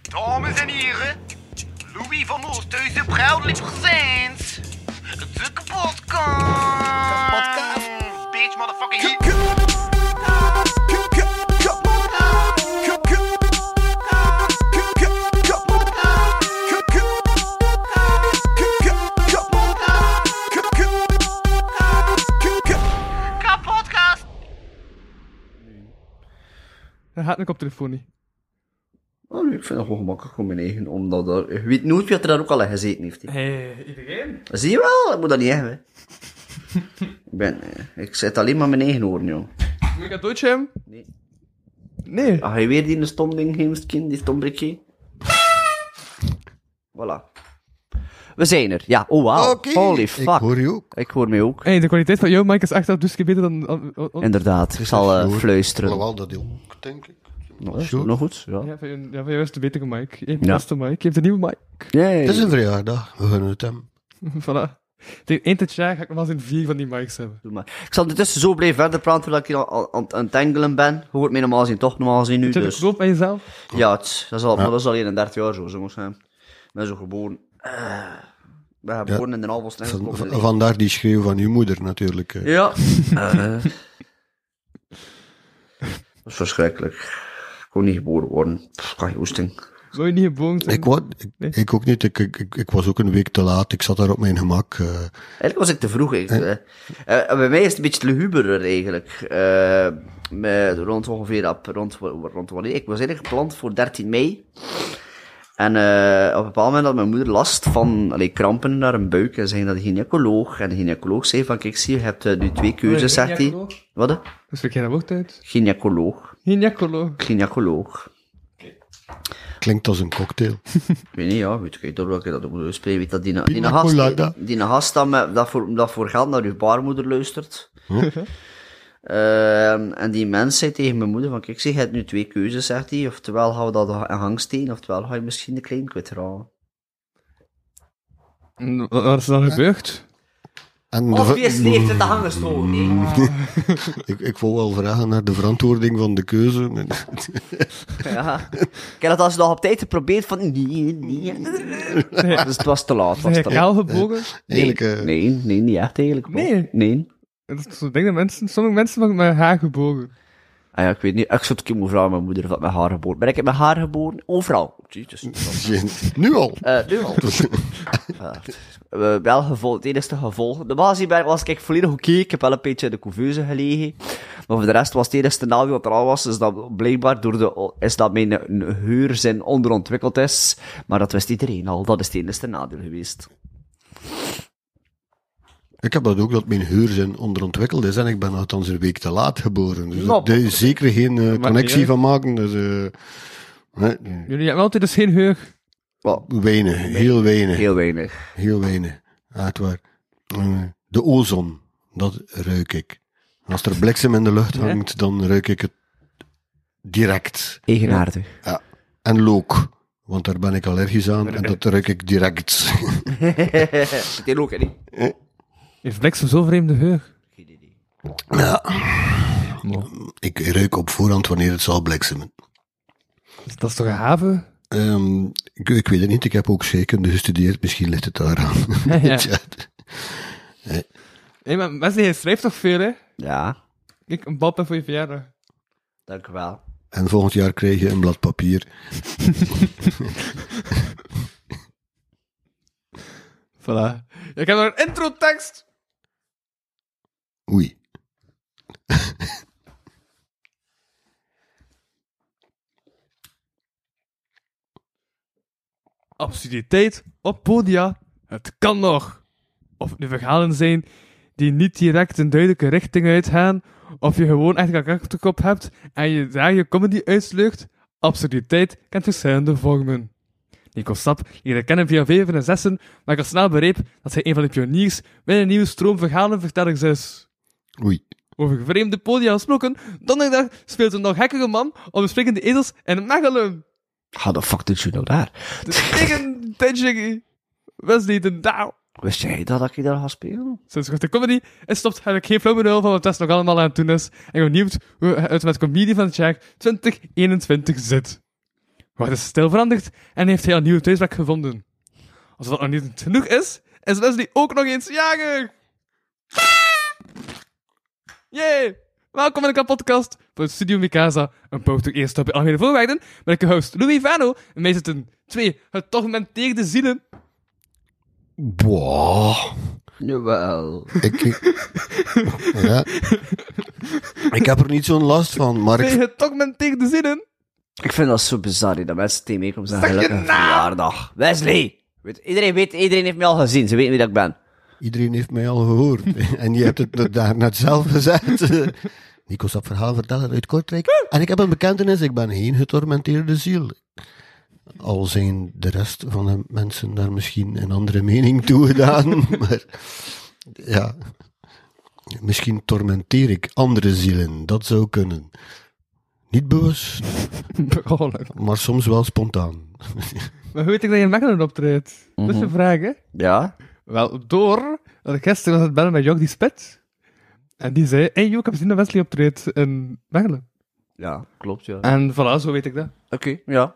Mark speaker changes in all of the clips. Speaker 1: Dames en heren, Louis van Oosthuizen, proudly presents de kapotkast.
Speaker 2: Kapotkast.
Speaker 1: Bitch, motherfucking hit. Kapotkast.
Speaker 3: Hij gaat een koptelefoon
Speaker 4: Oh, nee, ik vind dat gewoon gemakkelijk om mijn eigen, omdat er... Je weet nooit wie er daar ook al in gezeten heeft. hè.
Speaker 3: Hey, iedereen?
Speaker 4: Zie je wel? Ik moet dat niet hebben. hè. ik ben... eh, Ik zet alleen maar mijn eigen oren, joh.
Speaker 3: Moet ik dat doodje?
Speaker 4: Nee.
Speaker 3: Nee.
Speaker 4: Ah, je weer die stom ding heen, misschien, die stom brikje? Voilà. We zijn er. Ja, oh wow. Holy fuck.
Speaker 2: Ik hoor je ook.
Speaker 4: mij ook.
Speaker 3: Hey, de kwaliteit van jouw mic is echt al dus keer beter dan... an- an- an-
Speaker 4: Inderdaad, ik zal eh,
Speaker 2: Hoor.
Speaker 4: fluisteren.
Speaker 2: Alhoewel dat die ook, denk ik.
Speaker 4: Nog,
Speaker 2: Zo.
Speaker 4: nog goed? Ja.
Speaker 3: Ja, van jou- ja, van jou is het een betere mic. Je hebt de
Speaker 4: Ja.
Speaker 3: beste mic. Je hebt een nieuwe mic.
Speaker 4: Nee.
Speaker 2: Het is een verjaardag, we gunnen het hem.
Speaker 3: voilà. Tegen eind dit jaar ga ik nog wel eens een vier van die mics hebben.
Speaker 4: Doe maar. Ik zal ondertussen zo blijven verder praten terwijl ik hier al- al aan het entangelen ben. Je hoort mij normaal gezien toch normaal gezien nu.
Speaker 3: Zit je
Speaker 4: Dus.
Speaker 3: geloof bij jezelf?
Speaker 4: Ja, het, is- dat, is al, maar dat is al 31 jaar zo, jongens. hè. Ik ben zo geboren. Eh, We zijn geboren in de dus Albels. en
Speaker 2: Van,
Speaker 4: gekocht in
Speaker 2: van-
Speaker 4: de-
Speaker 2: vandaar die schreeuw van uw moeder natuurlijk. eh.
Speaker 4: Ja. Eh. dat is verschrikkelijk. Ik kon niet geboren worden. Pff, kan je hoesting.
Speaker 3: Zou je niet geboren zijn?
Speaker 2: Ik, wou- ik,
Speaker 3: Nee.
Speaker 2: ik ook niet, ik, ik, ik, ik was ook een week te laat, ik zat daar op mijn gemak. eh.
Speaker 4: Eigenlijk was ik te vroeg. Ik, eh, eh, bij mij is het een beetje luguberer eigenlijk. Eh, met- rond ongeveer ap- rond, rond wanneer. Ik was eigenlijk gepland voor 13 mei. En eh, op een bepaald moment had mijn moeder last van allee, krampen naar een buik. En ze ging naar de gynaecoloog. En de gynaecoloog zei van, kijk zie, je hebt eh, nu twee keuzes, zegt hij.
Speaker 3: gynaecoloog?
Speaker 4: Wat? hè?
Speaker 3: Dus we kennen dat woord uit.
Speaker 4: Gynaecoloog.
Speaker 3: Gynaecoloog.
Speaker 4: Gynaecoloog.
Speaker 2: Klinkt als een cocktail.
Speaker 4: Ik weet niet, ja, weet ik door welke dat ook moet uitspreken. Weet dat die, die,
Speaker 2: Pina
Speaker 4: gast,
Speaker 2: colada.
Speaker 4: die, die gast dat, met, dat, voor, dat voor geld naar uw baarmoeder luistert. Ehm, en die mens zei tegen mijn moeder van, kijk, zeg, je hebt nu twee keuzes, zegt hij. Oftewel gaan we dat aan hangsteen, oftewel ga je misschien de klein kwijt raken.
Speaker 3: En Wat wat is er dan gebeurd?
Speaker 2: En de-
Speaker 4: Obviously heeft het de hangestoel, nee.
Speaker 2: ik, ik wou wel vragen naar de verantwoording van de keuze. Nee,
Speaker 4: Ja. Ik heb dat als je nog op tijd geprobeerd van, nee, nee. Dus het was te laat, was
Speaker 3: Zijn
Speaker 4: te
Speaker 3: je
Speaker 4: laat.
Speaker 3: kaal gebogen?
Speaker 4: Nee,
Speaker 2: Eigenlijk, eh,
Speaker 4: nee, nee, niet echt eigenlijk. hoor.
Speaker 3: Nee.
Speaker 4: Nee.
Speaker 3: Dat is zo'n ding dat mensen... Sommige mensen worden met haar gebogen.
Speaker 4: Ah ja, ik weet niet. Ik zou het een keer moeten vragen aan mijn moeder of dat mijn haar geboren. Ben ik heb mijn haar geboren? Overal. Jezus.
Speaker 2: geen- nu al.
Speaker 4: Eh, nu al. Eh, eh, wel gevolg, het enige gevolg. De Maasieberg was ik volledig oké. Ik heb wel een beetje in de couveuse gelegen. Maar voor de rest was het enige nadeel wat er al was, is dat blijkbaar door de, is dat mijn eh, geurzin onderontwikkeld is. Maar dat wist iedereen al. Dat is het enige nadeel geweest.
Speaker 2: Ik heb dat ook, dat mijn huurzin onderontwikkeld is en ik ben althans een week te laat geboren. Dus
Speaker 4: Nou,
Speaker 2: daar is zeker geen eh, connectie
Speaker 3: niet uit.
Speaker 2: van maken. Dus, eh, nee, nee.
Speaker 3: Jullie hebben altijd dus geen heug.
Speaker 4: Wel,
Speaker 2: weinig, heel weinig.
Speaker 4: heel weinig.
Speaker 2: Heel weinig, echt waar. Eh, De ozon, dat ruik ik. En als er bliksem in de lucht hangt, dan ruik ik het direct.
Speaker 4: Eigenaardig.
Speaker 2: Ja. En look, want daar ben ik allergisch aan en dat ruik ik direct.
Speaker 4: Zit hier ook in, hè?
Speaker 3: Heeft Bliksem zo'n vreemde heug?
Speaker 4: Geen idee.
Speaker 2: ik ruik op voorhand wanneer het zal bliksemen.
Speaker 3: Dat is toch een haven?
Speaker 2: Ehm, ik, ik weet het niet, ik heb ook zeker gestudeerd, misschien ligt het daaraan.
Speaker 3: Ja.
Speaker 2: Tja.
Speaker 3: Nee, maar mensen, je schrijft toch veel, hè?
Speaker 4: Ja,
Speaker 3: Kijk, een balpen voor je verjaardag.
Speaker 4: dank u wel.
Speaker 2: En volgend jaar krijg je een blad papier.
Speaker 3: Voilà. Ik heb nog een intro-tekst.
Speaker 2: Oei.
Speaker 3: Absurditeit op podia. Het kan nog. Of het nu verhalen zijn die niet direct een duidelijke richting uitgaan, of je gewoon echt een karakterkop hebt en je daar je comedy uitslucht, absurditeit kent verschillende vormen. Nico Sap leerde kennen via vijven en zessen, maar ik al snel bereep dat hij een van de pioniers bij een nieuwe stroom verhalenvertellers is.
Speaker 2: Oei.
Speaker 3: Over vreemde podia gesproken, donderdag speelt een nog gekkere man op de sprekende ezels in Mechelen.
Speaker 4: How the fuck did you know that?
Speaker 3: Tegen Tenjingi. Wesley de Daal.
Speaker 4: Wist jij dat ik daar ga spelen?
Speaker 3: Sinds kort de comedy en stopt heb ik geen flauw benul van wat Tess nog allemaal aan het doen is. En ik ben benieuwd hoe het met comedy van het jaar 2021 zit. Maar het is stil veranderd en heeft hij een nieuwe thuisplek gevonden. Als dat nog niet genoeg is, is Leslie ook nog eens jager! Yay! Welkom in de podcast voor Studio Mikasa, een poging eerst op je algemene voorwaarden, met ik host Louis Vano en mij zitten twee getogmenteerde zielen.
Speaker 2: Boah.
Speaker 4: Jawel.
Speaker 2: Ik, ja. ik heb er niet zo'n last van, maar
Speaker 3: Twee
Speaker 2: ik,
Speaker 3: getogmenteerde zielen!
Speaker 4: Ik vind dat zo bizar, hè, dat mensen tegen mij komen zeggen, gelukkig verjaardag. Wesley! Weet, iedereen weet, iedereen heeft mij al gezien, ze weten wie dat ik ben.
Speaker 2: iedereen heeft mij al gehoord. En je hebt het net- daar net zelf gezegd. Nico dat verhaal vertellen uit Kortrijk. En ik heb een bekentenis, ik ben geen getormenteerde ziel. Al zijn de rest van de mensen daar misschien een andere mening toe gedaan. Maar ja, misschien tormenteer ik andere zielen. Dat zou kunnen. Niet bewust,
Speaker 3: Behoorlijk.
Speaker 2: maar soms wel spontaan.
Speaker 3: Maar hoe weet ik dat je in Mechelen optreedt? Dat is de vraag, hè?
Speaker 4: Ja?
Speaker 3: Wel, door dat ik gisteren was aan het bellen met Jordi Spet. En die zei, hey, Jo, ik heb gezien dat Wesley optreedt in Mechelen.
Speaker 4: Ja, klopt, ja.
Speaker 3: En voilà, zo weet ik dat.
Speaker 4: Oké, ja.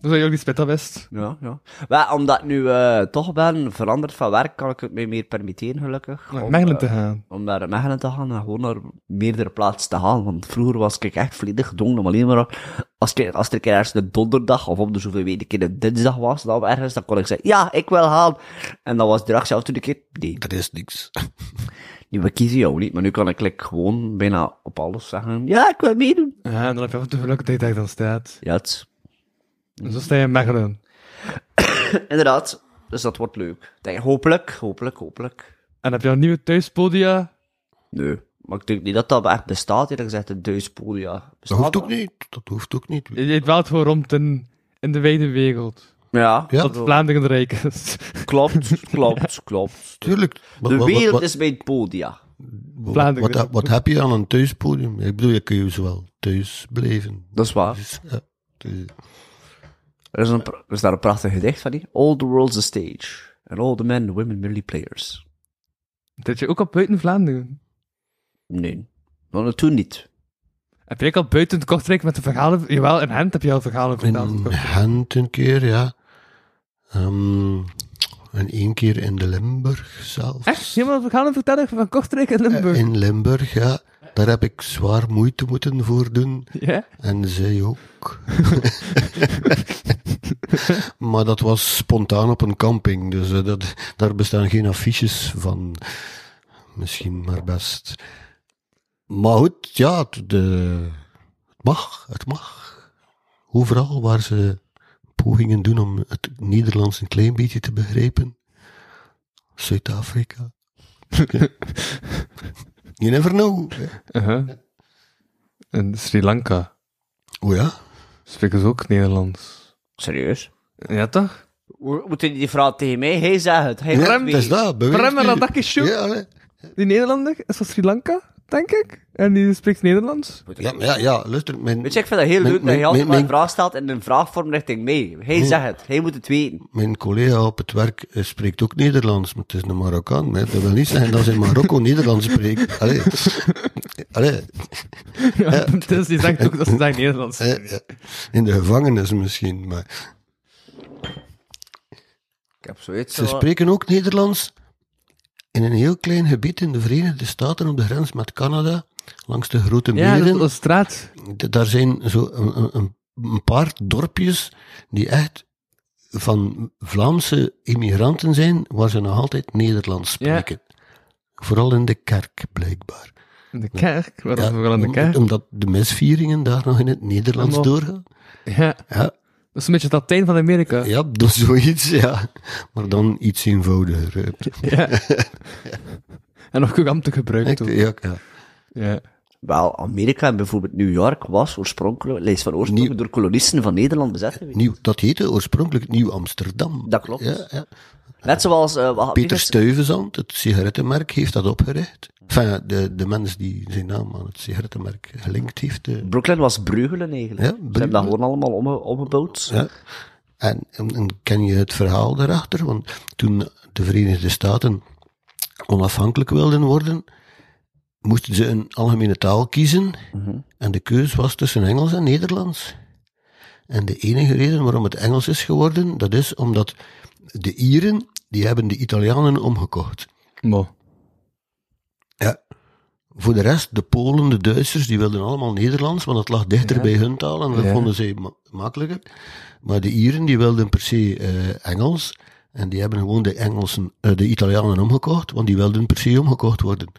Speaker 3: Dus dat Jordi Spet dat wist.
Speaker 4: Ja, ja. Maar omdat ik nu eh, toch ben veranderd van werk, kan ik het mij meer permitteren, gelukkig.
Speaker 3: Naar
Speaker 4: Om,
Speaker 3: Mechelen
Speaker 4: eh,
Speaker 3: te gaan.
Speaker 4: om naar Mechelen te gaan en gewoon naar meerdere plaatsen te gaan. Want vroeger was ik echt volledig gedwongen om alleen maar... Als, ik, als er een keer ergens een donderdag of om de zoveel weken een keer een dinsdag was, dan ergens, dan kon ik zeggen, ja, ik wil gaan. En dan was de dag zelf toen ik... Nee,
Speaker 2: Er is niks.
Speaker 4: nu, we kiezen jou niet, maar nu kan ik like, gewoon bijna op alles zeggen, ja, ik wil meedoen.
Speaker 3: Ja, en dan heb je af en toe geluk dat je daar dan staat.
Speaker 4: Ja, het-
Speaker 3: En zo sta je in Mechelen.
Speaker 4: inderdaad. Dus dat wordt leuk. Ik Denk, hopelijk, hopelijk, hopelijk.
Speaker 3: En heb je een nieuwe thuispodia?
Speaker 4: Nee. Maar ik denk niet dat dat echt bestaat, eerlijk gezegd, een duispodia.
Speaker 2: Dat hoeft ook niet. Dat hoeft ook niet.
Speaker 3: Je je dwaalt gewoon rond in, in de wijde wereld.
Speaker 4: Ja,
Speaker 2: Ja.
Speaker 3: Dat Vlaanderen rijk is.
Speaker 4: klopt, klopt, klopt.
Speaker 2: Tuurlijk. Wat-
Speaker 4: De
Speaker 2: wat- wat-
Speaker 4: wereld
Speaker 2: wat-
Speaker 4: is mijn podia.
Speaker 2: Wat-
Speaker 3: Vlaanderen.
Speaker 2: Wat, wat heb je aan een thuispodium? Ik bedoel, je kun je zowel thuis blijven.
Speaker 4: Dat is waar.
Speaker 2: Dus, ja, thuis.
Speaker 4: Er is, een, pra- er is daar een prachtig gedicht van, die. All the world's a stage. And all the men and women merely players.
Speaker 3: Dat je ook al buiten Vlaanderen.
Speaker 4: Nee. Maar toen niet.
Speaker 3: Heb je ook al buiten Kortrijk met de verhalen? Jawel, in Gent heb je al verhalen verteld.
Speaker 2: in Gent een keer, ja. Ehm, en één keer in de Limburg zelfs.
Speaker 3: Echt? Helemaal verhalen vertellen van Kortrijk en Limburg?
Speaker 2: In Limburg, ja. Daar heb ik zwaar moeite moeten voor doen.
Speaker 3: Ja?
Speaker 2: En zij ook. maar dat was spontaan op een camping, dus eh, dat, daar bestaan geen affiches van. Misschien maar best. Maar goed, ja, het, de- het mag, het mag. Overal waar ze pogingen doen om het Nederlands een klein beetje te begrijpen. Zuid-Afrika. you never know. hè.
Speaker 3: Uh-huh. In Sri Lanka
Speaker 2: O Oh ja,
Speaker 3: spreken ze ook Nederlands.
Speaker 4: Serieus?
Speaker 3: Ja, toch?
Speaker 4: Hoe- Moet je die vraag tegen mij? Hij zegt het. Hij
Speaker 2: ja
Speaker 4: gaat
Speaker 2: het is
Speaker 4: weer.
Speaker 2: dat. beweegt
Speaker 3: Prem
Speaker 2: u.
Speaker 3: Radakeshoe.
Speaker 2: Ja, allee.
Speaker 3: Die Nederlander is van Sri Lanka, denk ik. En die spreekt Nederlands.
Speaker 4: Moet ik-
Speaker 2: Ja, maar ja, ja, luister, mijn,
Speaker 4: Weet je, ik vind dat heel leuk
Speaker 2: Mijn-
Speaker 4: dat je
Speaker 2: mijn-
Speaker 4: altijd maar
Speaker 2: mijn-
Speaker 4: een vraag stelt en een vraagvorm richting mij. Hij zegt het, hij moet het weten.
Speaker 2: mijn collega op het werk eh, spreekt ook Nederlands, maar het is een Marokkaan. Maar dat wil niet zeggen dat ze in Marokko Nederlands spreekt. Allee. Allee.
Speaker 3: Ja, dus die zegt ook dat ze zijn Nederlands.
Speaker 2: eh, eh, In de gevangenis misschien, maar
Speaker 4: Ik heb zoiets.
Speaker 2: ze spreken ook Nederlands in een heel klein gebied in de Verenigde Staten op de grens met Canada, langs de grote
Speaker 3: Ja, dat
Speaker 2: meren.
Speaker 3: is een straat.
Speaker 2: D- daar zijn zo een, een- een, een paar dorpjes die echt van Vlaamse immigranten zijn, waar ze nog altijd Nederlands
Speaker 3: Ja.
Speaker 2: spreken. Vooral in de kerk, blijkbaar.
Speaker 3: In de kerk. Waarom
Speaker 2: Ja,
Speaker 3: vooral in de
Speaker 2: om-
Speaker 3: kerk?
Speaker 2: Omdat de misvieringen daar nog in het Nederlands
Speaker 3: Allemaal.
Speaker 2: doorgaan.
Speaker 3: Ja.
Speaker 2: Ja,
Speaker 3: Dat is een beetje het Latijn van Amerika.
Speaker 2: ja, dat is zoiets, ja. Maar dan iets eenvoudiger. hè.
Speaker 3: Ja. En nog courant te gebruiken
Speaker 2: Echt,
Speaker 3: toen.
Speaker 2: ja, ja.
Speaker 3: Ja.
Speaker 4: Wel, Amerika en bijvoorbeeld New York was oorspronkelijk, lees van oorsprong,
Speaker 2: Nieuw-
Speaker 4: door kolonisten van Nederland bezet. geweest.
Speaker 2: Nieuw, dat heette oorspronkelijk Nieuw-Amsterdam.
Speaker 4: Dat klopt.
Speaker 2: Ja, ja.
Speaker 4: Net zoals... eh, wat-
Speaker 2: Peter
Speaker 4: wie
Speaker 2: Stuyvesant, het sigarettenmerk, heeft dat opgericht. Enfin, de, de mens die zijn naam aan het sigarettenmerk gelinkt heeft. eh,
Speaker 4: is- Brooklyn was Breugelen
Speaker 2: Ja,
Speaker 4: eigenlijk. Ze hebben dat
Speaker 2: Breugelen.
Speaker 4: gewoon allemaal omge- omgebouwd.
Speaker 2: ja. en, en, en ken je het verhaal daarachter? Want toen de Verenigde Staten onafhankelijk wilden worden, moesten ze een algemene taal kiezen. En de keus was tussen Engels en Nederlands. En de enige reden waarom het Engels is geworden, dat is omdat de Ieren, die hebben de Italianen omgekocht.
Speaker 5: Mo.
Speaker 2: Voor de rest, de Polen, de Duitsers, die wilden allemaal Nederlands, want dat lag dichter bij hun taal en dat
Speaker 5: Ja.
Speaker 2: vonden ze ma- makkelijker. Maar de Ieren, die wilden per se eh, Engels. En die hebben gewoon de Engelsen, eh, de Italianen omgekocht, want die wilden per se omgekocht worden.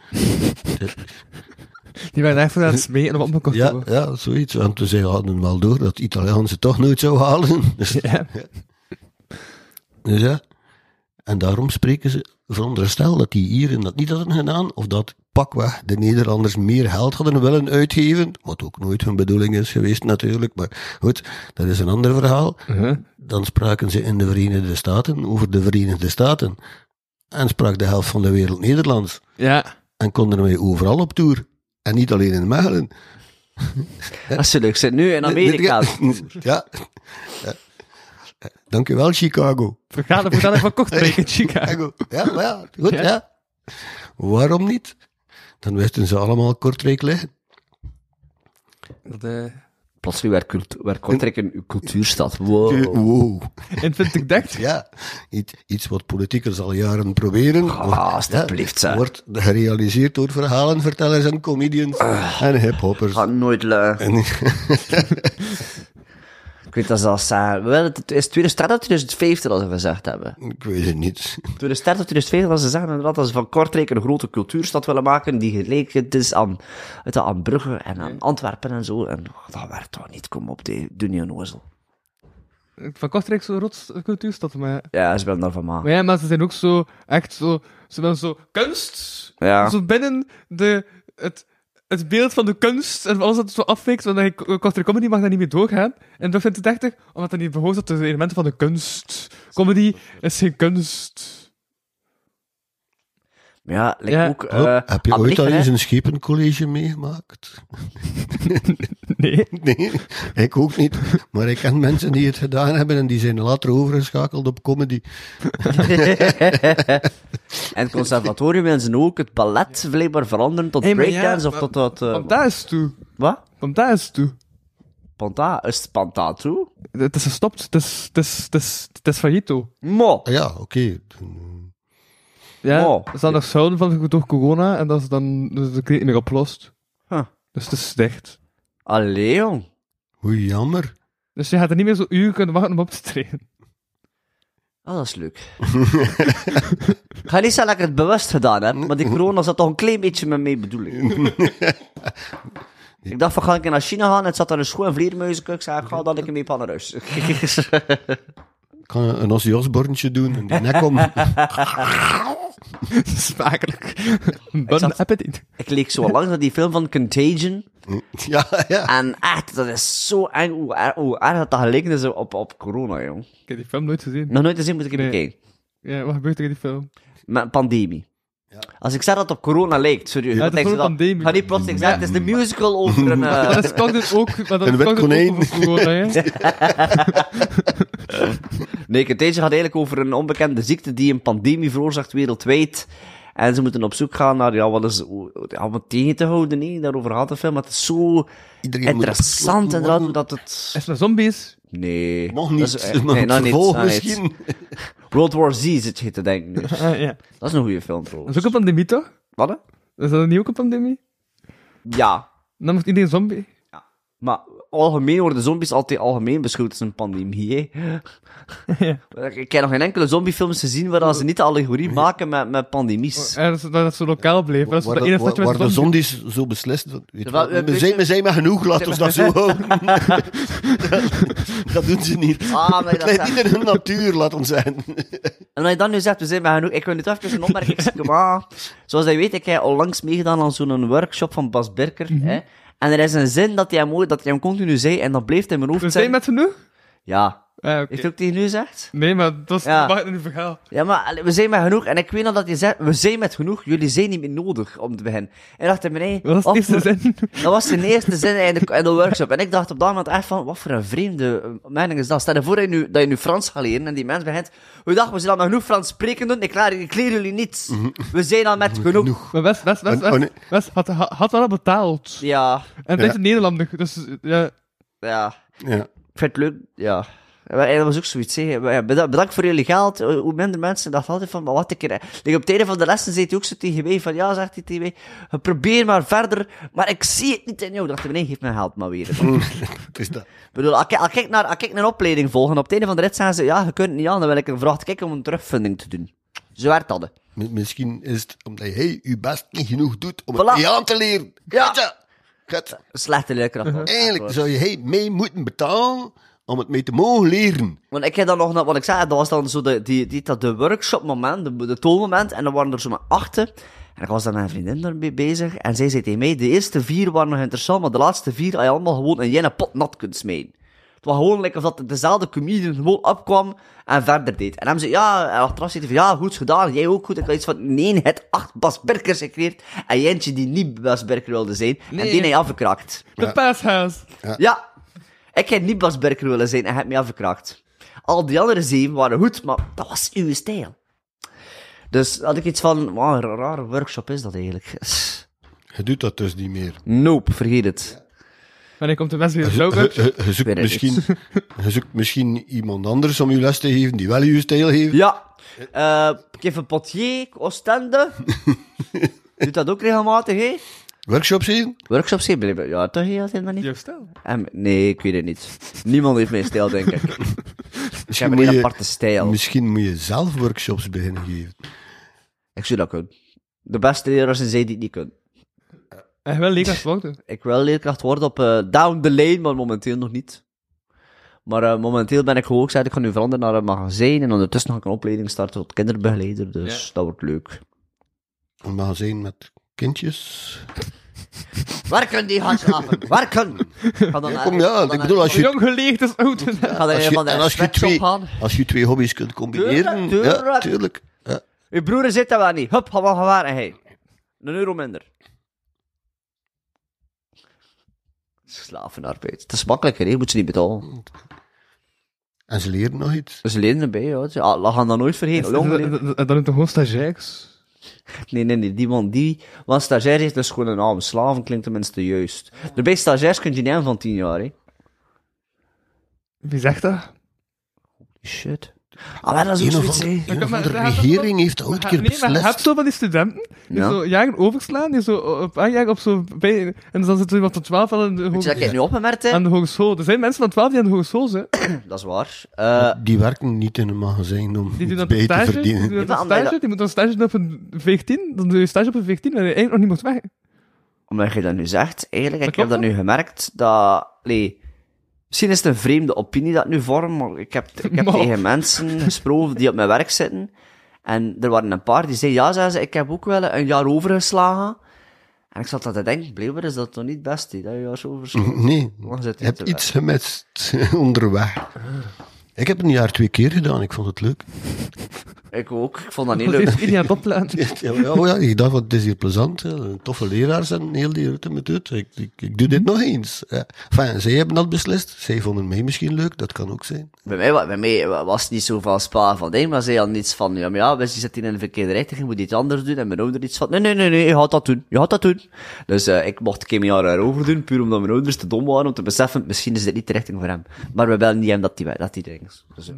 Speaker 3: Die waren echt voor aan het smeten om opgekocht te
Speaker 2: Ja,
Speaker 3: worden.
Speaker 2: ja, zoiets. Want ze hadden wel door dat de Italianen ze toch nooit zouden halen. Dus
Speaker 3: Ja.
Speaker 2: Dus ja. En daarom spreken ze, veronderstel dat die Ieren dat niet hadden gedaan, of dat pakweg de Nederlanders meer geld hadden willen uitgeven, wat ook nooit hun bedoeling is geweest natuurlijk, maar goed, dat is een ander verhaal.
Speaker 3: Huh?
Speaker 2: Dan spraken ze in de Verenigde Staten over de Verenigde Staten. En sprak de helft van de wereld Nederlands.
Speaker 3: Ja.
Speaker 2: En konden wij overal op tour. En niet alleen in Mechelen.
Speaker 4: Dat is leuk. Zit nu in Amerika.
Speaker 2: Ja. Ja. Dankjewel, Chicago.
Speaker 3: Vergaat het voordat ik van kocht ben in Chicago.
Speaker 2: Chicago. Ja, maar ja, goed,
Speaker 3: Ja.
Speaker 2: ja. Waarom niet? Dan wisten ze allemaal Kortrijk liggen.
Speaker 3: Dat, eh,
Speaker 4: Plotseling werd, cultu- werd Kortrijk een cultuurstad. Wow.
Speaker 2: Wow.
Speaker 3: en vind ik dekt.
Speaker 2: Ja, iets, iets wat politiekers al jaren proberen.
Speaker 4: Ah, alsjeblieft, zeg.
Speaker 2: Wordt gerealiseerd door verhalenvertellers en comedians
Speaker 4: Eh.
Speaker 2: en hiphoppers.
Speaker 4: Gaat nooit lukken.
Speaker 2: En,
Speaker 4: Ik weet dat ze dat zeggen. Wel, het is 2030 of 2050 dat ze gezegd hebben.
Speaker 2: ik weet het niet.
Speaker 4: 2030 of 2050 dat ze zeggen inderdaad dat ze van Kortrijk een grote cultuurstad willen maken die geleken is aan, het aan Brugge en aan Antwerpen en zo. En oh, dat werd toch niet, kom op, die, doe niet een ozel.
Speaker 3: Van Kortrijk zo'n rots cultuurstad, maar...
Speaker 4: Ja, ze willen daarvan
Speaker 3: Maar
Speaker 4: maken.
Speaker 3: ja, maar ze zijn ook zo, echt zo, ze willen zo kunst.
Speaker 4: Ja.
Speaker 3: Zo binnen de, het, het beeld van de kunst en van alles dat zo afweekt, want dan- Kortrijk Comedy mag daar niet meer doorgaan. En dat vindt het echt, omdat dat niet behoort tot de elementen van de kunst. Comedy is geen kunst.
Speaker 4: Maar ja, lijkt
Speaker 3: Ja.
Speaker 4: ook...
Speaker 2: Hallo,
Speaker 4: eh,
Speaker 2: heb je
Speaker 4: aan
Speaker 2: ooit al
Speaker 4: Brugge,
Speaker 2: eens
Speaker 4: hè.
Speaker 2: een schepencollege meegemaakt?
Speaker 3: Nee.
Speaker 2: Nee, ik ook niet. Maar ik ken mensen die het gedaan hebben en die zijn later overgeschakeld op comedy.
Speaker 4: En het conservatorium willen ze ook het ballet blijkbaar veranderen tot
Speaker 3: Hey, maar ja,
Speaker 4: breakdance
Speaker 3: maar-
Speaker 4: of tot... tot eh,
Speaker 3: Komt daar eens toe.
Speaker 4: wat?
Speaker 3: Komt daar eens toe.
Speaker 4: Panta? Is het Panta toe?
Speaker 3: Het is gestopt. Het is, het is, het is, het is failliet.
Speaker 4: Mo.
Speaker 2: Ah Ja, oké.
Speaker 3: Ja,
Speaker 4: Oh.
Speaker 3: er staan nog zouden van door corona en dat is dan dus de kreet niet meer oplost.
Speaker 4: Huh.
Speaker 3: Dus het is dicht.
Speaker 4: Allee, jong.
Speaker 2: Hoe jammer.
Speaker 3: Dus je gaat er niet meer zo'n uur kunnen wachten om op te trainen.
Speaker 4: Ah, dat is leuk. ik ga niet zeggen dat ik het bewust gedaan heb, maar die corona zat toch een klein beetje met mee bedoeling. ik dacht van, ga ik naar China gaan? Het zat daar een schoen vleermuizenkuk. Ik zei, "Ah, ik ga dan een keer mee van naar huis.
Speaker 2: Ik kan een Ozzy Osbourne-tje doen en die nek om.
Speaker 3: Smakelijk. Bon
Speaker 4: zat-
Speaker 3: appetit.
Speaker 4: ik leek zo lang naar die film van Contagion.
Speaker 2: ja, ja.
Speaker 4: En echt, dat is zo eng. Hoe er- hoe erg dat dat geleken is op, op corona, jong.
Speaker 3: Ik heb die film nooit gezien.
Speaker 4: Nog nooit gezien, moet ik even
Speaker 3: Nee.
Speaker 4: kijken.
Speaker 3: Ja, wat gebeurt er in die film?
Speaker 4: Met een pandemie. Als ik zeg dat het op corona lijkt, serieus.
Speaker 3: Ja,
Speaker 4: wat
Speaker 3: het is
Speaker 4: denk je
Speaker 3: gewoon een
Speaker 4: dan?
Speaker 3: pandemie.
Speaker 4: Ga niet plotseling zeggen, het is de musical over een... eh,
Speaker 3: Maar dat kan dus ook, maar dat
Speaker 2: Een wit
Speaker 3: kan dus
Speaker 2: konijn.
Speaker 3: ook over corona, hè?
Speaker 4: Nee, Contagion gaat eigenlijk over een onbekende ziekte die een pandemie veroorzaakt wereldwijd. En ze moeten op zoek gaan naar, ja, wat is, hoe- ja, om het tegen te houden, nee, daarover gaat de film. Maar het is zo
Speaker 2: Iedereen moet
Speaker 4: interessant
Speaker 2: opgesloten
Speaker 4: inderdaad, hoe
Speaker 2: worden.
Speaker 4: dat het...
Speaker 3: Is er zombies?
Speaker 4: Nee.
Speaker 2: Nog
Speaker 4: dat
Speaker 2: niet,
Speaker 4: is- eh,
Speaker 2: maar
Speaker 4: nee, nog
Speaker 2: het
Speaker 4: niet,
Speaker 2: vervolg
Speaker 4: nog niet.
Speaker 2: misschien.
Speaker 4: World War Z zit je te denken dus. nu.
Speaker 3: Ah, ja.
Speaker 4: Dat is een goede film,
Speaker 3: Dat
Speaker 4: trouwens.
Speaker 3: is ook een pandemie, toch?
Speaker 4: Wat? hè?
Speaker 3: Is dat niet ook een pandemie?
Speaker 4: Ja.
Speaker 3: Dan wordt iedereen zombie.
Speaker 4: Maar algemeen worden zombies altijd algemeen beschouwd als een pandemie, hè?
Speaker 3: Ja.
Speaker 4: Ik heb nog geen enkele zombiefilms gezien waar dat ze niet de allegorie maken met, met
Speaker 2: Oh,
Speaker 4: pandemies.
Speaker 3: Ja, dat, ze- dat ze lokaal bleef. Dat is
Speaker 2: Waar,
Speaker 3: de enige
Speaker 2: de,
Speaker 3: stadje
Speaker 2: waar,
Speaker 3: met
Speaker 2: waar de
Speaker 3: zombie.
Speaker 2: zondies zo beslist. dat- Weet je
Speaker 4: Wel,
Speaker 2: wat,
Speaker 4: eh,
Speaker 2: we,
Speaker 4: weet je-
Speaker 2: zijn, we zijn maar genoeg, laat ons dat zo houden. dat doen ze niet.
Speaker 4: Ah, maar dat
Speaker 2: Het lijkt
Speaker 4: zegt-
Speaker 2: niet in hun natuur, laat ons zijn.
Speaker 4: En als je dan nu zegt, we zijn maar genoeg, ik wil nu toch even een opmerking zeggen, maar... Zoals je weet, ik heb onlangs meegedaan aan zo'n workshop van Bas Birker,
Speaker 2: Mhm.
Speaker 4: hè. En er is een zin dat hij hem, ooit- dat hij hem continu zei, en dat bleef in mijn hoofd
Speaker 3: We zijn
Speaker 4: zijn.
Speaker 3: met genoeg?
Speaker 4: Ja.
Speaker 3: Ah, oké.
Speaker 4: Heeft hij ook tegen u gezegd?
Speaker 3: Nee, maar dat was
Speaker 4: Ja.
Speaker 3: ja. in het verhaal.
Speaker 4: Ja, maar allee, we zijn met genoeg. En ik weet nog dat hij zei, we zijn met genoeg, jullie zijn niet meer nodig om te beginnen. En dacht ik, nee...
Speaker 3: Dat was de
Speaker 4: wat
Speaker 3: eerste
Speaker 4: voor-
Speaker 3: zin.
Speaker 4: Dat was zijn eerste zin in de, in de workshop. En ik dacht op dat moment echt van, wat voor een vreemde eh, mening is dat? Stel je voor dat je nu, dat je nu Frans gaat leren en die mens begint... We dachten, we zijn al met genoeg Frans spreken doen, ik leer, ik leer jullie niets. We zijn al Mhm. met genoeg.
Speaker 3: Maar Wes, Wes, Wes,
Speaker 2: Oh, oh, nee.
Speaker 3: Wes, Wes had, had, had wel al betaald.
Speaker 4: Ja,
Speaker 3: En het is een Nederlander, dus eh, ja,
Speaker 4: ja.
Speaker 2: Ja.
Speaker 4: Ik vind het leuk, ja. Ja, maar eh, Dat was ook zoiets, hè. Maar ja, beda- Bedankt voor jullie geld. Eh, Hoe minder mensen dachten altijd van, maar wat een keer... Like, op het einde van de lessen zei hij ook zo tegen mij van, ja, zegt hij tegen mij, probeer maar verder, maar ik zie het niet in jou. Ik dacht, nee, geef mijn geld maar weer.
Speaker 2: Het is dat.
Speaker 4: Ik bedoel, als ik, als ik naar, als ik een opleiding volg en op het einde van de rit zeggen ze, ja, je kunt het niet aan, dan wil ik een vraag kijken om een terugvinding te doen. Zo werd dat. hè.
Speaker 2: Mi- Misschien is het omdat jij je best niet genoeg doet om
Speaker 4: Voilà.
Speaker 2: het niet aan te leren.
Speaker 4: Ja.
Speaker 2: Gotcha. Gotcha.
Speaker 4: Een Slechte leerkracht. hoor.
Speaker 2: Eigenlijk zou je hey, mee moeten betalen om het mee te mogen leren.
Speaker 4: Want ik heb dan nog, wat ik zei, dat was dan zo de, die, die, dat de workshopmoment, de, de toonmoment, en dan waren er zo maar achten. En ik was dan met een vriendin ermee bezig, en zij zei tegen mij, de eerste vier waren nog interessant, maar de laatste vier had je allemaal gewoon in jenne pot nat kunt smijten. Het was gewoon lekker of dat dezelfde comedian gewoon opkwam en verder deed. En hem zei, ja, en achteraf zei hij van, ja, goed gedaan, jij ook goed. Ik had iets van, nee, het acht Bas Berkers gecreëerd, en Jentje die niet Bas Berker wilde zijn, en die hij afgekraakt.
Speaker 3: De paashuis.
Speaker 4: Ja. Ik heb niet Bas Berker willen zijn en heb mij afgekraakt. Al die andere zeven waren goed, maar dat was uw stijl. Dus had ik iets van, wat een rare workshop is dat eigenlijk.
Speaker 2: Je doet dat dus niet meer.
Speaker 4: Nope, vergeet het.
Speaker 3: Wanneer komt de best weer de
Speaker 2: Je,
Speaker 3: blauwkut?
Speaker 2: je- je zoekt
Speaker 4: weet het
Speaker 2: misschien, je zoekt misschien iemand anders om je les te geven die wel je stijl heeft.
Speaker 4: Ja. Eh Kevin Potier, Oostende. Doet dat ook regelmatig, hè?
Speaker 2: Workshops geven?
Speaker 4: Workshops geven, blijkbaar. ja, toch heel altijd maar niet.
Speaker 3: Jouw stijl.
Speaker 4: En- nee, ik weet het niet. Niemand heeft mijn stijl, denk ik. Ik heb
Speaker 2: Misschien,
Speaker 4: een
Speaker 2: moet
Speaker 4: heel
Speaker 2: je,
Speaker 4: aparte stijl.
Speaker 2: misschien moet je zelf workshops beginnen geven.
Speaker 4: Ik zou dat kunnen. De beste leraars zijn zij die het niet kunnen.
Speaker 3: En wel leeg als volgde.
Speaker 4: ik wil leerkracht worden op eh, down the lane, maar momenteel nog niet. Maar eh, momenteel ben ik gewoon, ik zei, ik ga nu veranderen naar een magazijn en ondertussen ga ik een opleiding starten tot kinderbegeleider, dus dat wordt leuk.
Speaker 2: Een magazijn met kindjes.
Speaker 4: Werken die gaan slapen, werken! Ga dan
Speaker 2: kom, ja, ik bedoel, als je-
Speaker 3: Jong geleegd is oud.
Speaker 4: Ga dan
Speaker 2: Als
Speaker 4: een
Speaker 2: je,
Speaker 4: van de
Speaker 2: en als je,
Speaker 4: sweatshop
Speaker 2: twee,
Speaker 4: gaan.
Speaker 2: als je twee hobby's kunt combineren.
Speaker 4: Tuurlijk,
Speaker 2: Ja,
Speaker 4: tuurlijk.
Speaker 2: tuurlijk. Ja.
Speaker 4: Uw broer zit daar wel niet, hup, ga maar gaan werken, hey. Een euro minder. Slavenarbeid. Het is makkelijker, hè, je moet ze niet betalen.
Speaker 2: Mm. En ze leren nog iets.
Speaker 4: Ze lenen erbij, ja. Ze ah, gaan dat nooit vergeten. Jongeren.
Speaker 3: Dan doet toch gewoon stagiairs?
Speaker 4: Nee, nee, nee, die man, die. Want stagiair heeft dus gewoon een naam. Slaven klinkt tenminste juist. Daarbij stagiairs kun je niet aan van 10 jaar, hè?
Speaker 3: Wie zegt dat?
Speaker 4: Shit. Ah, maar dat is
Speaker 2: Een
Speaker 4: ook
Speaker 2: of
Speaker 4: zoiets,
Speaker 2: andere,
Speaker 4: hè?
Speaker 2: een of
Speaker 3: Maar
Speaker 2: andere
Speaker 3: daar gaat het
Speaker 2: regering heeft dat ooit een keer
Speaker 3: nee, maar je hebt
Speaker 2: beslist.
Speaker 3: zo van die studenten die
Speaker 4: Ja.
Speaker 3: zo jaren overslaan, die zo op een jaar op zo bij, en dan zit er iemand van 12 aan de, hoge-
Speaker 4: Weet je dat ik het nu opgemerkt heb?
Speaker 3: aan de hogeschool. Er zijn mensen van 12 die aan de hogeschool zijn.
Speaker 4: Dat is waar. Eh,
Speaker 2: Die werken niet in een magazijn om
Speaker 3: Die doen
Speaker 2: iets
Speaker 3: dat
Speaker 2: bij te
Speaker 3: stage, die
Speaker 2: verdienen.
Speaker 3: doen dat
Speaker 4: Ja, maar
Speaker 3: stage,
Speaker 4: dat-
Speaker 3: die moeten een stage doen op een 14, dan doe je stage op een 14 en je eigenlijk nog niet mocht weg.
Speaker 4: omdat je dat nu zegt, eigenlijk, ik
Speaker 3: klopt,
Speaker 4: heb dat
Speaker 3: hè?
Speaker 4: nu gemerkt dat. Nee. Misschien is het een vreemde opinie dat ik nu vorm, maar ik heb, ik heb
Speaker 3: Maar-
Speaker 4: tegen mensen gesproken die op mijn werk zitten. En er waren een paar die zeiden, ja, zei ze, ik heb ook wel een jaar overgeslagen. En ik zat dat te denken, blijkbaar is dat toch niet het beste, hè, dat je jaar zo overslaat.
Speaker 2: Nee,
Speaker 4: Waar zit
Speaker 2: ik
Speaker 4: die
Speaker 2: heb
Speaker 4: te
Speaker 2: iets gemist onderweg. Ik heb het een jaar twee keer gedaan, ik vond het leuk.
Speaker 4: Ik ook, ik vond dat niet
Speaker 3: Dat
Speaker 4: leuk.
Speaker 3: is iedereen aan het opleiden.
Speaker 2: Ja, maar- oh ja, ik dacht, wat, het is hier plezant. hè. Een Toffe leraars en heel die route met dit. Ik, ik, ik doe
Speaker 3: Hm.
Speaker 2: dit nog eens. Ja. Enfin, zij hebben dat beslist. Zij vonden mij misschien leuk, dat kan ook zijn.
Speaker 4: Bij mij, wa- bij mij wa- was het niet zo van spa van ding, maar zei al niets van, ja, maar ja, we zitten in de verkeerde richting, je moet iets anders doen. En mijn ouder iets van, nee, nee, nee, nee, je gaat dat doen, je gaat dat doen. Dus eh, ik mocht geen jaar erover doen, puur omdat mijn ouders te dom waren om te beseffen, misschien is dit niet de richting voor hem. Maar we bellen niet hem dat hij dat die ding is. Dus, eh,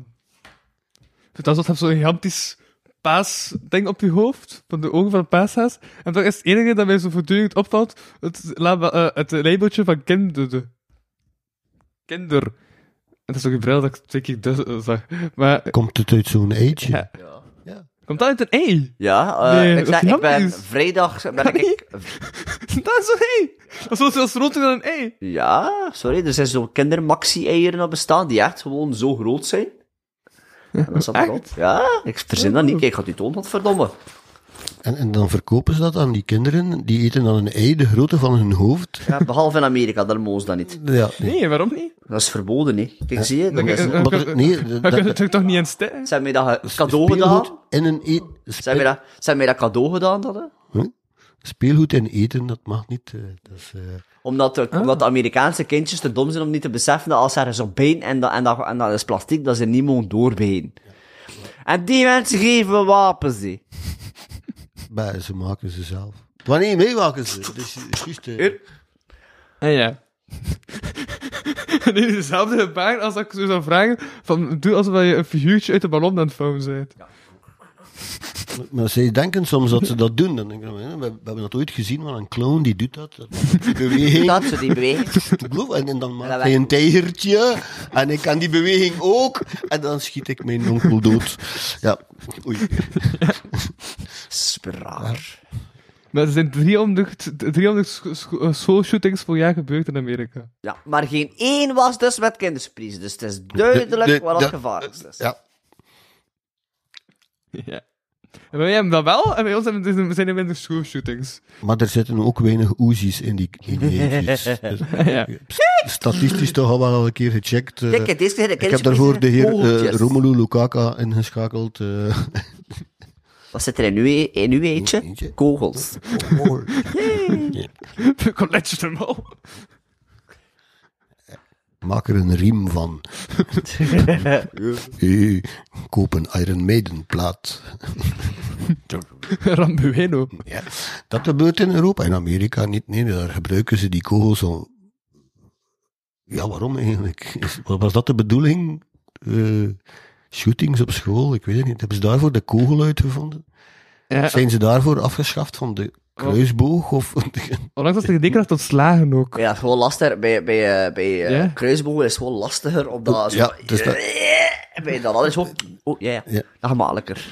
Speaker 3: Dat is alsof zo'n gigantisch paasding op je hoofd, van de ogen van een paashaas. En dat is het enige dat mij zo voortdurend opvalt, het, laba- eh, het labeltje van kinderen. Kinder. En dat is ook een bril dat ik twee keer dus, eh, zag. Maar
Speaker 2: Komt het uit zo'n eitje?
Speaker 3: Ja.
Speaker 4: ja.
Speaker 3: komt dat uit een ei?
Speaker 4: Ja, eh,
Speaker 3: Nee,
Speaker 4: ik,
Speaker 3: dat
Speaker 4: zei,
Speaker 3: is
Speaker 4: ik ben
Speaker 3: gigantisch.
Speaker 4: vrijdag, ben ik,
Speaker 3: niet. dat is een ei! Dat is zoals groter dan een ei.
Speaker 4: ja, sorry, er zijn zo'n kindermaxi-eieren op bestaan, die echt gewoon zo groot zijn. En dat zat
Speaker 3: echt?
Speaker 4: erop. Ja, ik verzin dat niet, kijk, ik had die toon, wat verdomme.
Speaker 2: En, en dan verkopen ze dat aan die kinderen. Die eten dan een ei de grootte van hun hoofd.
Speaker 4: Ja, behalve in Amerika, daar mogen ze dat niet.
Speaker 2: Ja, nee.
Speaker 3: Nee, waarom niet?
Speaker 4: Dat is verboden, hè. Kijk, zie je? Dat
Speaker 3: Dan
Speaker 4: is
Speaker 3: kun
Speaker 4: een...
Speaker 3: je
Speaker 2: Maar dat- nee, dat-
Speaker 3: dan kun je het toch niet in stijl?
Speaker 4: Ze hebben mij dat ge- cadeau
Speaker 2: speelgoed
Speaker 4: gedaan.
Speaker 2: en een e- eet,
Speaker 4: Ze hebben mij dat, ze hebben mij dat cadeau gedaan, dat, hè.
Speaker 2: Huh? Speelgoed en eten, dat mag niet. eh, dat is, eh,
Speaker 4: Omdat, de, omdat de Amerikaanse kindjes te dom zijn om niet te beseffen dat als ze ergens op been en dat, en, dat, en dat is plastic, dat ze niet mogen doorbeen. En die mensen geven me wapens, hè.
Speaker 2: maar ze maken ze zelf. eh,
Speaker 3: Ah,
Speaker 2: Wanneer meemaken ze? Dus, juist, eh,
Speaker 3: En ja. En in dezelfde gebaar als dat ik zo zou vragen: van, doe alsof je een figuurtje uit de ballon aan het vouwen bent.
Speaker 2: Maar ze denken soms dat ze dat doen. Dan denk ik, hè, we, we hebben dat ooit gezien, maar een clown die doet dat. Dat beweging.
Speaker 4: Dat ze die beweging.
Speaker 2: Bloef, En, en dan maakt
Speaker 4: dat
Speaker 2: hij een tijgertje. En ik kan die beweging ook. En dan schiet ik mijn onkel dood. Ja, oei.
Speaker 4: Spraar.
Speaker 3: Maar er zijn 300, 300 scho- scho- eh, schoolshootings per jaar gebeurd in Amerika.
Speaker 4: Ja, maar geen één was dus met kinderspries. Dus het is duidelijk
Speaker 2: De- de-
Speaker 4: wat
Speaker 2: de-
Speaker 4: het gevaar is. Dus.
Speaker 2: Ja.
Speaker 3: Ja. En wij hebben dat wel, en bij ons hebben- zijn er minder schoolshootings.
Speaker 2: Maar er zitten ook weinig oezies in die, in die eentjes. Dus
Speaker 3: Ja.
Speaker 2: statistisch toch al wel een keer gecheckt. eh.
Speaker 4: Kijk, deze keer de
Speaker 2: ik heb daarvoor de heer eh,
Speaker 4: Vogeltjes.
Speaker 2: Romelu Lukaka ingeschakeld. eh.
Speaker 4: Wat zit er in uw, e- in uw eentje?
Speaker 2: Eentje.
Speaker 4: Kogels.
Speaker 3: College them all.
Speaker 2: Maak er een riem van. Eh, Koop een Iron Maiden plaat.
Speaker 3: Rambueno.
Speaker 2: Ja. Dat gebeurt in Europa. In Amerika niet. Nee, daar gebruiken ze die kogels al. Ja, waarom eigenlijk? Is- Was dat de bedoeling? Eh, shootings op school? Ik weet het niet. Hebben ze daarvoor de kogel uitgevonden?
Speaker 3: Ja,
Speaker 2: Zijn ze daarvoor afgeschaft van de kruisboog? Of...
Speaker 3: onlangs was de gedekracht ontslagen ook.
Speaker 4: Ja, het is gewoon lastig. Bij, bij, eh, bij eh,
Speaker 3: Ja?
Speaker 4: kruisbogen is het gewoon lastiger, omdat... zo-
Speaker 2: Ja, het is dat-
Speaker 4: Eh, Bij dat alles gewoon... Oh, ja, ja.
Speaker 2: Ja.
Speaker 4: Dat gemakkelijker.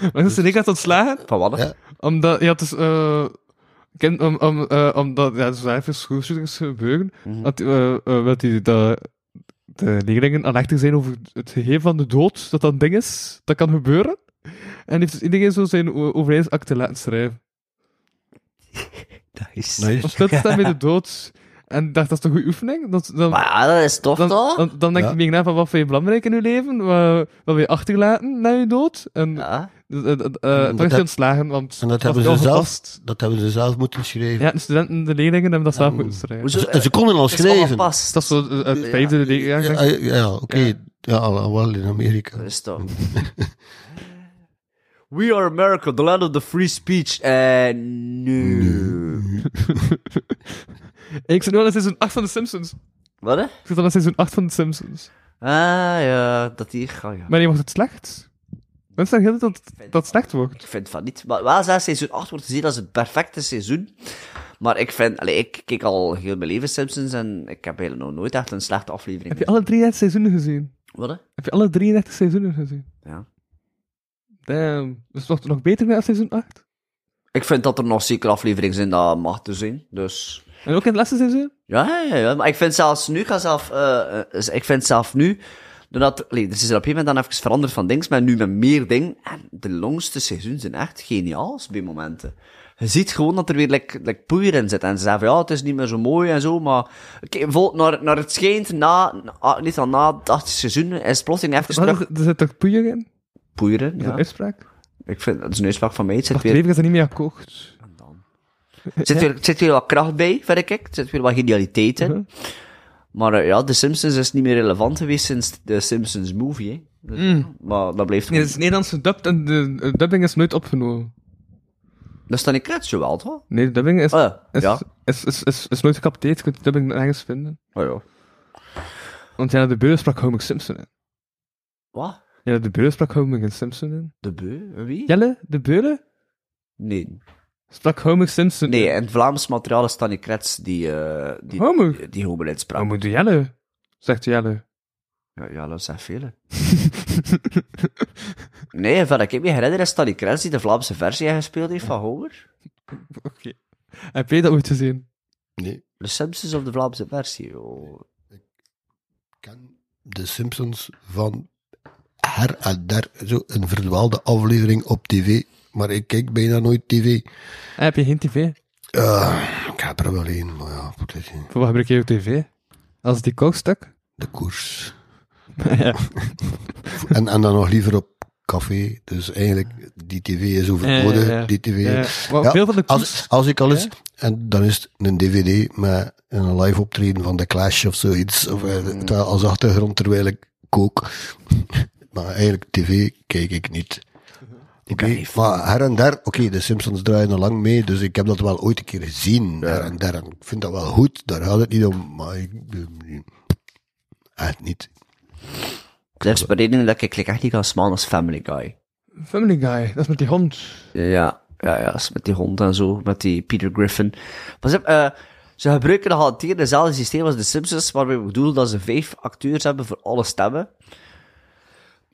Speaker 3: Onlangs was de gedekracht ontslagen,
Speaker 4: Van wat?
Speaker 2: Ja.
Speaker 3: omdat... Ja, het is... eh, ken- om, om, eh, omdat ja, er zijn veel schoolshootings gebeuren,
Speaker 4: Mhm.
Speaker 3: dat, eh, eh, dat die, dat de leerlingen aandachtig zijn over het gegeven van de dood, dat dat een ding is, dat kan gebeuren. En heeft dus iedereen zo zijn o- overlijdensakte laten schrijven.
Speaker 4: Nice.
Speaker 3: Om stil te staan bij de dood. En ik dacht, dat is toch een goede oefening? Dat, dan,
Speaker 4: Maar ja, dat is tof,
Speaker 3: dan,
Speaker 4: toch?
Speaker 3: dan, dan denk
Speaker 2: Ja.
Speaker 3: je meer na van wat vind je belangrijk in je leven, wat, wat wil je achterlaten na je dood. En
Speaker 4: ja.
Speaker 3: eh, eh, eh, eh,
Speaker 2: dat
Speaker 3: toch is
Speaker 2: heb-
Speaker 3: je ontslagen, want...
Speaker 2: En
Speaker 3: was
Speaker 2: dat hebben
Speaker 3: het
Speaker 2: ze
Speaker 3: al
Speaker 2: zelf,
Speaker 3: gepast?
Speaker 2: dat hebben ze zelf moeten schrijven.
Speaker 3: Ja, de studenten, de leerlingen hebben dat zelf moeten schrijven.
Speaker 4: Hoezo?
Speaker 2: Ze- en ze konden al
Speaker 4: Het is
Speaker 2: schrijven.
Speaker 4: ongepast.
Speaker 3: Dat is zo eh, het vijfde leerjaar.
Speaker 2: Ja,
Speaker 3: denk ik.
Speaker 2: ja, ja, oké. Ja, al- wel in Amerika.
Speaker 4: Dat is toch... We are America, the land of the free speech. En nu...
Speaker 3: Ik zit nu al in seizoen 8 van The Simpsons.
Speaker 4: Wat, hè?
Speaker 3: Ik zit al in seizoen 8 van The Simpsons.
Speaker 4: Ah, ja, dat die... Oh, ja.
Speaker 3: Maar nee, wordt het slecht? Mensen zeggen dat dat het slecht wordt.
Speaker 4: Ik vind van niet. Maar wel zelfs seizoen 8 wordt gezien als het perfecte seizoen. Maar ik vind... Allee, ik kijk al heel mijn leven Simpsons en ik heb helemaal nooit echt een slechte aflevering.
Speaker 3: Heb je alle 33 seizoenen gezien?
Speaker 4: gezien. Wat, hè?
Speaker 3: Heb je alle 33 seizoenen gezien?
Speaker 4: Ja.
Speaker 3: Damn. Dus het wordt nog beter na seizoen 8?
Speaker 4: Ik vind dat er nog zeker afleveringen zijn dat mag te zien. Dus...
Speaker 3: En ook in het laatste seizoen?
Speaker 4: Ja, ja, ja. Maar ik vind zelfs nu, ik ga zelf, eh, eh, ik vind zelf nu, doordat, allee, dus is er op een gegeven moment dan even veranderd van dings, maar nu met meer dingen. En de langste seizoenen zijn echt geniaal bij momenten. Je ziet gewoon dat er weer like, like poeier in zit. En ze zeggen van, ja, het is niet meer zo mooi en zo, maar... Oké, bijvoorbeeld naar, naar het schijnt, na, na- niet al na het achtste seizoen, is plotseling even
Speaker 3: Maar
Speaker 4: terug
Speaker 3: er, er zit toch poeier in?
Speaker 4: poeieren.
Speaker 3: Ja. Een
Speaker 4: Ja.
Speaker 3: uitspraak?
Speaker 4: Ik vind, dat is een uitspraak van mij. Het zit
Speaker 3: Wacht
Speaker 4: weer,
Speaker 3: even, ik is er niet meer akkoord.
Speaker 4: zit weer, het zit weer wat kracht bij, vind ik. Er zit weer wat genialiteit in.
Speaker 3: Mhm.
Speaker 4: Maar eh, ja, The Simpsons is niet meer relevant geweest sinds de Simpsons movie. Hè. Dus, Maar dat blijft
Speaker 3: Nee,
Speaker 4: gewoon-
Speaker 3: het is Nederlands gedubt en de, eh, dubbing is nooit opgenomen.
Speaker 4: Dat is dan een kretsje wel, toch?
Speaker 3: Nee, de dubbing is,
Speaker 4: Ah,
Speaker 3: is,
Speaker 4: ja.
Speaker 3: is, is, is, is nooit gecapteerd. Je kunt de dubbing nergens vinden.
Speaker 4: Oh ja.
Speaker 3: Want ja, de beur sprak Homer Simpson in.
Speaker 4: Wat?
Speaker 3: Ja, de beur sprak Homer en Simpson in.
Speaker 4: De beu? Wie?
Speaker 3: Jelle, de beulen
Speaker 4: Nee.
Speaker 3: sprak Homer Simpson
Speaker 4: Nee,
Speaker 3: in.
Speaker 4: in het Vlaams materiaal is Stanny Krets die, eh die,
Speaker 3: Homer?
Speaker 4: die, die Homer insprak.
Speaker 3: Homer de Jelle, zegt Jelle.
Speaker 4: Ja, ja, dat zijn vele. Nee, van ik me herinner is Stanny Krets die de Vlaamse versie gespeeld heeft van Homer.
Speaker 3: Oké. Heb jij dat ooit gezien?
Speaker 2: Nee.
Speaker 4: De Simpsons of de Vlaamse versie, joh.
Speaker 2: Ken de Simpsons van her en der. Zo een verdwaalde aflevering op tv. Maar ik kijk bijna nooit tv.
Speaker 3: En Ah, heb je geen tv?
Speaker 2: Eh, ik heb er wel één, maar ja, het is, eh,
Speaker 3: Voor wat gebruik je je tv? Als die kookstuk?
Speaker 2: de koers.
Speaker 3: ja.
Speaker 2: En, en dan nog liever op café. Dus eigenlijk, die tv is overbodig.
Speaker 3: Ja, ja, ja.
Speaker 2: Die tv.
Speaker 3: Ja, maar
Speaker 2: Ja,
Speaker 3: veel van de koers...
Speaker 2: Als, als ik al eens, en dan is het een dvd met een live optreden van The Clash of zoiets, of, eh,
Speaker 3: Hmm.
Speaker 2: terwijl- als achtergrond terwijl ik kook. maar eigenlijk tv kijk ik niet. Oké, maar her en der, oké, de Simpsons draaien al lang mee, dus ik heb dat wel ooit een keer gezien, her en der. En ik vind dat wel goed, daar gaat het niet om, maar ik... eh, Echt niet.
Speaker 4: Er is een reden dat ik like, echt niet kan smaan als Family Guy.
Speaker 3: Family Guy, dat is met die hond.
Speaker 4: Ja, ja, ja, dat is met die hond en zo, met die Peter Griffin. Pas op, eh, ze gebruiken gehanteerd hetzelfde systeem als de Simpsons, waarbij ik bedoel dat ze vijf acteurs hebben voor alle stemmen.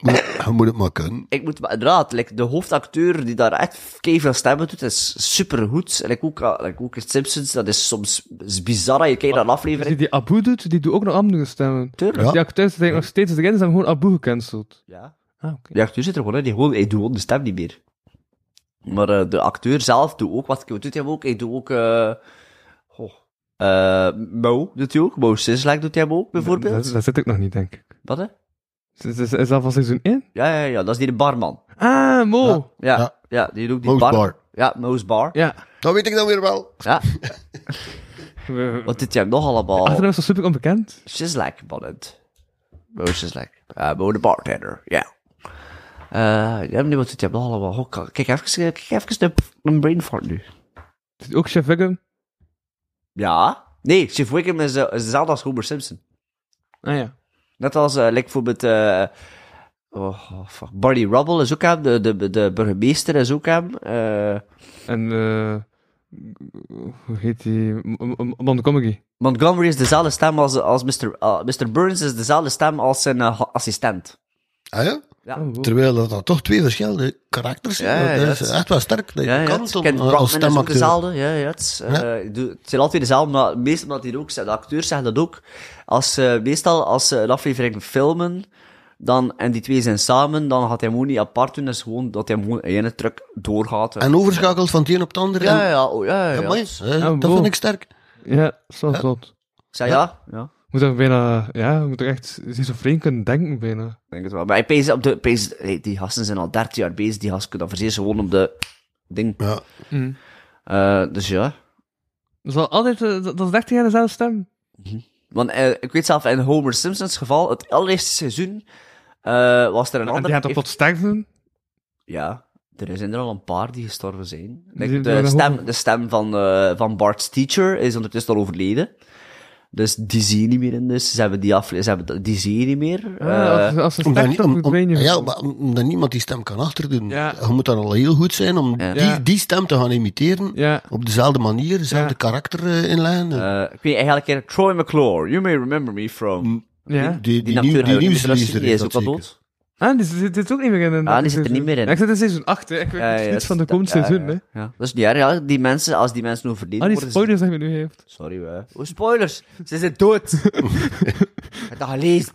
Speaker 2: Maar, je moet het maar kunnen.
Speaker 4: Ik moet, maar inderdaad, like, de hoofdacteur die daar echt veel stemmen doet, is supergoed. En ik ook, eh, like, ook in Simpsons, dat is soms is bizar, je kijkt naar een
Speaker 3: Dus die,
Speaker 4: aflevering.
Speaker 3: die Abu doet, die doet ook nog andere stemmen.
Speaker 4: Tuurlijk.
Speaker 2: Ja.
Speaker 3: Die acteurs zijn nog steeds erin, ze hebben gewoon Abu gecanceld.
Speaker 4: Ja.
Speaker 3: Ah, oké.
Speaker 4: Die acteur zit er gewoon in, die gewoon, hij doet gewoon de stem niet meer. Maar eh, de acteur zelf doet ook wat, wat doet hij ook? Hij doet ook, eh goh, eh, Mo doet hij ook, Mo Sislak doet hij hem ook, bijvoorbeeld.
Speaker 3: Dat, dat zit ik nog niet, denk ik.
Speaker 4: Wat hè?
Speaker 3: Is, is, is dat van seizoen 1?
Speaker 4: Ja, ja, ja, dat is die de barman.
Speaker 3: Ah, Mo!
Speaker 4: Ja, ja.
Speaker 2: Ja.
Speaker 4: die doet ook die
Speaker 2: Mo's Bar.
Speaker 4: Ja, Mo's Bar. Ja.
Speaker 3: Ja.
Speaker 2: Dat weet ik dan weer wel.
Speaker 3: We- we-
Speaker 4: Wat dit jij nog allemaal?
Speaker 3: Achternaam is toch super onbekend?
Speaker 4: Sislak, man het. Mo Sislak. Ja, Mo de bartender, ja. Eh, ja, meneer, wat doet hij nog allemaal? Goh, kijk even, eh, kijk even naar mijn brain fart nu.
Speaker 3: Is het ook Chef Wickham?
Speaker 4: Ja. Nee, Chief Wickham is, eh, is dezelfde als Homer Simpson.
Speaker 3: Ah ja.
Speaker 4: Net als, eh, like bijvoorbeeld, eh, oh, oh, fuck, Barney Rubble is ook hem, de, de, de burgemeester is ook hem. eh,
Speaker 3: En eh hoe heet die? M- M- M- Montgomery.
Speaker 4: Montgomery is dezelfde stem als, als Mr., eh, Mr. Burns is dezelfde stem als zijn eh, ha- assistent.
Speaker 2: Ah ja?
Speaker 4: Ja.
Speaker 3: Oh, wow.
Speaker 2: Terwijl dat dan toch twee verschillende karakters zijn.
Speaker 4: Ja, ja,
Speaker 2: dat
Speaker 4: dat
Speaker 2: is
Speaker 4: is-
Speaker 2: echt wel sterk. Dat je
Speaker 4: Ja, ja,
Speaker 2: kan
Speaker 4: het-
Speaker 2: het om,
Speaker 4: Kent
Speaker 2: eh, als
Speaker 4: Brockman is ook
Speaker 2: stemacteur.
Speaker 4: dezelfde. Ja, ja, het, is, eh,
Speaker 2: Ja.
Speaker 4: ik doe- het zijn altijd dezelfde, maar meestal omdat die ook, zijn- de acteurs zeggen dat ook. Als, eh, meestal als ze een aflevering filmen dan, en die twee zijn samen, dan gaat hij hem gewoon niet apart doen. Dat is gewoon dat hij hem gewoon in het truck doorgaat.
Speaker 2: En overschakelt van het een op het ander.
Speaker 4: ja,
Speaker 2: en-
Speaker 4: ja, oh, ja, ja, ja.
Speaker 2: Ja, mooi. Eh,
Speaker 3: Ah,
Speaker 2: dat
Speaker 3: wow.
Speaker 2: vind ik sterk.
Speaker 3: Ja, zo zot.
Speaker 4: Ik zei ja. ja.
Speaker 3: Moet er bijna, ja, je moet er echt schizofreen kunnen denken bijna.
Speaker 4: Ik denk het wel. Maar ik pees op de. Pees, hey, die gasten zijn al 13 jaar bezig. Die gasten kunnen dat verzeer gewoon op de. ding.
Speaker 2: Ja.
Speaker 4: Eh, dus ja.
Speaker 3: Dat is wel altijd, eh, dat dat is 13 jaar dezelfde stem.
Speaker 4: Want eh, ik weet zelf in Homer Simpsons geval. Het allereerste seizoen. eh, was er een
Speaker 3: En
Speaker 4: ander.
Speaker 3: die gaat op
Speaker 4: heeft-
Speaker 3: plots sterven.
Speaker 4: Ja. Er zijn er al een paar die gestorven zijn. Like,
Speaker 3: Die- die
Speaker 4: de,
Speaker 3: waren
Speaker 4: stem,
Speaker 3: hoeveel?
Speaker 4: de stem van, eh, van Bart's teacher is ondertussen al overleden. Dus die zie je niet meer in. Dus ze hebben die afle- ze hebben dat- die zie je niet meer.
Speaker 3: Ah, Ja,
Speaker 4: Eh,
Speaker 3: als, als ze
Speaker 2: Omdat,
Speaker 3: sterft,
Speaker 2: niet-
Speaker 3: dan
Speaker 2: om-
Speaker 3: moet
Speaker 2: om-
Speaker 3: Wayne
Speaker 2: ja,
Speaker 3: je
Speaker 2: maar omdat niemand die stem kan achterdoen.
Speaker 3: Ja.
Speaker 2: Je moet dan al heel goed zijn om
Speaker 4: Ja.
Speaker 2: die,
Speaker 3: Ja.
Speaker 2: die stem te gaan imiteren.
Speaker 3: Ja.
Speaker 2: Op dezelfde manier, dezelfde
Speaker 3: Ja.
Speaker 2: karakter eh, inleggen.
Speaker 4: eh, ik weet eigenlijk een keer. Troy McClure. You may remember me from.
Speaker 3: Ja.
Speaker 2: die, die,
Speaker 4: Die,
Speaker 2: nieuw,
Speaker 4: acteur
Speaker 2: die
Speaker 4: die
Speaker 2: nieuwslezer
Speaker 4: is
Speaker 2: is
Speaker 4: ook
Speaker 2: dat
Speaker 4: al
Speaker 2: zeker.
Speaker 4: dood.
Speaker 3: Ah, die zit, zit- zit ook niet meer in. in
Speaker 4: Ah, die
Speaker 3: dat
Speaker 4: zit er niet meer in. Ah,
Speaker 3: Ja, ik zit in seizoen 8, hè. Ik weet
Speaker 4: Ja, ja,
Speaker 3: niets
Speaker 4: dat is-
Speaker 3: van de komende
Speaker 4: ja, ja,
Speaker 3: seizoen, hè.
Speaker 4: ja. Ja, dat is niet erg. ja. Die mensen, als die mensen overleden
Speaker 3: Ah, die
Speaker 4: worden... ze-
Speaker 3: spoilers die je nu heeft.
Speaker 4: Sorry, we. Oh, spoilers! Ze zijn dood! Ik heb dat gelezen.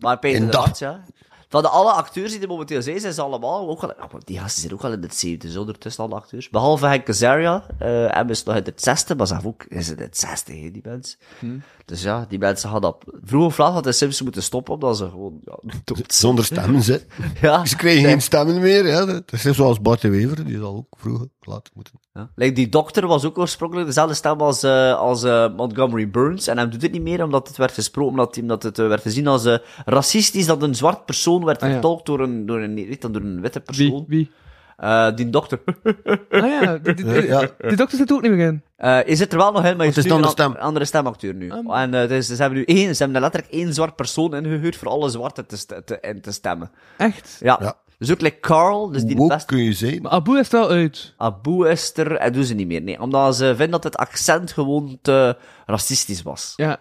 Speaker 4: Maar Peter,
Speaker 2: En
Speaker 4: de
Speaker 2: dat-
Speaker 4: Hart, ja. Van de alle acteurs die er momenteel zijn, zijn ze allemaal ook wel... Oh, maar die gasten zijn ook wel in het zevende, zo ondertussen alle acteurs. Behalve Henk Azaria, eh hem is nog in het zesde, maar ze hebben ook is in het zesde, hè, die mensen.
Speaker 3: Hmm.
Speaker 4: Dus ja, die mensen hadden... op- Vroeg of laat hadden de Simpsons moeten stoppen, omdat ze gewoon... Ja, dood zijn.
Speaker 2: Zonder stemmen, ze.
Speaker 4: Ja.
Speaker 2: Ze kregen Dus geen stemmen meer. Ja. Dat is net zoals Bart de Wever, die zal ook vroeger laat moeten.
Speaker 4: Ja. Like, die dokter was ook oorspronkelijk dezelfde stem als, eh, als eh, Montgomery Burns. En hem doet het niet meer omdat het werd gesproken, omdat, hij- omdat het eh, werd gezien als eh, racistisch dat een zwart persoon werd
Speaker 3: Ah, ja.
Speaker 4: vertolkt door, een, door, een, weet dat, door een witte
Speaker 3: Wie?
Speaker 4: persoon.
Speaker 3: Wie?
Speaker 4: Eh, die dokter.
Speaker 3: Ah ja, die, die, die,
Speaker 2: Ja.
Speaker 3: die dokter zit er ook niet meer in.
Speaker 4: Eh je zit er wel nog in, maar je
Speaker 2: Oh, het is
Speaker 4: hebt nu
Speaker 2: een andere
Speaker 4: an-
Speaker 2: stem. Um.
Speaker 4: andere stemacteur nu.
Speaker 3: Ah,
Speaker 4: En eh, dus, ze hebben nu één, ze hebben letterlijk één zwart persoon ingehuurd voor alle zwarten te, st- te, in te stemmen.
Speaker 3: Echt?
Speaker 4: Ja.
Speaker 2: Ja.
Speaker 4: Dus ook like Carl, dus die
Speaker 2: Hoe
Speaker 4: beste
Speaker 2: kun je zijn?
Speaker 3: Maar Abu is er wel uit.
Speaker 4: Abu is er, en doen ze niet meer. Nee, omdat ze vinden dat het accent gewoon te racistisch was.
Speaker 3: Ja.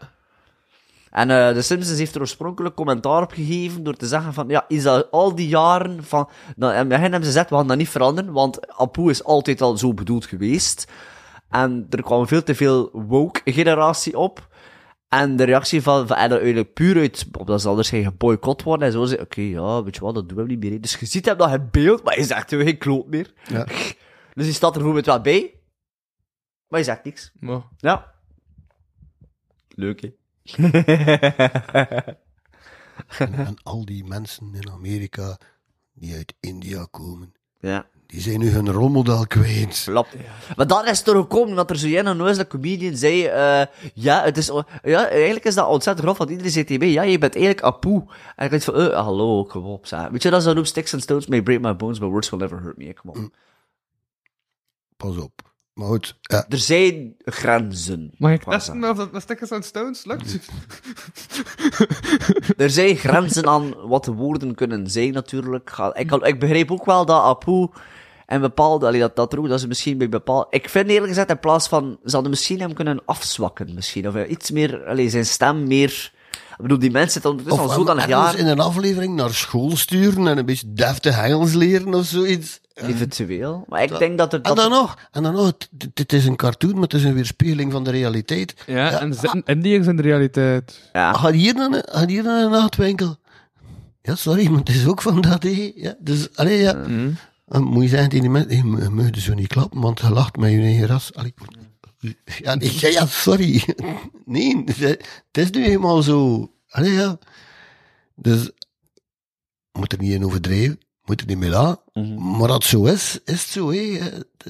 Speaker 4: En eh de Simpsons heeft er oorspronkelijk commentaar op gegeven door te zeggen van, ja, is dat al die jaren van... Dan, en hen hebben ze gezegd, we gaan dat niet veranderen, want Apu is altijd al zo bedoeld geweest. En er kwam veel te veel woke-generatie op. En de reactie van, van en eigenlijk puur uit, omdat ze anders geen geboycott worden en zo, zei, oké, ja, weet je wat, dat doen we niet meer. hè. Dus je ziet hem nog in beeld, maar je zegt hem geen kloot meer.
Speaker 2: Ja.
Speaker 4: Dus hij staat er bijvoorbeeld wel bij, maar je zegt niks.
Speaker 3: Maar,
Speaker 4: Ja. Leuk, hè?
Speaker 2: En al die mensen in Amerika die uit India komen,
Speaker 4: Ja.
Speaker 2: Die zijn nu hun rolmodel kwijt.
Speaker 4: Flap. Maar dat is toch gekomen dat er zo jij een de comedian zei, eh, ja, het is, o- ja, eigenlijk is dat ontzettend grof, want iedereen zit hierbij, ja, je bent eigenlijk apoe. En ik denk van, eh, hallo, kom op, zeg. Weet je, dat is dan ook Sticks and Stones may break my bones, but words will never hurt me, kom op.
Speaker 2: Pas op. Maar goed, ja,
Speaker 4: Er zijn grenzen.
Speaker 3: Mag ik
Speaker 4: Voilà.
Speaker 2: nou
Speaker 3: testen of dat met stickers en stones lukt?
Speaker 4: Er zijn grenzen aan wat de woorden kunnen zijn, natuurlijk. Ga- Ik, kan- ik begreep ook wel dat Apu en bepaalde, allee, dat, dat er ook, dat ze misschien bij bepaalde... Ik vind eerlijk gezegd, in plaats van... Ze hadden misschien hem kunnen afzwakken, misschien. Of eh, iets meer, allee, zijn stem meer... Ik bedoel, die mensen zitten ondertussen al
Speaker 2: hem
Speaker 4: zodanig
Speaker 2: ergens
Speaker 4: jaar...
Speaker 2: in een aflevering naar school sturen en een beetje deftig Engels leren of zoiets.
Speaker 4: Eventueel. Maar ik denk dat er...
Speaker 2: En
Speaker 4: Dat,
Speaker 2: dan nog, en dan nog, het, het is een cartoon, maar het is een weerspiegeling van de realiteit.
Speaker 3: Ja, en zitten Indiërs in de realiteit.
Speaker 4: ja.
Speaker 2: Ga Ah, hier naar, een- ga hier naar een nachtwinkel. Ja, sorry, maar het is ook van dat, hé. Ja, dus, allee, ja. En moet je zeggen tegen die mensen, hé, je mag je zo niet klappen, want je lacht met je eigen ras. Allee. Ja, nee, ja, ja, sorry. Nee, het is nu helemaal zo. Allee, ja. Dus, moet er niet in overdrijven, moet er niet mee laten. Maar dat zo is, is het zo, hé.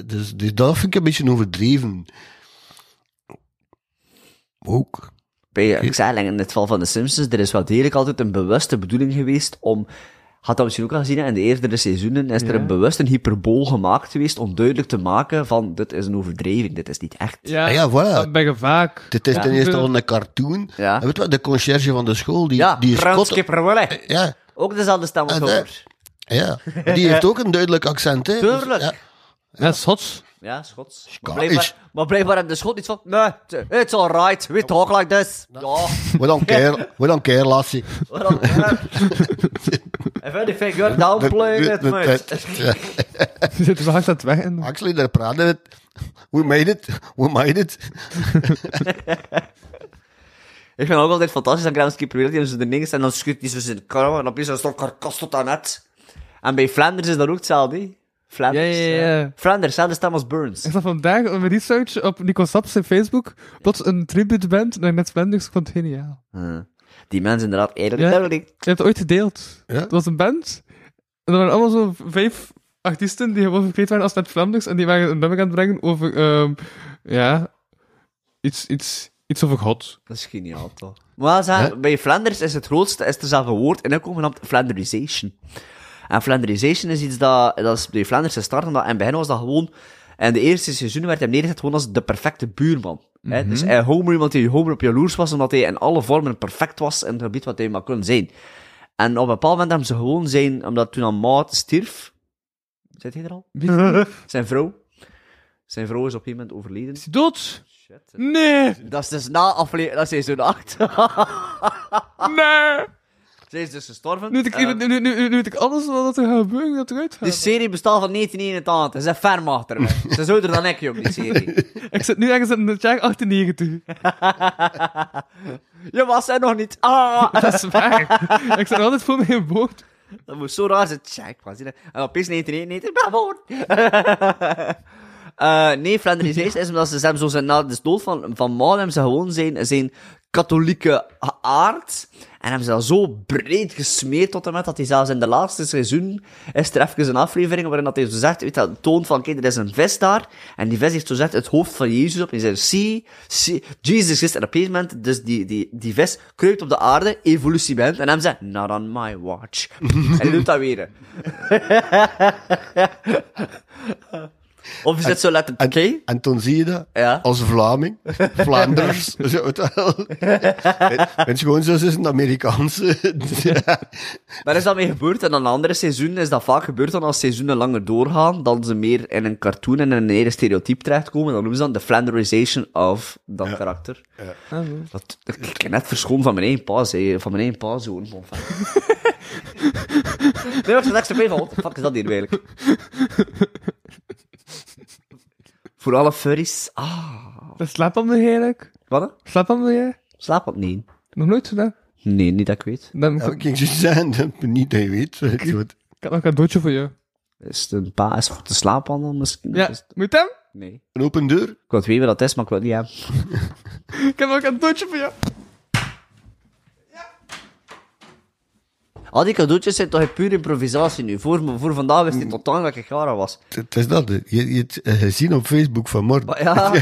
Speaker 2: Dus, dus dat vind ik een beetje overdreven. Ook.
Speaker 4: Bij, eh, ik zei eigenlijk in het geval van de Simpsons, er is wel degelijk altijd een bewuste bedoeling geweest om... Had dat misschien ook al gezien, hè, in de eerdere seizoenen is er
Speaker 3: Ja.
Speaker 4: een bewust een hyperbool gemaakt geweest om duidelijk te maken van, dit is een overdrijving, dit is niet echt.
Speaker 3: Ja,
Speaker 2: Ah ja, voilà.
Speaker 3: Dat ben je vaak.
Speaker 2: Dit is
Speaker 4: Ja.
Speaker 2: ten eerste al een cartoon.
Speaker 4: Ja.
Speaker 2: En weet je wat, de conciërge van de school, die,
Speaker 4: Ja,
Speaker 2: die is
Speaker 4: Frans
Speaker 2: kot.
Speaker 4: Kipperwille.
Speaker 2: Ja,
Speaker 4: Ook dezelfde stem als
Speaker 2: Ah,
Speaker 4: Homer.
Speaker 2: ja. Maar die heeft ook een duidelijk accent, hè. Dus,
Speaker 4: Tuurlijk.
Speaker 2: ja.
Speaker 3: Ja, Schots.
Speaker 4: Ja, Schots. Maar
Speaker 2: Scottish.
Speaker 4: blijkbaar, maar blijkbaar hebben de Schot iets van, nee, t- it's alright, we talk like this. Ja,
Speaker 2: We don't care, we don't care, lassie.
Speaker 4: waarom? eh, If anything, you're downplaying it, mate.
Speaker 2: Ja.
Speaker 3: Die zitten zo hard aan het weg. En...
Speaker 2: Actually, daar praten we We made it, we made it.
Speaker 4: Ik vind het ook altijd fantastisch aan Grams Kipperwille, die ze de dingen en dan schudt hij zo zijn karma en opeens is zo'n karkas tot aan het. En bij Flanders is dat ook hetzelfde, hè? Flanders.
Speaker 3: Ja, ja, ja, ja.
Speaker 4: Flanders, zelfde stem als Burns.
Speaker 3: Ik zag vandaag op mijn research op Nico Saps zijn Facebook plots een tribute band naar Ned Flanders. Ik vond het geniaal.
Speaker 4: Ja. Die mensen inderdaad, eigenlijk...
Speaker 3: Ja.
Speaker 4: eigenlijk-
Speaker 3: Je hebt het ooit gedeeld.
Speaker 2: Ja.
Speaker 3: Het was een band. En er waren allemaal zo vijf artiesten die gewoon verkleed waren als Ned Flanders. En die waren een nummer aan het brengen over, ehm, ja, iets, iets, iets over God.
Speaker 4: Dat is geniaal, toch? Maar ze- bij Flanders is het grootste, is er zelf een woord in gekomen genaamd Flanderization. En Flanderization is iets dat, dat is bij Flanders gestart, omdat in het begin was dat gewoon, in de eerste seizoen werd hij neergezet gewoon als de perfecte buurman. hè. Dus hij Homer, iemand die Homer op jaloers was, omdat hij in alle vormen perfect was in het gebied wat hij maar kon zijn. En op een bepaald moment hebben ze gewoon zijn, omdat toen aan Maat stierf, zit hij er al? Zijn vrouw. Zijn vrouw is op een moment overleden.
Speaker 3: Is hij dood?
Speaker 4: Shit.
Speaker 3: Nee!
Speaker 4: Dat is dus na aflevering, dat is seizoen 8.
Speaker 3: Nee!
Speaker 4: Ze is dus gestorven.
Speaker 3: Nu weet ik,
Speaker 4: Eh,
Speaker 3: nu, nu, nu, nu weet ik alles wat er gaat gebeuren, dat eruit gaat.
Speaker 4: die serie bestaat van 1981. Ze zijn ferm achter me. Ze is ouder dan ik, jong, die serie.
Speaker 3: Ik zit nu ergens in het jaar 98.
Speaker 4: Je was er nog niet. Ah!
Speaker 3: Dat is waar. ik zit altijd voor mijn woord.
Speaker 4: Dat moest zo raar zijn. Check, was hier. En opeens 1991. Bravo! Eh nee, Flanderization is omdat ze zijn zo zijn na de dood van, van Maal hebben ze gewoon zijn, zijn katholieke aard. En hebben ze dat zo breed gesmeerd tot en met dat hij zelfs in de laatste seizoen is er even een aflevering waarin dat hij zo zegt, weet je, dat toont van, kijk, er is een vis daar. En die vis heeft zo zegt het hoofd van Jezus op. En die zegt, zie, zie, Jesus is. En op een gegeven moment, dus die, die, die vis kruipt op de aarde, evolutie bent. En hem zegt, not on my watch. en hij doet dat weer. Of is het zo letterlijk, oké?
Speaker 2: En toen zie je dat,
Speaker 4: Ja.
Speaker 2: als Vlaming, Vlaanders, zo het wel. Mijn schoonzus is een Amerikaanse. Ja.
Speaker 4: Maar is dat mee gebeurd? En dan andere seizoenen is dat vaak gebeurd dan als seizoenen langer doorgaan, dan ze meer in een cartoon en in een hele stereotype terechtkomen. Dan noemen ze dan de flanderization of dat karakter. Dat, ik ben net verschoond van mijn één paas, hè. van mijn één paas zo'n bon fan. nee, maar ik zat echt zo mee van, what the fuck is dat hier eigenlijk? Voor alle furries. Ah,
Speaker 3: Dat slaap om de eigenlijk.
Speaker 4: wat? hè?
Speaker 3: Slaap om de jij?
Speaker 4: Slaap op niet.
Speaker 3: Nog nooit gedaan.
Speaker 4: Nee, niet dat ik weet.
Speaker 3: Dan,
Speaker 2: Ja,
Speaker 3: ik,
Speaker 2: ik ging zo zeggen, dat ik niet dat je weet. Het wordt-
Speaker 3: ik had nog een cadeautje voor jou.
Speaker 4: Is het een pa is het goed te slapen dan misschien?
Speaker 3: Ja,
Speaker 4: Is het-
Speaker 3: moet je hem?
Speaker 4: Nee.
Speaker 2: Een open deur.
Speaker 4: Ik weet wie dat is, maar ik wil het niet hebben.
Speaker 3: Ik heb nog een cadeautje voor jou.
Speaker 4: Al die cadeautjes zijn toch puur improvisatie nu. Voor, voor vandaag wist hij totaal dat ik Gara was.
Speaker 2: Het is dat. hè. Je, je hebt eh, gezien op Facebook vanmorgen.
Speaker 4: Maar ja,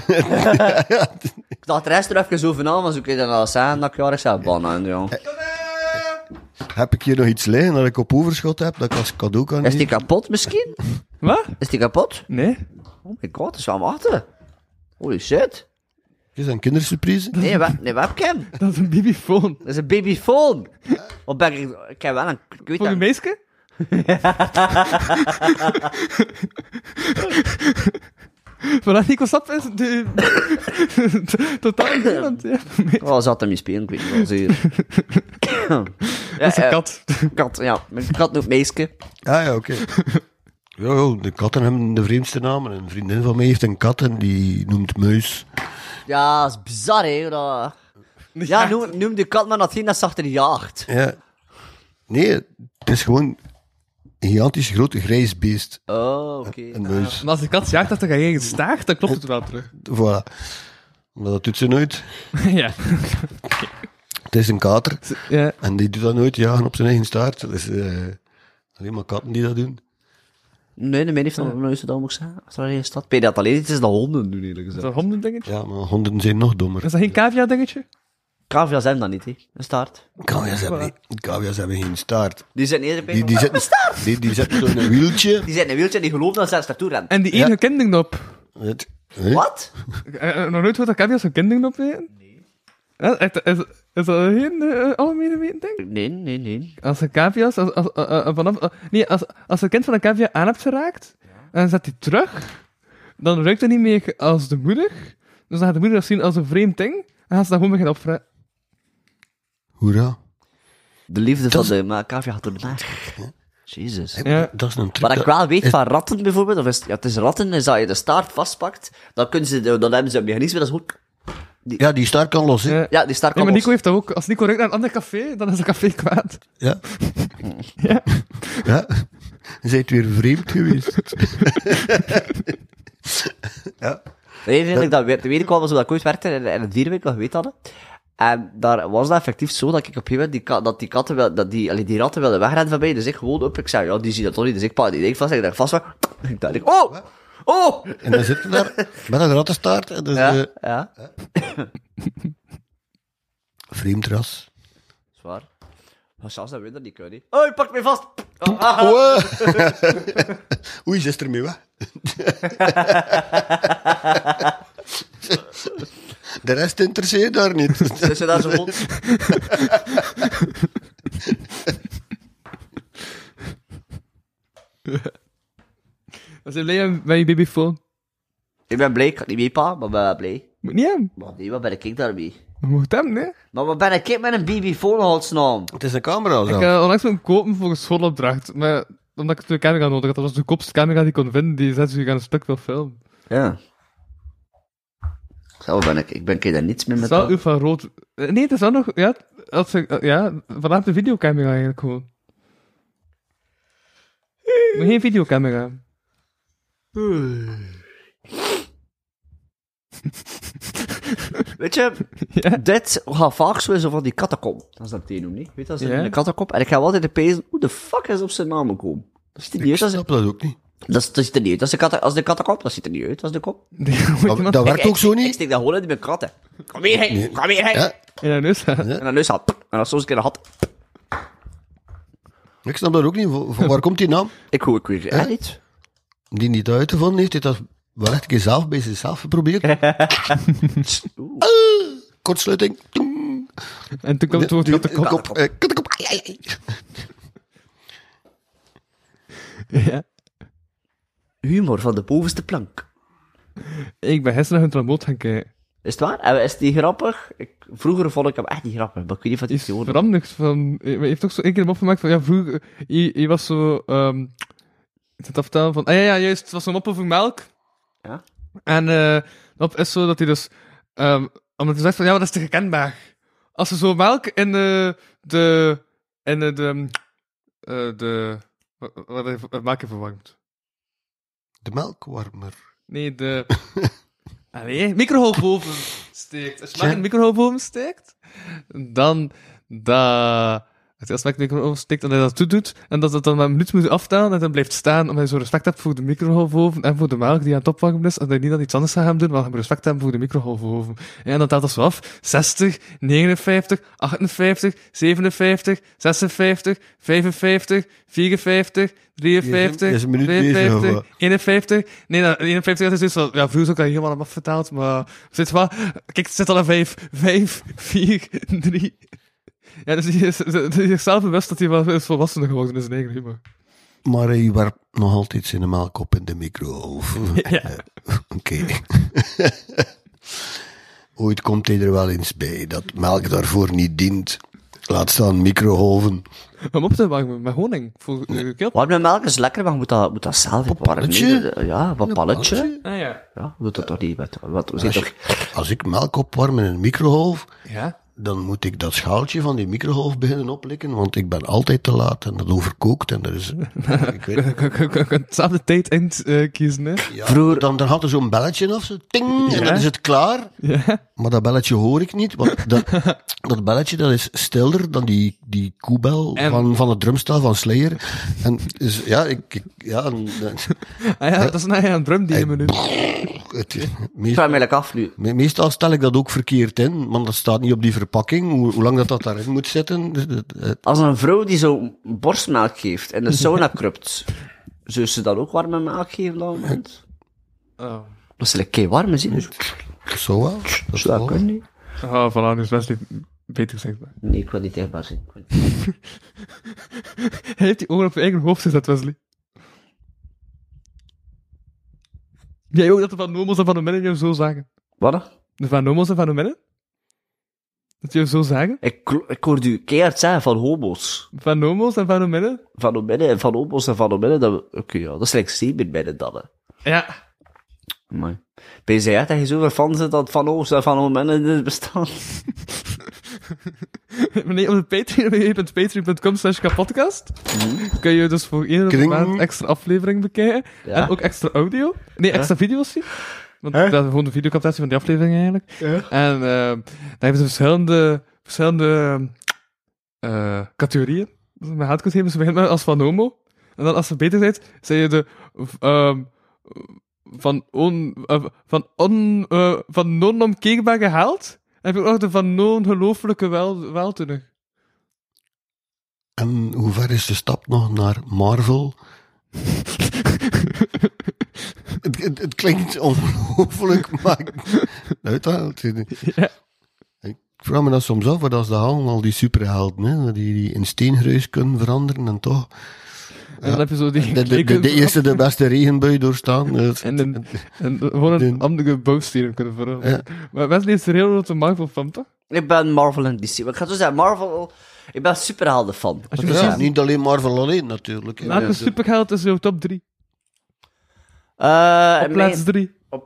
Speaker 4: ik dacht de rest er even over na, maar zo kun je dan al zeggen dat ik jarig zelf ben. hè, jong.
Speaker 2: Heb ik hier nog iets liggen dat ik op overschot heb, dat ik als cadeau kan
Speaker 4: Is die
Speaker 2: geven?
Speaker 4: kapot misschien?
Speaker 3: Wat?
Speaker 4: Is die kapot?
Speaker 3: Nee.
Speaker 4: Oh my god, dat is wel wachten. Holy shit.
Speaker 2: Is dat een kindersurprise?
Speaker 4: Nee, we, nee webcam.
Speaker 3: Dat is een babyfoon.
Speaker 4: Dat is een babyfoon. Wat ben ik... Ik heb wel een... Ik weet
Speaker 3: Voor
Speaker 4: dat...
Speaker 3: een meisje? Vanaf Nico Sap is de... totaal niemand. Ja, een meisje.
Speaker 4: Oh, zat hem in spelen, ik weet het wel zeker. ja,
Speaker 3: Dat is een
Speaker 4: eh,
Speaker 3: kat.
Speaker 4: kat, ja. Mijn kat noemt meisje.
Speaker 2: Ah ja, oké. Ja, ja, de katten hebben de vreemdste namen. Een vriendin van mij heeft een kat en die noemt Muis.
Speaker 4: Ja, dat is bizar, hè. hoe dat- Ja, noem, noem de kat maar dat hij dat zachter jaagt.
Speaker 2: Ja. Nee, het is gewoon een gigantisch groot grijs beest.
Speaker 4: Oh, oké.
Speaker 2: Een muis.
Speaker 3: Maar als de kat jaagt dat er geen eigen staart, dan klopt het wel terug.
Speaker 2: Voilà. Maar dat doet ze nooit.
Speaker 3: ja.
Speaker 2: Het is een kater.
Speaker 3: ja.
Speaker 2: En die doet dat nooit, jagen op zijn eigen staart. Dat is eh, alleen maar katten die dat doen.
Speaker 4: Nee, de men heeft nog nooit gedaan, moet ik zeggen. Als er alleen staat. Peter dat alleen, het is de honden doen, eerlijk
Speaker 3: Is
Speaker 4: gezegd.
Speaker 3: dat een hondendingetje?
Speaker 2: Ja, maar honden zijn nog dommer.
Speaker 3: Is dat geen cavia-dingetje?
Speaker 4: Cavia's hebben dat niet, hè. Een staart.
Speaker 2: Kavia's hebben, niet- kavia's hebben geen staart.
Speaker 4: Die zijn eerder bij...
Speaker 2: Die, die zitten die, die zitten zo in een wieltje.
Speaker 4: Die zijn in een wieltje, die geloven dat ze daar naartoe rennen.
Speaker 3: En die ene
Speaker 2: Ja.
Speaker 3: kindingdop.
Speaker 2: Weet-
Speaker 4: Wat?
Speaker 3: Eh, eh, Nog nooit wat cavia's een kindingdop weten? Nee. Is, Eh, is, is dat geen eh, algemene weten, ding?
Speaker 4: Nee, nee, nee.
Speaker 3: Als een cavia's, als, als, eh, eh, vanaf, eh, nee, als, als een kind van een cavia aan hebt geraakt, en dan zet hij terug, dan ruikt hij niet meer als de moeder. Dus dan gaat de moeder dat zien als een vreemd ding, en gaat ze dan gewoon beginnen opvragen.
Speaker 2: Hoera.
Speaker 4: De liefde van
Speaker 2: is-
Speaker 4: de maar cavia gaat door de maag. Jezus.
Speaker 3: Ja.
Speaker 2: Dat is een truc.
Speaker 4: Wat ik
Speaker 2: dat-
Speaker 4: wel weet van ratten bijvoorbeeld, of is, ja, het is ratten, is dat je de staart vastpakt, dan, kunnen ze, dan hebben ze een mechanisme, dat is goed.
Speaker 2: Ja, die staart kan los. hè.
Speaker 3: Ja.
Speaker 4: Ja, die staart
Speaker 3: Nee,
Speaker 4: kan
Speaker 3: maar Nico
Speaker 4: los.
Speaker 3: heeft dat ook. Als Nico ruikt naar een ander café, dan is het café kwaad.
Speaker 2: Ja.
Speaker 3: Ja.
Speaker 2: Ja. Je bent weer vreemd geweest. ja.
Speaker 4: Nee, eigenlijk, dat, weet- weet ik wel, was omdat ik ooit werkte in, in een dierenwinkel, je weet dat. hè. En daar was dat effectief zo dat ik op een gegeven moment die, ka- dat die katten wel, dat die, allee, die ratten wilden wegrennen van mij. Dus ik gewoon op, ik zei, ja, die zien dat toch niet. Dus ik pak die ding vast, en ik dacht vast, maar, ik dacht, oh! Oh!
Speaker 2: En dan zitten we daar met een rattenstaart. En dat is
Speaker 4: Ja,
Speaker 2: eh,
Speaker 4: ja, dat
Speaker 2: vreemd ras.
Speaker 4: is waar. Maar zelfs dat weet dat niet kunnen. hè. Oh, pak mij vast! Oh, ah,
Speaker 2: Oh. Oei, ze is ermee weg. De rest interesseert daar niet.
Speaker 4: dus ze daar zo rond.
Speaker 3: Dan zijn blij met je babyfoon.
Speaker 4: Ik ben blij, ik kan niet mee, pa, maar ik ben wel blij.
Speaker 3: Moet niet hem.
Speaker 4: Maar nee, wat ben ik daarmee?
Speaker 3: Maar moet hem, nee.
Speaker 4: Maar wat ben ik met een babyfoon, godsnaam?
Speaker 2: Het is een camera
Speaker 3: Ik
Speaker 2: zo.
Speaker 3: heb onlangs moeten kopen voor een schoolopdracht, maar omdat ik twee camera nodig had. Dat was de kopste camera die ik kon vinden, die zes uur aan een stuk wil filmen.
Speaker 4: Ja. Zo ben ik. Ik ben daar niets meer
Speaker 3: Het is
Speaker 4: met.
Speaker 3: wel
Speaker 4: dat.
Speaker 3: uur van rood. Eh, Nee, het is wel nog... Ja, als ik, eh, ja vanaf de videocamera eigenlijk gewoon. Maar geen videocamera.
Speaker 4: Weet je,
Speaker 3: Ja.
Speaker 4: dit gaat vaak zo in zo van die kattenkom. Dat is dat die noemen, niet? Weet je, dat is
Speaker 3: Ja.
Speaker 4: een kattenkom. En ik ga wel altijd pezen, hoe de fuck is op zijn naam gekomen?
Speaker 3: eh,
Speaker 4: Dat ziet er
Speaker 2: Ik
Speaker 4: niet uit. Dat,
Speaker 2: snap dat ook niet.
Speaker 4: dat, dat ziet er niet uit. Dat is de katten, als de kattenkop, dat ziet er niet uit. Dat is de kop.
Speaker 3: Die moet
Speaker 2: Dat,
Speaker 3: iemand
Speaker 2: dat
Speaker 4: Ik-
Speaker 2: werkt
Speaker 4: ik-
Speaker 2: ook zo
Speaker 4: Ik
Speaker 2: niet.
Speaker 4: steek dat gewoon in mijn katten. Kom hier heen,
Speaker 2: Nee.
Speaker 4: kom hier heen.
Speaker 2: Ja.
Speaker 3: in haar neus gaan.
Speaker 4: En dan neus had. En dan soms een keer een had.
Speaker 2: Ik snap dat ook niet. Van- van Waar komt die naam?
Speaker 4: Ik hoor, ik weet het echt niet.
Speaker 2: Die niet uitgevonden heeft, heeft dat wel echt een keer zelf bij zichzelf geprobeerd. Ah,
Speaker 4: Oeh.
Speaker 2: Kortsluiting. Toem.
Speaker 3: En toen kwam het woord op de kop.
Speaker 2: Kattenkop. Eh, kattenkop. Ai, ai, ai.
Speaker 3: Ja.
Speaker 4: Humor van de bovenste plank.
Speaker 3: Ik ben gisteren nog een tramboot gaan kijken.
Speaker 4: Is het waar? En Is die grappig? Ik, vroeger vond ik hem echt niet grappig, maar ik weet niet wat
Speaker 3: Die
Speaker 4: hij
Speaker 3: is
Speaker 4: geworden
Speaker 3: veranderd van... eh, maar Je heeft toch zo één keer een mop gemaakt van... Ja, vroeger... Je, je was zo... ehm ik zat af te tellen van... Ah ja, ja, juist. Het was een mop over melk.
Speaker 4: Ja.
Speaker 3: En eh dat is zo dat hij dus... ehm omdat hij zegt van... Ja, maar dat is te herkenbaar. Als ze zo melk in eh de... In eh, de... ehm, eh, de... Wat, wat, wat maak je verwarmd?
Speaker 2: De melkwarmer.
Speaker 3: Nee, de. Ah, Allee, microgolfoven steekt. Als je maar in de microgolfoven steekt, dan. Dat. Als je als de microfoon steekt en hij dat toedoet, en dat het dan maar een minuut moet aftaan en dan blijft staan, omdat je zo respect hebt voor de microgolfoven en voor de melk die aan het opwarmen is, en dat je niet dan iets anders gaat gaan doen, maar je moet respect hebben voor de microgolfoven. Ja, en dan telt dat zo af. 60, 59, 58, 57, 56, 55, 54, 53,
Speaker 2: Je is een minuut bezig,
Speaker 3: 52,
Speaker 2: of wat?
Speaker 3: 51. Nee, nou, 51 is dus zo. Ja, vroeger kan je helemaal hem afvertaald, maar zit wel. Kijk, het zit al een 5. 5, 4, 3. Ja, dus je is, die is zelf bewust dat hij wel is volwassener geworden is in eigen humor.
Speaker 2: Maar hij werpt nog altijd zijn melk op in de microoven.
Speaker 3: Ja.
Speaker 2: Oké. Ooit komt hij er wel eens bij dat melk daarvoor niet dient. Laat staan microgolven.
Speaker 3: Om op te warmen met honing voor eh, de keel.
Speaker 4: Warm met melk is lekker, maar je moet dat, moet dat zelf op
Speaker 2: palletje?
Speaker 4: Ja, wat palletje.
Speaker 3: Ah ja.
Speaker 4: Ja, doe dat toch niet. Wat, wat, we zijn
Speaker 2: Als,
Speaker 4: toch...
Speaker 2: je- als ik melk opwarm in een microgolf,
Speaker 3: Ja.
Speaker 2: dan moet ik dat schaaltje van die microgolf beginnen oplikken, want ik ben altijd te laat en dat overkookt en er is... ik weet
Speaker 3: Ik kan- kan- kan- kan hetzelfde tijd eind eh, kiezen, hè?
Speaker 2: ja, Vroeger... Dan, dan had er zo'n belletje of zo, ting, en
Speaker 3: Ja.
Speaker 2: dan is het klaar.
Speaker 3: Ja.
Speaker 2: Maar dat belletje hoor ik niet, want dat, dat belletje dat is stiller dan die, die koebel
Speaker 3: En-
Speaker 2: van, van het drumstel van Slayer. En is- ja, ik, ik- ja, en, eh,
Speaker 3: Ah ja, dat is nou ja, een drum die je me nu.
Speaker 2: het-
Speaker 4: Ik
Speaker 2: meest-
Speaker 4: vraag me eigenlijk af nu.
Speaker 2: me- meestal stel ik dat ook verkeerd in, want dat staat niet op die verpakking, hoe, hoe lang dat, dat daarin moet zitten. Dus dat- eh,
Speaker 4: Als een vrouw die zo borstmelk geeft en de sauna krupt, zou ze dan ook warme melk geven op dat moment?
Speaker 3: Oh.
Speaker 4: Dat is lekker warm, zie je.
Speaker 2: Zo wel. Dat
Speaker 4: Zo, dat
Speaker 2: wel.
Speaker 4: kan niet.
Speaker 3: Oh, voilà, nu is Wesley beter gezegd.
Speaker 4: Nee, ik wil niet zichtbaar zijn.
Speaker 3: Hij heeft die oren op je eigen hoofd gezet, Wesley. Jij ook dat de Van Nomos en Van de Mennen jou zo zagen?
Speaker 4: Wat? dan?
Speaker 3: De Van Nomos en Van de Mennen? Dat die jou zo zagen?
Speaker 4: Ik, klo- ik hoorde u keihard zeggen van homo's.
Speaker 3: Van Nomos en Van de Mennen?
Speaker 4: Van om binnen en van homo's en van om binnen. dat we- Oké, ja, dat is slechts zeven binnen dan. Hè.
Speaker 3: Ja.
Speaker 4: Mooi. Ben je echt dat je zoveel fans bent dat van homo's en van om binnen in het bestaan?
Speaker 3: Nee, op de Patreon, www.patreon.com slash kapodcast kun je dus voor één
Speaker 2: Kring.
Speaker 3: maand extra aflevering bekijken.
Speaker 4: Ja.
Speaker 3: En ook extra audio. Nee, extra video's zien. Want dat is gewoon de videocaptatie van die aflevering eigenlijk. En eh, daar hebben ze verschillende, verschillende eh, categorieën. Dus mijn haatkoet hebben ze begint met als van homo. En dan als ze beter zijn, zijn je de v- ehm, van on, eh, van on, eh, van non-omkeerbaar gehaald. En heb ik ook nog de van ongelooflijke wel, weldoener.
Speaker 2: En hoe ver is de stap nog naar Marvel? het, het, het klinkt ongelooflijk, maar uithaalt.
Speaker 3: Ja.
Speaker 2: Ik vraag me dat soms af, wat als de halen al die superhelden, hè, dat die, die in steengruis kunnen veranderen en toch
Speaker 3: En dan heb je zo die...
Speaker 2: de, de, de, de eerste, de beste regenbui doorstaan. eh, Het-
Speaker 3: En, een, en gewoon een
Speaker 2: Den-
Speaker 3: andere bouwstenen kunnen veranderen.
Speaker 2: Ja.
Speaker 3: Maar Wesley is er heel grote Marvel-fan, toch?
Speaker 4: Ik ben Marvel en DC. Maar ik ga zo zeggen, Marvel... Ik ben superhelden fan.
Speaker 3: Als je
Speaker 2: Ja,
Speaker 3: precies-
Speaker 4: Ja.
Speaker 2: niet alleen Marvel alleen natuurlijk. hè.
Speaker 3: Welke
Speaker 2: Ja,
Speaker 3: superheld is jouw top 3?
Speaker 4: Eh,
Speaker 3: Op
Speaker 4: en
Speaker 3: plaats
Speaker 4: mijn-
Speaker 3: 3.
Speaker 4: Op...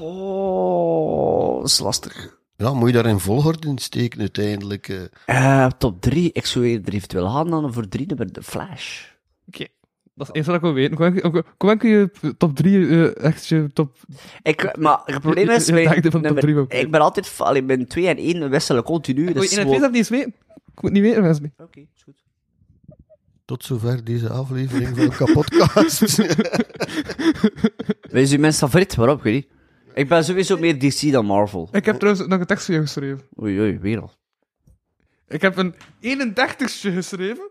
Speaker 4: Oh, dat is lastig.
Speaker 2: ja, moet je daar in volgorde in steken uiteindelijk. eh.
Speaker 4: Eh, top 3. Ik zou eerder eventueel gaan dan voor 3 nummer de Flash.
Speaker 3: Oké. Dat is het eerste dat ik wil weten. Hoe kun je top 3 eh, echt je top...
Speaker 4: Ik, maar het probleem
Speaker 3: Je- je-
Speaker 4: is...
Speaker 3: je
Speaker 4: mijn
Speaker 3: dacht van top
Speaker 4: nummer-
Speaker 3: drie wel.
Speaker 4: ik ben altijd... van- Allee, mijn 2 en 1 wisselen continu.
Speaker 3: Wil
Speaker 4: Dus
Speaker 3: je in het
Speaker 4: gewoon-
Speaker 3: feest niet eens weten? Ik moet het niet weten, Wesley.
Speaker 4: Oké, is goed.
Speaker 2: Tot zover deze aflevering van Kapodcast.
Speaker 4: Wij zijn mijn favoriet, waarom? Ik weet niet. Ik ben sowieso meer DC dan Marvel.
Speaker 3: Ik heb trouwens ook nog een tekst voor jou geschreven.
Speaker 4: Oei, oei, weer al.
Speaker 3: Ik heb een 31ste geschreven.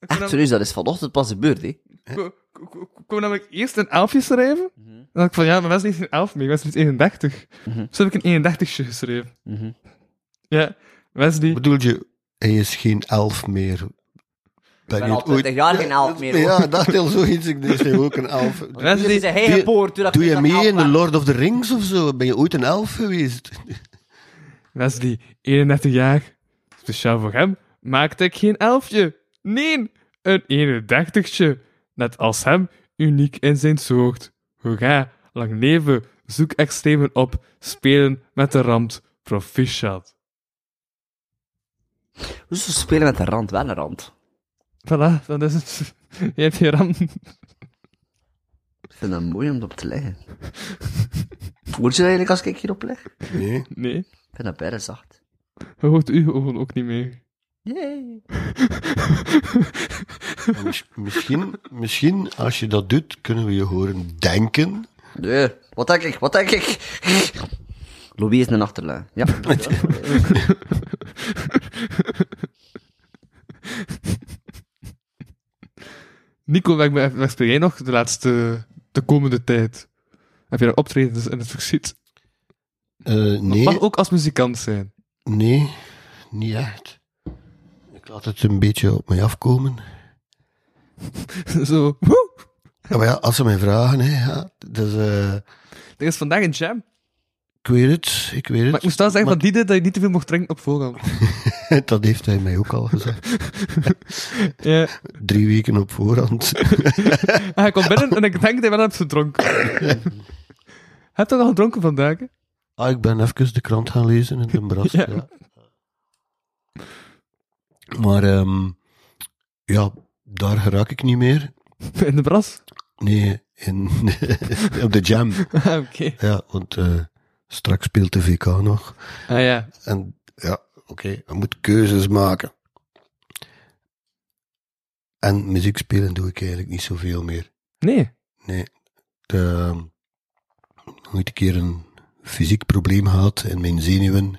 Speaker 3: Ik kon
Speaker 4: Echt
Speaker 3: nam-
Speaker 4: serieus, dat is vanochtend pas gebeurd, hè.
Speaker 3: ko- ko- ko- ko- kon namelijk eerst een 11 schrijven. Dan dacht ik van, ja, maar Wesley is een 11 mee. Wesley is 31. Dus heb ik een 31ste geschreven.
Speaker 4: Mhm.
Speaker 3: Ja, Wesley...
Speaker 2: Bedoel je, hij is geen elf meer? Ben,
Speaker 4: Ik
Speaker 2: je
Speaker 4: ben al
Speaker 2: het ooit...
Speaker 4: 20 jaar geen elf meer. hoor.
Speaker 2: Ja, dat deel zoiets. Ik denk, is hij ook een elf.
Speaker 4: Dit is
Speaker 3: Wesley,
Speaker 4: een hele
Speaker 2: doe-
Speaker 4: poort. toen dat
Speaker 2: Doe
Speaker 4: ik
Speaker 2: je
Speaker 4: dat
Speaker 2: mee
Speaker 4: elf
Speaker 2: in
Speaker 4: was.
Speaker 2: The Lord of the Rings of zo? Ben je ooit een elf geweest?
Speaker 3: Wesley, 31 jaar. Speciaal voor hem maakte ik geen elfje. Nee, een 31tje. Net als hem, uniek in zijn soort. Hoera, lang leven, zoek extremen op, spelen met de rand, proficiat.
Speaker 4: Hoezo Dus spelen met een rand? Wel een rand.
Speaker 3: Voilà, dat is het. Je hebt je rand.
Speaker 4: Ik vind dat mooi om op te leggen. Voel je dat eigenlijk als ik hierop leg?
Speaker 2: Nee.
Speaker 3: Nee,
Speaker 4: Ik vind dat bijna zacht.
Speaker 3: je hoort uw ogen ook niet meer.
Speaker 2: En mis- misschien, misschien, als je dat doet, kunnen we je horen denken.
Speaker 4: Nee, wat denk ik, wat denk ik? Louis is een achterlijn. Ja.
Speaker 3: Nico, werk me even- werk jij nog de laatste, de komende tijd? Heb je daar optredens in het verschiet?
Speaker 2: Eh,
Speaker 3: Dat
Speaker 2: nee,
Speaker 3: Mag ook als muzikant zijn.
Speaker 2: nee, niet echt. Ik laat het een beetje op mij afkomen.
Speaker 3: Zo, woe!
Speaker 2: Ja, maar ja, als ze mij vragen, hè, ja, dus, eh,
Speaker 3: Er is vandaag een jam.
Speaker 2: ik weet het, ik weet het.
Speaker 3: Maar ik moest wel zeggen van die dat je niet te veel mocht drinken op voorhand.
Speaker 2: dat heeft hij mij ook al gezegd.
Speaker 3: Ja.
Speaker 2: Drie weken op voorhand.
Speaker 3: Hij komt binnen en Ah, ik denk dat hij wel hebt gedronken. Heb je al gedronken vandaag? hè?
Speaker 2: Ah, ik ben even de krant gaan lezen in de bras.
Speaker 3: Ja.
Speaker 2: ja. Maar ehm, ja, daar raak ik niet meer.
Speaker 3: In de bras?
Speaker 2: Nee, in, op de jam.
Speaker 3: Ah, Oké.
Speaker 2: Ja, want eh, straks speelt de VK nog.
Speaker 3: Ah ja.
Speaker 2: En ja, oké, je moet keuzes maken. En muziek spelen doe ik eigenlijk niet zoveel meer.
Speaker 3: Nee.
Speaker 2: Nee. Ik heb ooit een keer een fysiek probleem gehad in mijn zenuwen.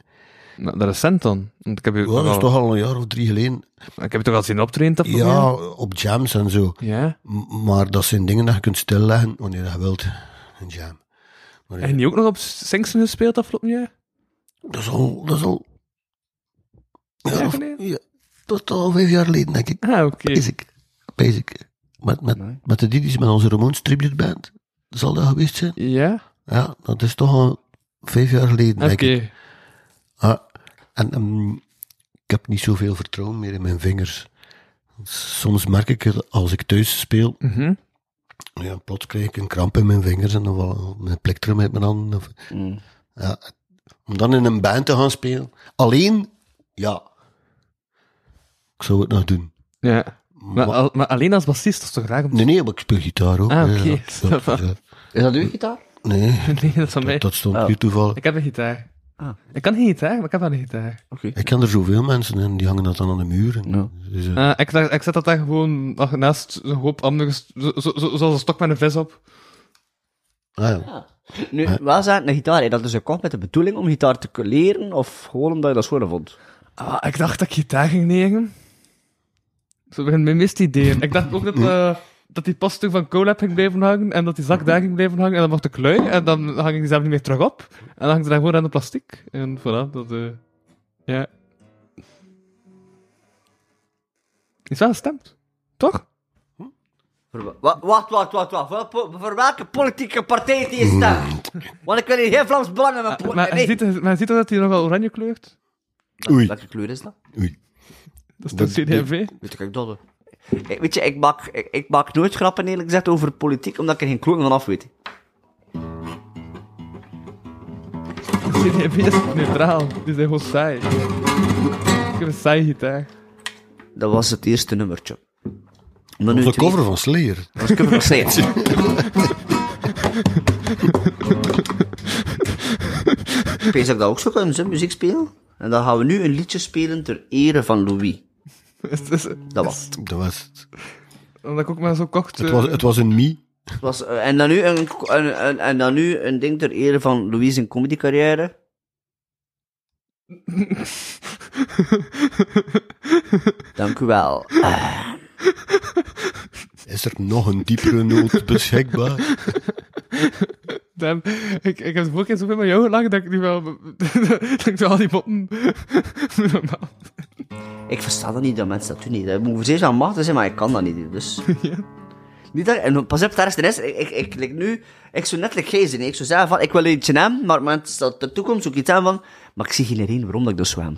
Speaker 3: Nou, dat is cent dan. Want ik heb je
Speaker 2: Ja, dat
Speaker 3: toch
Speaker 2: is
Speaker 3: al,
Speaker 2: toch al een jaar of drie geleden.
Speaker 3: ik heb je toch al zien optreden dat
Speaker 2: Ja, op jams en zo.
Speaker 3: Ja.
Speaker 2: M- Maar dat zijn dingen dat je kunt stilleggen wanneer je wilt. Een jam. Maar ja,
Speaker 3: En die ook nog op Singsen gespeeld afgelopen jaar?
Speaker 2: dat is al... Dat is al...
Speaker 3: Ja,
Speaker 2: Ja, of-
Speaker 3: geleden?
Speaker 2: ja, dat is al vijf jaar geleden, denk ik.
Speaker 3: Ah, oké.
Speaker 2: Basic. Basic. Met, met,
Speaker 4: Nee.
Speaker 2: met de Didis, met onze Ramones tribute band. Zal dat geweest zijn?
Speaker 3: Ja?
Speaker 2: Ja, dat is toch al vijf jaar geleden,
Speaker 3: Oké.
Speaker 2: denk ik. Ah, en ehm, ik heb niet zoveel vertrouwen meer in mijn vingers. Soms merk ik het als ik thuis speel.
Speaker 3: Mhm.
Speaker 2: Ja, plots krijg ik een kramp in mijn vingers en dan valt mijn plektrum uit mijn handen. Of,
Speaker 4: Mm.
Speaker 2: ja. Om dan in een band te gaan spelen. Alleen, ja. Ik zou het nog doen.
Speaker 3: Ja. Maar,
Speaker 2: Maar-
Speaker 3: al- maar alleen als bassist, dat is toch raar om
Speaker 2: Nee, nee, maar ik speel gitaar ook.
Speaker 3: Ah,
Speaker 2: hè,
Speaker 3: oké,
Speaker 2: ja.
Speaker 3: ça
Speaker 2: Dat-
Speaker 3: va.
Speaker 2: dat-
Speaker 4: Is dat uw gitaar?
Speaker 2: nee,
Speaker 3: Nee, dat is van mij.
Speaker 2: dat stond
Speaker 4: Oh.
Speaker 2: hier toevallig.
Speaker 3: Ik heb een gitaar.
Speaker 4: Ah.
Speaker 3: Ik kan geen gitaar, maar ik heb wel een gitaar.
Speaker 4: Oké.
Speaker 2: Ik ken er zoveel mensen en die hangen dat dan aan de muur. En,
Speaker 4: Ja.
Speaker 2: dus, eh,
Speaker 3: Ah, ik, dacht- ik zet dat daar gewoon ach, naast een hoop andere, st- zo, zo, zo- zoals een stok met een vis op.
Speaker 2: ah, ja.
Speaker 4: Nu, waar zijn een gitaar? Is dat dus gekocht met de bedoeling om gitaar te kunnen leren, of gewoon omdat je dat schoon vond?
Speaker 3: Ah, ik dacht dat ik gitaar ging nemen. Zo begint mijn mist ideeën. ik dacht ook dat, eh, dat die post van Colab ging blijven hangen en dat die zak daar ging blijven hangen en dan mocht ik lui en dan hang ik die zelf niet meer terug op. En dan hangt ze daar gewoon aan de plastic. En voilà, dat... eh, ja. Is wel gestemd. Toch?
Speaker 4: Voor wa- wa- Wacht, wacht, wacht, wacht. Voor, po- voor welke politieke partij die je stemt? Want ik wil hier geen Vlaams Belang in mijn po-
Speaker 3: Maar hij
Speaker 4: Oh, nee.
Speaker 3: ziet, maar hij ziet toch dat hij nog wel oranje kleurt?
Speaker 2: Oei,
Speaker 4: Welke kleur is dat?
Speaker 2: oei.
Speaker 3: Dat is de CDV.
Speaker 4: Weet ik, ik dat hoor. Ik- Weet je, ik maak, ik, ik maak nooit grappen eerlijk gezegd over politiek, omdat ik er geen kloon van af weet.
Speaker 3: De CDV is neutraal. Die zijn gewoon saai. Ik heb een saai gitaar.
Speaker 4: Dat was het eerste nummertje. Maar nu
Speaker 2: Onze
Speaker 4: het tweede-
Speaker 2: cover van Slayer.
Speaker 4: Dat was cover van Slayer. Ik weet dat ik dat ook zo kan, zo, muziek spelen. En dan gaan we nu een liedje spelen ter ere van Louis.
Speaker 3: Dus, dus,
Speaker 4: Dat was het.
Speaker 2: Dat was het.
Speaker 3: omdat ik ook maar zo kocht.
Speaker 2: Het
Speaker 3: eh,
Speaker 2: was, het was een mie.
Speaker 4: Het was, eh, en, dan nu een, een, een- en dan nu een ding ter ere van Louis' zijn comedycarrière. Dank u wel. Eh,
Speaker 2: Is er nog een diepere noot beschikbaar?
Speaker 3: Dan, ik, ik heb de vorige keer zoveel met jou gelachen dat ik nu wel. dat ik nu al die moppen. moet normaal.
Speaker 4: Ik versta dat niet, dat mensen dat doen niet. Dat moet zeer aan machten zijn, maar ik kan dat niet. Dus. niet dat, en pas op, daar is de rest. Ik, ik, ik, like nu, ik zou net like jij zijn. Ik zou zeggen van, ik wil eentje hebben, maar maar het is dat de toekomst ook iets aan van... Maar ik zie geen reden waarom dat ik dat zo heb.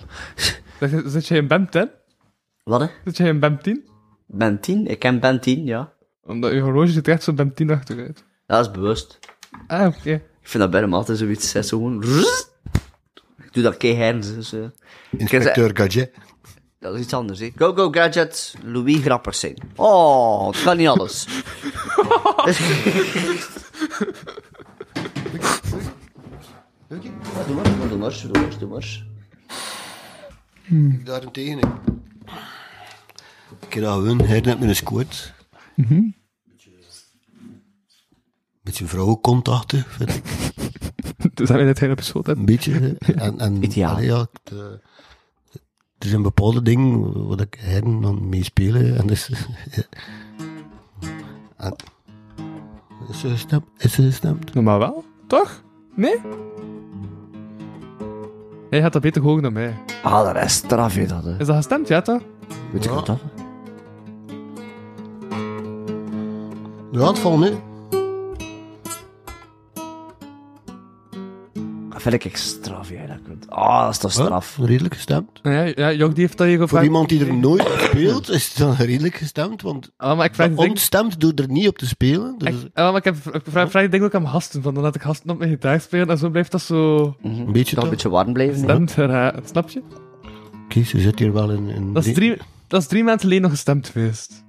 Speaker 3: Zeg, Zit jij in BEM 10?
Speaker 4: Wat, hè?
Speaker 3: Zit jij in BEM 10?
Speaker 4: Ben 10? Ik ken Ben 10, ja.
Speaker 3: Omdat je horloge zit echt zo BEM 10 achteruit.
Speaker 4: Dat is bewust.
Speaker 3: Ah, oké.
Speaker 4: Ik vind dat bij hem altijd zoiets. hè, Zo gewoon... Ik doe dat keihard. Dus, eh.
Speaker 2: Inspecteur Gadget.
Speaker 4: dat is iets anders, hè. Go, go, gadget. Louis grappig zijn. Oh, het kan niet alles. Doe maar, doe maar, doe maar, doe maar.
Speaker 2: Daarentegen, ik keer dat we winnen, hij net met een squat. Beetje vrouwencontacten, vind ik.
Speaker 3: Dus dat in het hele episode.
Speaker 2: Een beetje. hè. En, en,
Speaker 4: Ideaal.
Speaker 2: allee, ja, het, eh, er zijn bepaalde dingen waar ik hen dan mee spelen. En dus, en, is ze gestemd? Is ze gestemd?
Speaker 3: Maar wel, toch? Nee? Hij had dat beter gehoord dan mij.
Speaker 4: Ah, dat is straf, je dat, hè.
Speaker 3: Is dat gestemd, ja toch?
Speaker 4: Weet je
Speaker 2: Ja.
Speaker 4: wat dat?
Speaker 2: Ja, het valt mee.
Speaker 4: Dat vind ik echt straf, jij dat kunt. Ah, dat is toch
Speaker 2: Ja,
Speaker 4: straf.
Speaker 2: redelijk gestemd.
Speaker 3: Ja, ja Jok die heeft dat hier gevraagd.
Speaker 2: Voor iemand die er nooit speelt, is het dan redelijk gestemd. Want
Speaker 3: Ah, maar ik vraag
Speaker 2: de
Speaker 3: het ding-
Speaker 2: ontstemt door er niet op te spelen. Dus
Speaker 3: ik, ah, maar ik heb ik vraag, vraag het ding ook aan gasten, van dan laat ik gasten op mijn gitaar spelen en zo blijft dat zo
Speaker 2: een beetje
Speaker 4: Toch
Speaker 2: toch.
Speaker 4: een beetje warm blijven. hè?
Speaker 3: gestemd. geraakt. eh, Snap je?
Speaker 2: Kies, ze zit hier wel in. in
Speaker 3: Dat is
Speaker 2: re-
Speaker 3: drie, dat is drie maanden geleden nog gestemd geweest.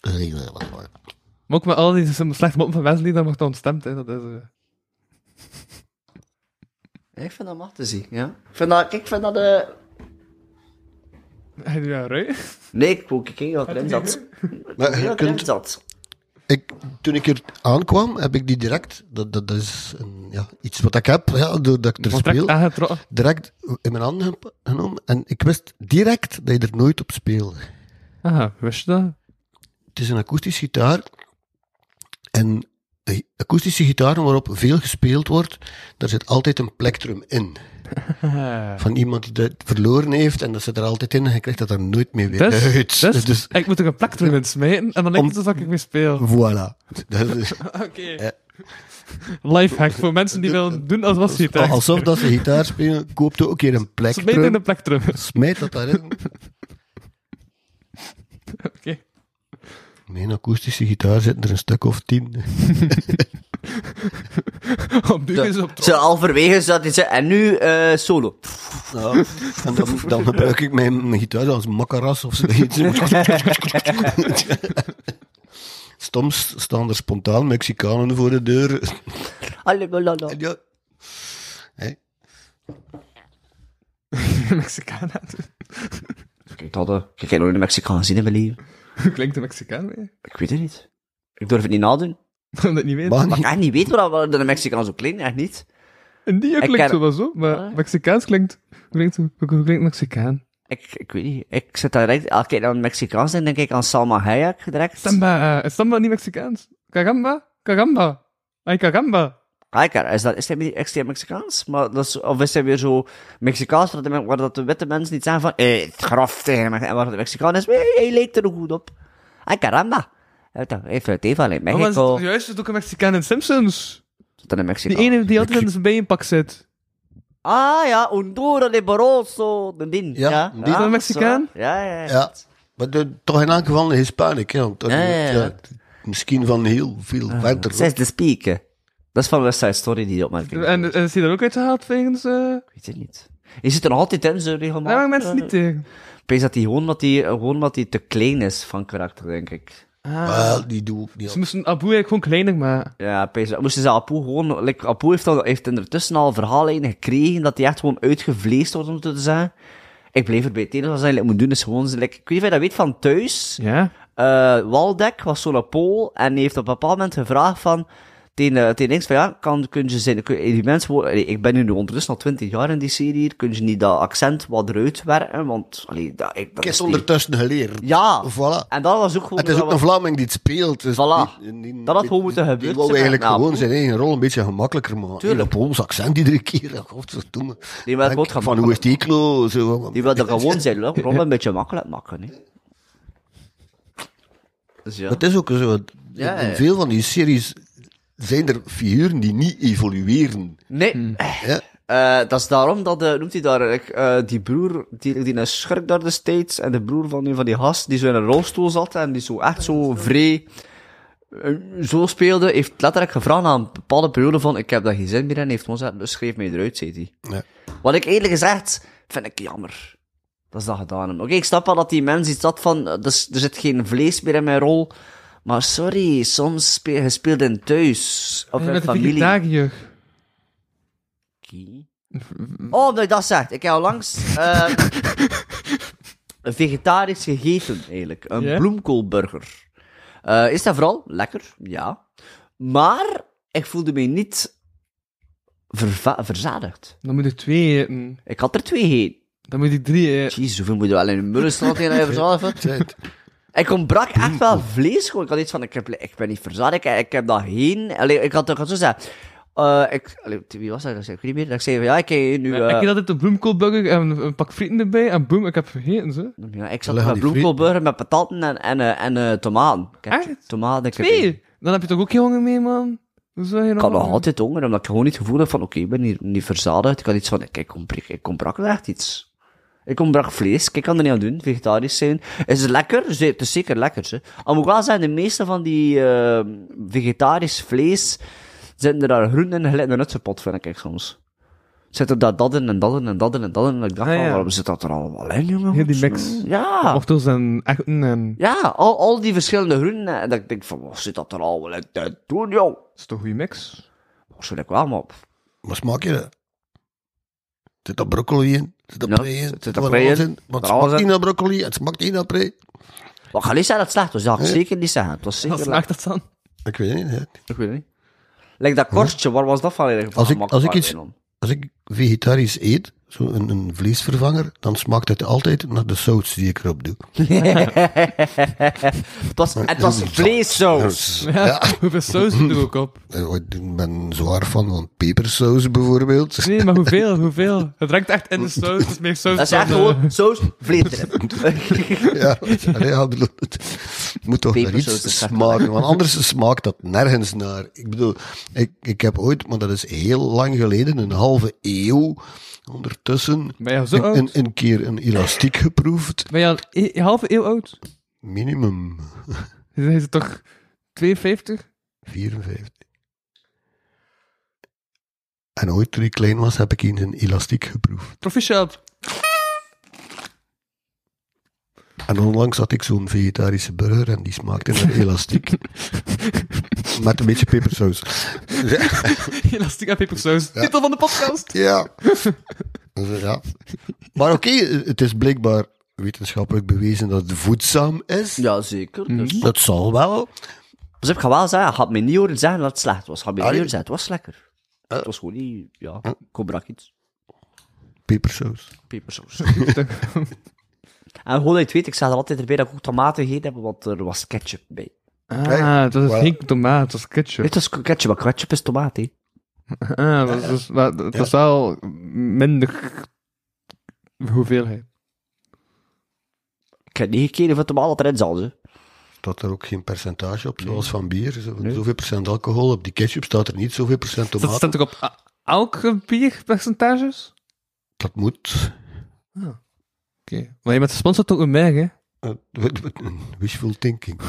Speaker 2: Redelijk wat warm.
Speaker 3: Maar ook met al die slechte moppen van mensen die daar mocht dan ontstemd hè, Dat is... eh.
Speaker 4: Ik vind dat mag te zien, ja. Ik vind dat... Ik vind dat eh,
Speaker 3: Hij doet ja, rui.
Speaker 4: Nee, ik ook. Ik ging wel klem zat.
Speaker 2: Maar je
Speaker 4: Heel
Speaker 2: kunt-
Speaker 4: klem zat.
Speaker 2: Ik, toen ik hier aankwam, heb ik die direct. Dat, dat, dat is een, ja, iets wat ik heb, ja, doordat ik er
Speaker 3: Contract
Speaker 2: speel.
Speaker 3: aangetrokken.
Speaker 2: Direct in mijn handen gep- genomen. En ik wist direct dat je er nooit op speelde.
Speaker 3: Aha, wist je dat?
Speaker 2: Het is een akoestische gitaar. En de akoestische gitaren waarop veel gespeeld wordt, daar zit altijd een plektrum in. Van iemand die dat verloren heeft en dat zit er altijd in en je krijgt dat er nooit meer weer
Speaker 3: Dus,
Speaker 2: uit.
Speaker 3: dus,
Speaker 2: Dus-
Speaker 3: ik moet er een plak erin smijten en dan denk
Speaker 2: Om-
Speaker 3: ik dat ik mee speel.
Speaker 2: voilà. Dat is-
Speaker 3: Oké.
Speaker 2: Ja.
Speaker 3: Lifehack voor mensen die willen doen als was het. Als
Speaker 2: alsof dat ze gitaar spelen, koopt ook een keer een
Speaker 3: Smijt in
Speaker 2: plektrum.
Speaker 3: de plak terug. Oké.
Speaker 2: Smijt dat daarin. Mijn akoestische gitaar zit er een stuk of tien.
Speaker 3: Op nu is het op
Speaker 4: Ze halverwege zat hij zei, en nu eh, solo.
Speaker 2: Ja, en dan, dan gebruik ik mijn, mijn gitaar als makkaras of zoiets. Soms staan er spontaan Mexicanen voor de deur.
Speaker 4: Allalala.
Speaker 2: En ja,
Speaker 3: de Mexicaan aan doen.
Speaker 4: Kijk, dat, eh, ik heb nooit een Mexicaan zien in mijn leven.
Speaker 3: Hoe klinkt de Mexicaan mee?
Speaker 4: Ik weet het niet. Ik durf het niet nadoen.
Speaker 3: Omdat ik niet weet.
Speaker 2: maar
Speaker 4: Maar ik
Speaker 2: niet.
Speaker 4: echt niet weet waarom dat een Mexicaan zo klinkt, echt niet.
Speaker 3: En die
Speaker 4: Ik
Speaker 3: klinkt
Speaker 4: ken-
Speaker 3: zo wel zo, maar
Speaker 4: Ah.
Speaker 3: Mexicaans klinkt... Hoe klinkt, hoe, hoe klinkt Mexicaan?
Speaker 4: Ik, ik weet niet. Ik zit daar direct, als ik aan Mexicaans denk, denk ik aan Salma Hayek direct.
Speaker 3: Samba, eh, is Samba niet Mexicaans? Caramba? Caramba? Ay, caramba.
Speaker 4: Hayek, Ah, is dat, is hij niet extreem Mexicaans? Maar dat is, of is hij weer zo Mexicaans, waar de, waar dat de witte mensen niet zijn van, eh, het graf tegen hem. En waar de Mexicaan is, eh, hij lijkt er goed op. Ay, caramba. Hij heeft het even in
Speaker 3: Oh, maar is
Speaker 4: Mexico.
Speaker 3: het, juist, is het ook een Mexicaan in Simpsons.
Speaker 4: Tot een
Speaker 3: Die
Speaker 4: Mexicaan.
Speaker 3: ene die altijd in zijn bijenpak zit.
Speaker 4: Ah ja, Undura Liberoso. De din.
Speaker 2: Ja,
Speaker 4: ja.
Speaker 2: die.
Speaker 4: ja,
Speaker 3: Van Mexicaan?
Speaker 4: zo. Ja, ja, ja.
Speaker 2: Ja, maar de- toch in elk geval een Hispanic. Ja, want dat-
Speaker 4: Ja, ja, Ah. ja.
Speaker 2: ja, misschien van heel veel verder.
Speaker 4: Zij is de speaker. Dat is van West Side Story, die opmerking.
Speaker 3: En, en is hij er ook uitgehaald wegens... eh
Speaker 4: Ik weet het niet. Je zit er nog altijd in, zo regelmatig.
Speaker 3: Daar waren mensen niet tegen.
Speaker 4: Ik denk dat hij gewoon, dat die, gewoon dat die te klein is van karakter, denk ik.
Speaker 2: Maar die doe ik niet.
Speaker 3: Ze moesten Abu eigenlijk gewoon kleiner maken.
Speaker 4: Ja, pees, dat moesten ze Apu gewoon... Like, Apu heeft, al, heeft ondertussen al verhalen gekregen dat hij echt gewoon uitgevleesd wordt, om het zo te zeggen. Ik bleef erbij. Het enige wat ze eigenlijk moeten doen is gewoon... ze, Like, ik weet niet of je dat weet van thuis.
Speaker 3: Ja?
Speaker 4: eh Waldek was zo'n poll en die heeft op een bepaald moment gevraagd van tegen, eh, tegen links van ja, kan, kun je zijn, kun, die mensen, wo- allee, ik ben nu ondertussen al 20 jaar in die serie hier, kun je niet dat accent wat eruit werken, want allee, dat, ik, dat
Speaker 2: Ik heb
Speaker 4: is
Speaker 2: het
Speaker 4: niet-
Speaker 2: ondertussen geleerd.
Speaker 4: Ja,
Speaker 2: Voilà.
Speaker 4: en dat was ook gewoon...
Speaker 2: Het is
Speaker 4: dat
Speaker 2: ook een
Speaker 4: was-
Speaker 2: Vlaming die het speelt. Dus
Speaker 4: Voilà.
Speaker 2: die- die-
Speaker 4: Dat had gewoon moeten
Speaker 2: die-
Speaker 4: gebeuren,
Speaker 2: Die wou
Speaker 4: zeg maar.
Speaker 2: eigenlijk
Speaker 4: Nou,
Speaker 2: gewoon
Speaker 4: goed.
Speaker 2: zijn eigen rol een beetje gemakkelijker maken.
Speaker 4: Tuurlijk.
Speaker 2: Tuurlijk. Op ons accent iedere keer. Godverdomme.
Speaker 4: Nee, maar het
Speaker 2: Denk
Speaker 4: wordt
Speaker 2: Van hoe is die klo? Zo.
Speaker 4: die wilde gewoon zijn lo- rol een beetje makkelijk maken, hè. Dus ja.
Speaker 2: Het is ook zo. in-
Speaker 4: Ja,
Speaker 2: in
Speaker 4: ja.
Speaker 2: veel van die series zijn er figuren die niet evolueren.
Speaker 4: Nee.
Speaker 3: Hm.
Speaker 2: Ja.
Speaker 4: Eh, dat is daarom dat, eh, noemt hij daar, eigenlijk, eh die broer, die, die een schurk daar destijds, en de broer van een van die gast, die zo in een rolstoel zat, en die zo echt zo vrij, eh, zo speelde, heeft letterlijk gevraagd na een bepaalde periode van, ik heb daar geen zin meer in, heeft ons gezegd, dus schreef mij eruit, zei hij.
Speaker 2: Ja.
Speaker 4: Wat ik eerlijk gezegd, vind ik jammer. Dat is dat gedaan hebben. Oké, ik snap wel dat die mens iets had van, eh, dus, er zit geen vlees meer in mijn rol, maar sorry, soms speel, je speelt in thuis, of
Speaker 3: Of
Speaker 4: in
Speaker 3: met de
Speaker 4: familie.
Speaker 3: vegetariër.
Speaker 4: Oké. Oh, omdat je dat zegt. Ik heb onlangs eh vegetarisch gegeten, eigenlijk. Een
Speaker 3: Ja?
Speaker 4: bloemkoolburger. Eh, is dat vooral lekker? Ja. Maar ik voelde me niet verva- verzadigd.
Speaker 3: Dan moet ik twee eten.
Speaker 4: Ik had er twee heen.
Speaker 3: Dan moet ik drie eten.
Speaker 4: Jezus, hoeveel moet je wel in een mullenstraat in dat je verzadigd wordt?
Speaker 2: Zet.
Speaker 4: Ik ontbrak echt wel vlees gewoon. Ik had iets van, ik, heb, ik ben niet verzadigd, ik, ik heb dat heen. Allee, ik had toch zo zeggen. eh, ik, allee, wie was dat? Ik weet niet meer. Dat ik zei van, ja, ik heb nu...
Speaker 3: Ik
Speaker 4: eh,
Speaker 3: heb altijd een bloemkoolburger en een, een pak frieten erbij. En boem, ik heb vergeten ze.
Speaker 4: Ja, ik zat
Speaker 2: Leggen
Speaker 4: met
Speaker 2: die
Speaker 4: bloemkoolburger met pataten en, en, eh, en eh, tomaten. Ik heb
Speaker 3: Echt?
Speaker 4: Tomaten, ik heb-
Speaker 3: Twee! Oh. Dan heb je toch ook geen honger mee, man? Hoezo heb je
Speaker 4: Ik
Speaker 3: nog
Speaker 4: had nog
Speaker 3: honger?
Speaker 4: altijd honger, omdat ik gewoon niet het gevoel had van, oké, ik ben hier niet verzadigd. Ik had iets van, kijk, ontbrak, ik ontbrak wel echt iets. Ik ontbrak vlees, ik kan er niet aan doen, vegetarisch zijn. Is het lekker? Ze- Het is zeker lekker, hè. Al moet ik wel zeggen, de meeste van die eh, vegetarisch vlees zitten er daar groenten en geleide nutsepot, vind ik soms. Zit er dat, dat in en dat in en dat in en dat in. En ik dacht,
Speaker 3: Ah,
Speaker 4: van,
Speaker 3: ja.
Speaker 4: waarom zit dat er allemaal in, jongen?
Speaker 3: Heel die mix.
Speaker 4: Ja.
Speaker 3: Of dus een echten en...
Speaker 4: Ja, al, al die verschillende groenten. En dat ik denk van, wat zit dat er al wel uit te doen, joh?
Speaker 3: Dat is toch een goede mix?
Speaker 4: Waarschijnlijk wel, maar...
Speaker 2: Wat smaak je dat? Zit er broccoli in? Zit er
Speaker 4: Ja,
Speaker 2: prei in?
Speaker 4: zit er
Speaker 2: er
Speaker 4: prei in?
Speaker 2: alles Want
Speaker 4: Er
Speaker 2: het
Speaker 4: alles
Speaker 2: smaakt
Speaker 4: in?
Speaker 2: niet naar broccoli, het smaakt niet naar prei.
Speaker 4: Wat ga niet zeggen dat het slecht was? Dat ga ik zeker niet zeggen. Het was
Speaker 3: Wat
Speaker 4: zeker lekker.
Speaker 3: smaakt dat dan?
Speaker 2: Ik weet niet, hè.
Speaker 4: Ik weet het niet. Like dat korstje, waar was dat van? eigenlijk?
Speaker 2: Als ik-
Speaker 4: Van
Speaker 2: als ik
Speaker 4: Makkelijk,
Speaker 2: iets-
Speaker 4: man.
Speaker 2: Als ik vegetarisch eet, zo een, een vleesvervanger, dan smaakt het altijd naar de saus die ik erop doe.
Speaker 4: het was, het was vleessaus.
Speaker 3: Ja. Hoeveel saus doe ik ook op?
Speaker 2: Eh, Ik ben zwaar van, van pepersaus bijvoorbeeld.
Speaker 3: Nee, maar hoeveel? Hoeveel? Het ruikt echt in de saus. Het is meer saus
Speaker 4: Dat is
Speaker 3: dan,
Speaker 4: echt
Speaker 3: eh,
Speaker 4: gewoon saus, vlees erin.
Speaker 2: Ja, allee, ja, ik bedoel, het moet toch naar
Speaker 4: Pepersaus is
Speaker 2: iets
Speaker 4: echt
Speaker 2: smaken, want anders smaakt dat nergens naar. Ik bedoel, ik, ik heb ooit, maar dat is heel lang geleden, een halve eeuw ondertussen,
Speaker 3: Ben je al zo
Speaker 2: een,
Speaker 3: oud?
Speaker 2: een, een keer een elastiek geproefd.
Speaker 3: Ben je al e- een halve eeuw oud?
Speaker 2: Minimum
Speaker 3: Dan is het toch 52?
Speaker 2: 54. En ooit toen ik klein was, heb ik eens een elastiek geproefd.
Speaker 3: Proficiat.
Speaker 2: En onlangs had ik zo'n vegetarische burger en die smaakte naar elastiek. Met een beetje pepersaus.
Speaker 3: Elastiek en pepersaus. Titel van de podcast.
Speaker 2: Ja. Dus, ja. Maar oké, het is blijkbaar wetenschappelijk bewezen dat het voedzaam is.
Speaker 4: Ja, zeker. Dus.
Speaker 2: Dat zal wel.
Speaker 4: Dus ik ga wel zeggen, had me niet horen zeggen dat het slecht was. Had me niet
Speaker 2: Allee.
Speaker 4: horen zeggen, het was lekker.
Speaker 2: Eh.
Speaker 4: Het was gewoon niet... Ja, ik ontbrak iets.
Speaker 2: Pepersaus.
Speaker 4: Pepersaus. en gewoon dat je het weet, ik zei er altijd erbij dat ik ook tomaten gegeten heb, want er was ketchup bij.
Speaker 3: Ah, dat is
Speaker 2: Voilà.
Speaker 3: geen tomaat, dat is ketchup.
Speaker 4: Dit was ketchup, maar ketchup is tomaat, hè.
Speaker 3: Ah, dat is, dat is- maar dat is wel minder hoeveelheid.
Speaker 4: Ik heb niet gekeken van tomaat dat erin zat, hè.
Speaker 2: Staat er ook geen percentage op, zoals van bier. Zo, Zoveel procent alcohol. Op die ketchup staat er niet zoveel procent
Speaker 3: Dat
Speaker 2: tomaat.
Speaker 3: staat toch op a- elke bierpercentages?
Speaker 2: Dat moet.
Speaker 3: Oké. Maar je bent gesponsord door Umer, hè?
Speaker 2: eh, w- w- wishful thinking.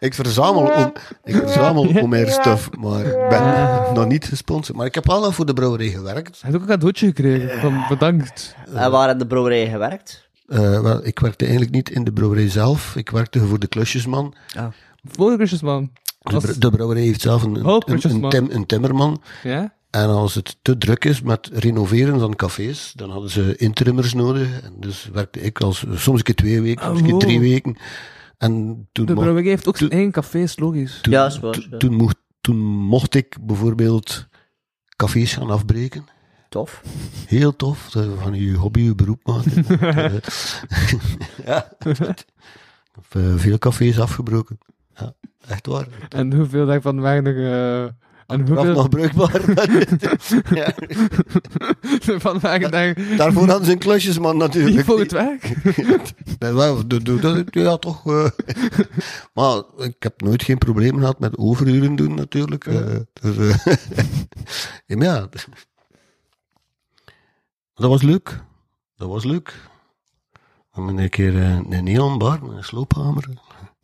Speaker 2: ik verzamel, om, ik verzamel Omer stuff, maar ik ben nog niet gesponsord. Maar ik heb wel voor de brouwerij gewerkt.
Speaker 3: Hij heeft ook een cadeautje gekregen. Van bedankt.
Speaker 4: En waar in de brouwerij gewerkt?
Speaker 2: Eh, wel, ik werkte eigenlijk niet in de brouwerij zelf. Ik werkte voor de klusjesman.
Speaker 3: Voor de man.
Speaker 2: De, br- de brouwerij heeft zelf een,
Speaker 3: Oh,
Speaker 2: een, een,
Speaker 3: klusjesman.
Speaker 2: tim- een timmerman.
Speaker 3: Ja?
Speaker 2: En als het te druk is met renoveren van cafés, dan hadden ze interimmers nodig. En dus werkte ik als, soms een keer twee weken, soms een keer
Speaker 3: Oh.
Speaker 2: drie weken. En toen,
Speaker 3: De
Speaker 2: mo-
Speaker 3: brouwerij heeft ook zijn eigen café, is logisch.
Speaker 2: toen,
Speaker 4: Ja, is waar,
Speaker 2: to-
Speaker 4: ja.
Speaker 2: toen, mocht, toen mocht ik bijvoorbeeld cafés gaan afbreken.
Speaker 4: Tof.
Speaker 2: Heel tof, dat je van je hobby je beroep maken. Eh, ja. Ik heb eh, veel cafés afgebroken. Ja, echt waar.
Speaker 3: En hoeveel daarvan waren er... eh, en
Speaker 2: Graf
Speaker 3: hoeveel
Speaker 2: nog bruikbaar. Ja,
Speaker 3: daarvan waren daar
Speaker 2: Daarvoor hadden ze een klusjesman natuurlijk.
Speaker 3: niet voor het werk?
Speaker 2: Nee, wel, doe- doe dat- ja, toch. eh. Maar ik heb nooit geen probleem gehad met overuren doen natuurlijk. eh. Dus, eh, ja, maar ja. Dat was leuk. Dat was leuk. En dan een keer eh, een neonbar met een sloophamer.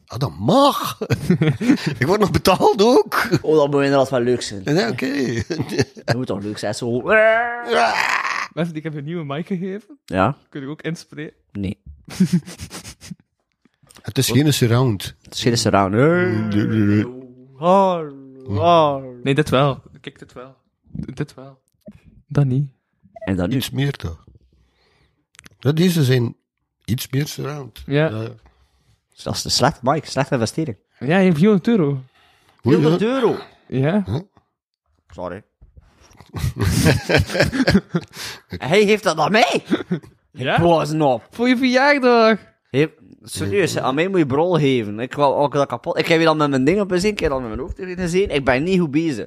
Speaker 2: Ah, dat mag. ik word nog betaald ook.
Speaker 4: Oh, dat moet inderdaad wel leuk zijn.
Speaker 2: Ja, oké.
Speaker 4: Dat moet toch leuk zijn, zo...
Speaker 3: Mensen, ik heb een nieuwe mic gegeven.
Speaker 4: Ja?
Speaker 3: Kun je ook inspreken?
Speaker 4: Nee.
Speaker 2: Het is geen surround.
Speaker 4: Het is geen surround. Hey.
Speaker 3: Nee, dat wel. Kijk, dit wel. D- dit wel. Dat niet.
Speaker 4: En dan nu.
Speaker 2: Iets meer toch? Dat deze zijn iets meer surround.
Speaker 3: Ja.
Speaker 2: Eh,
Speaker 4: Dus Dat is de slecht, Mike. Slechte investering.
Speaker 3: Ja, je hebt 400 euro.
Speaker 2: hoe je-
Speaker 4: 100 euro.
Speaker 3: Ja?
Speaker 4: Sorry. Hij geeft dat aan mij.
Speaker 3: Ja?
Speaker 4: Blazen op.
Speaker 3: Voor je verjaardag.
Speaker 4: Hij- serieus, hè, aan mij moet je brol geven. Ik wil ook dat kapot. Ik heb hier al met mijn ding op bezien. Ik heb al met mijn hoofd erin gezien. Ik ben niet goed bezig.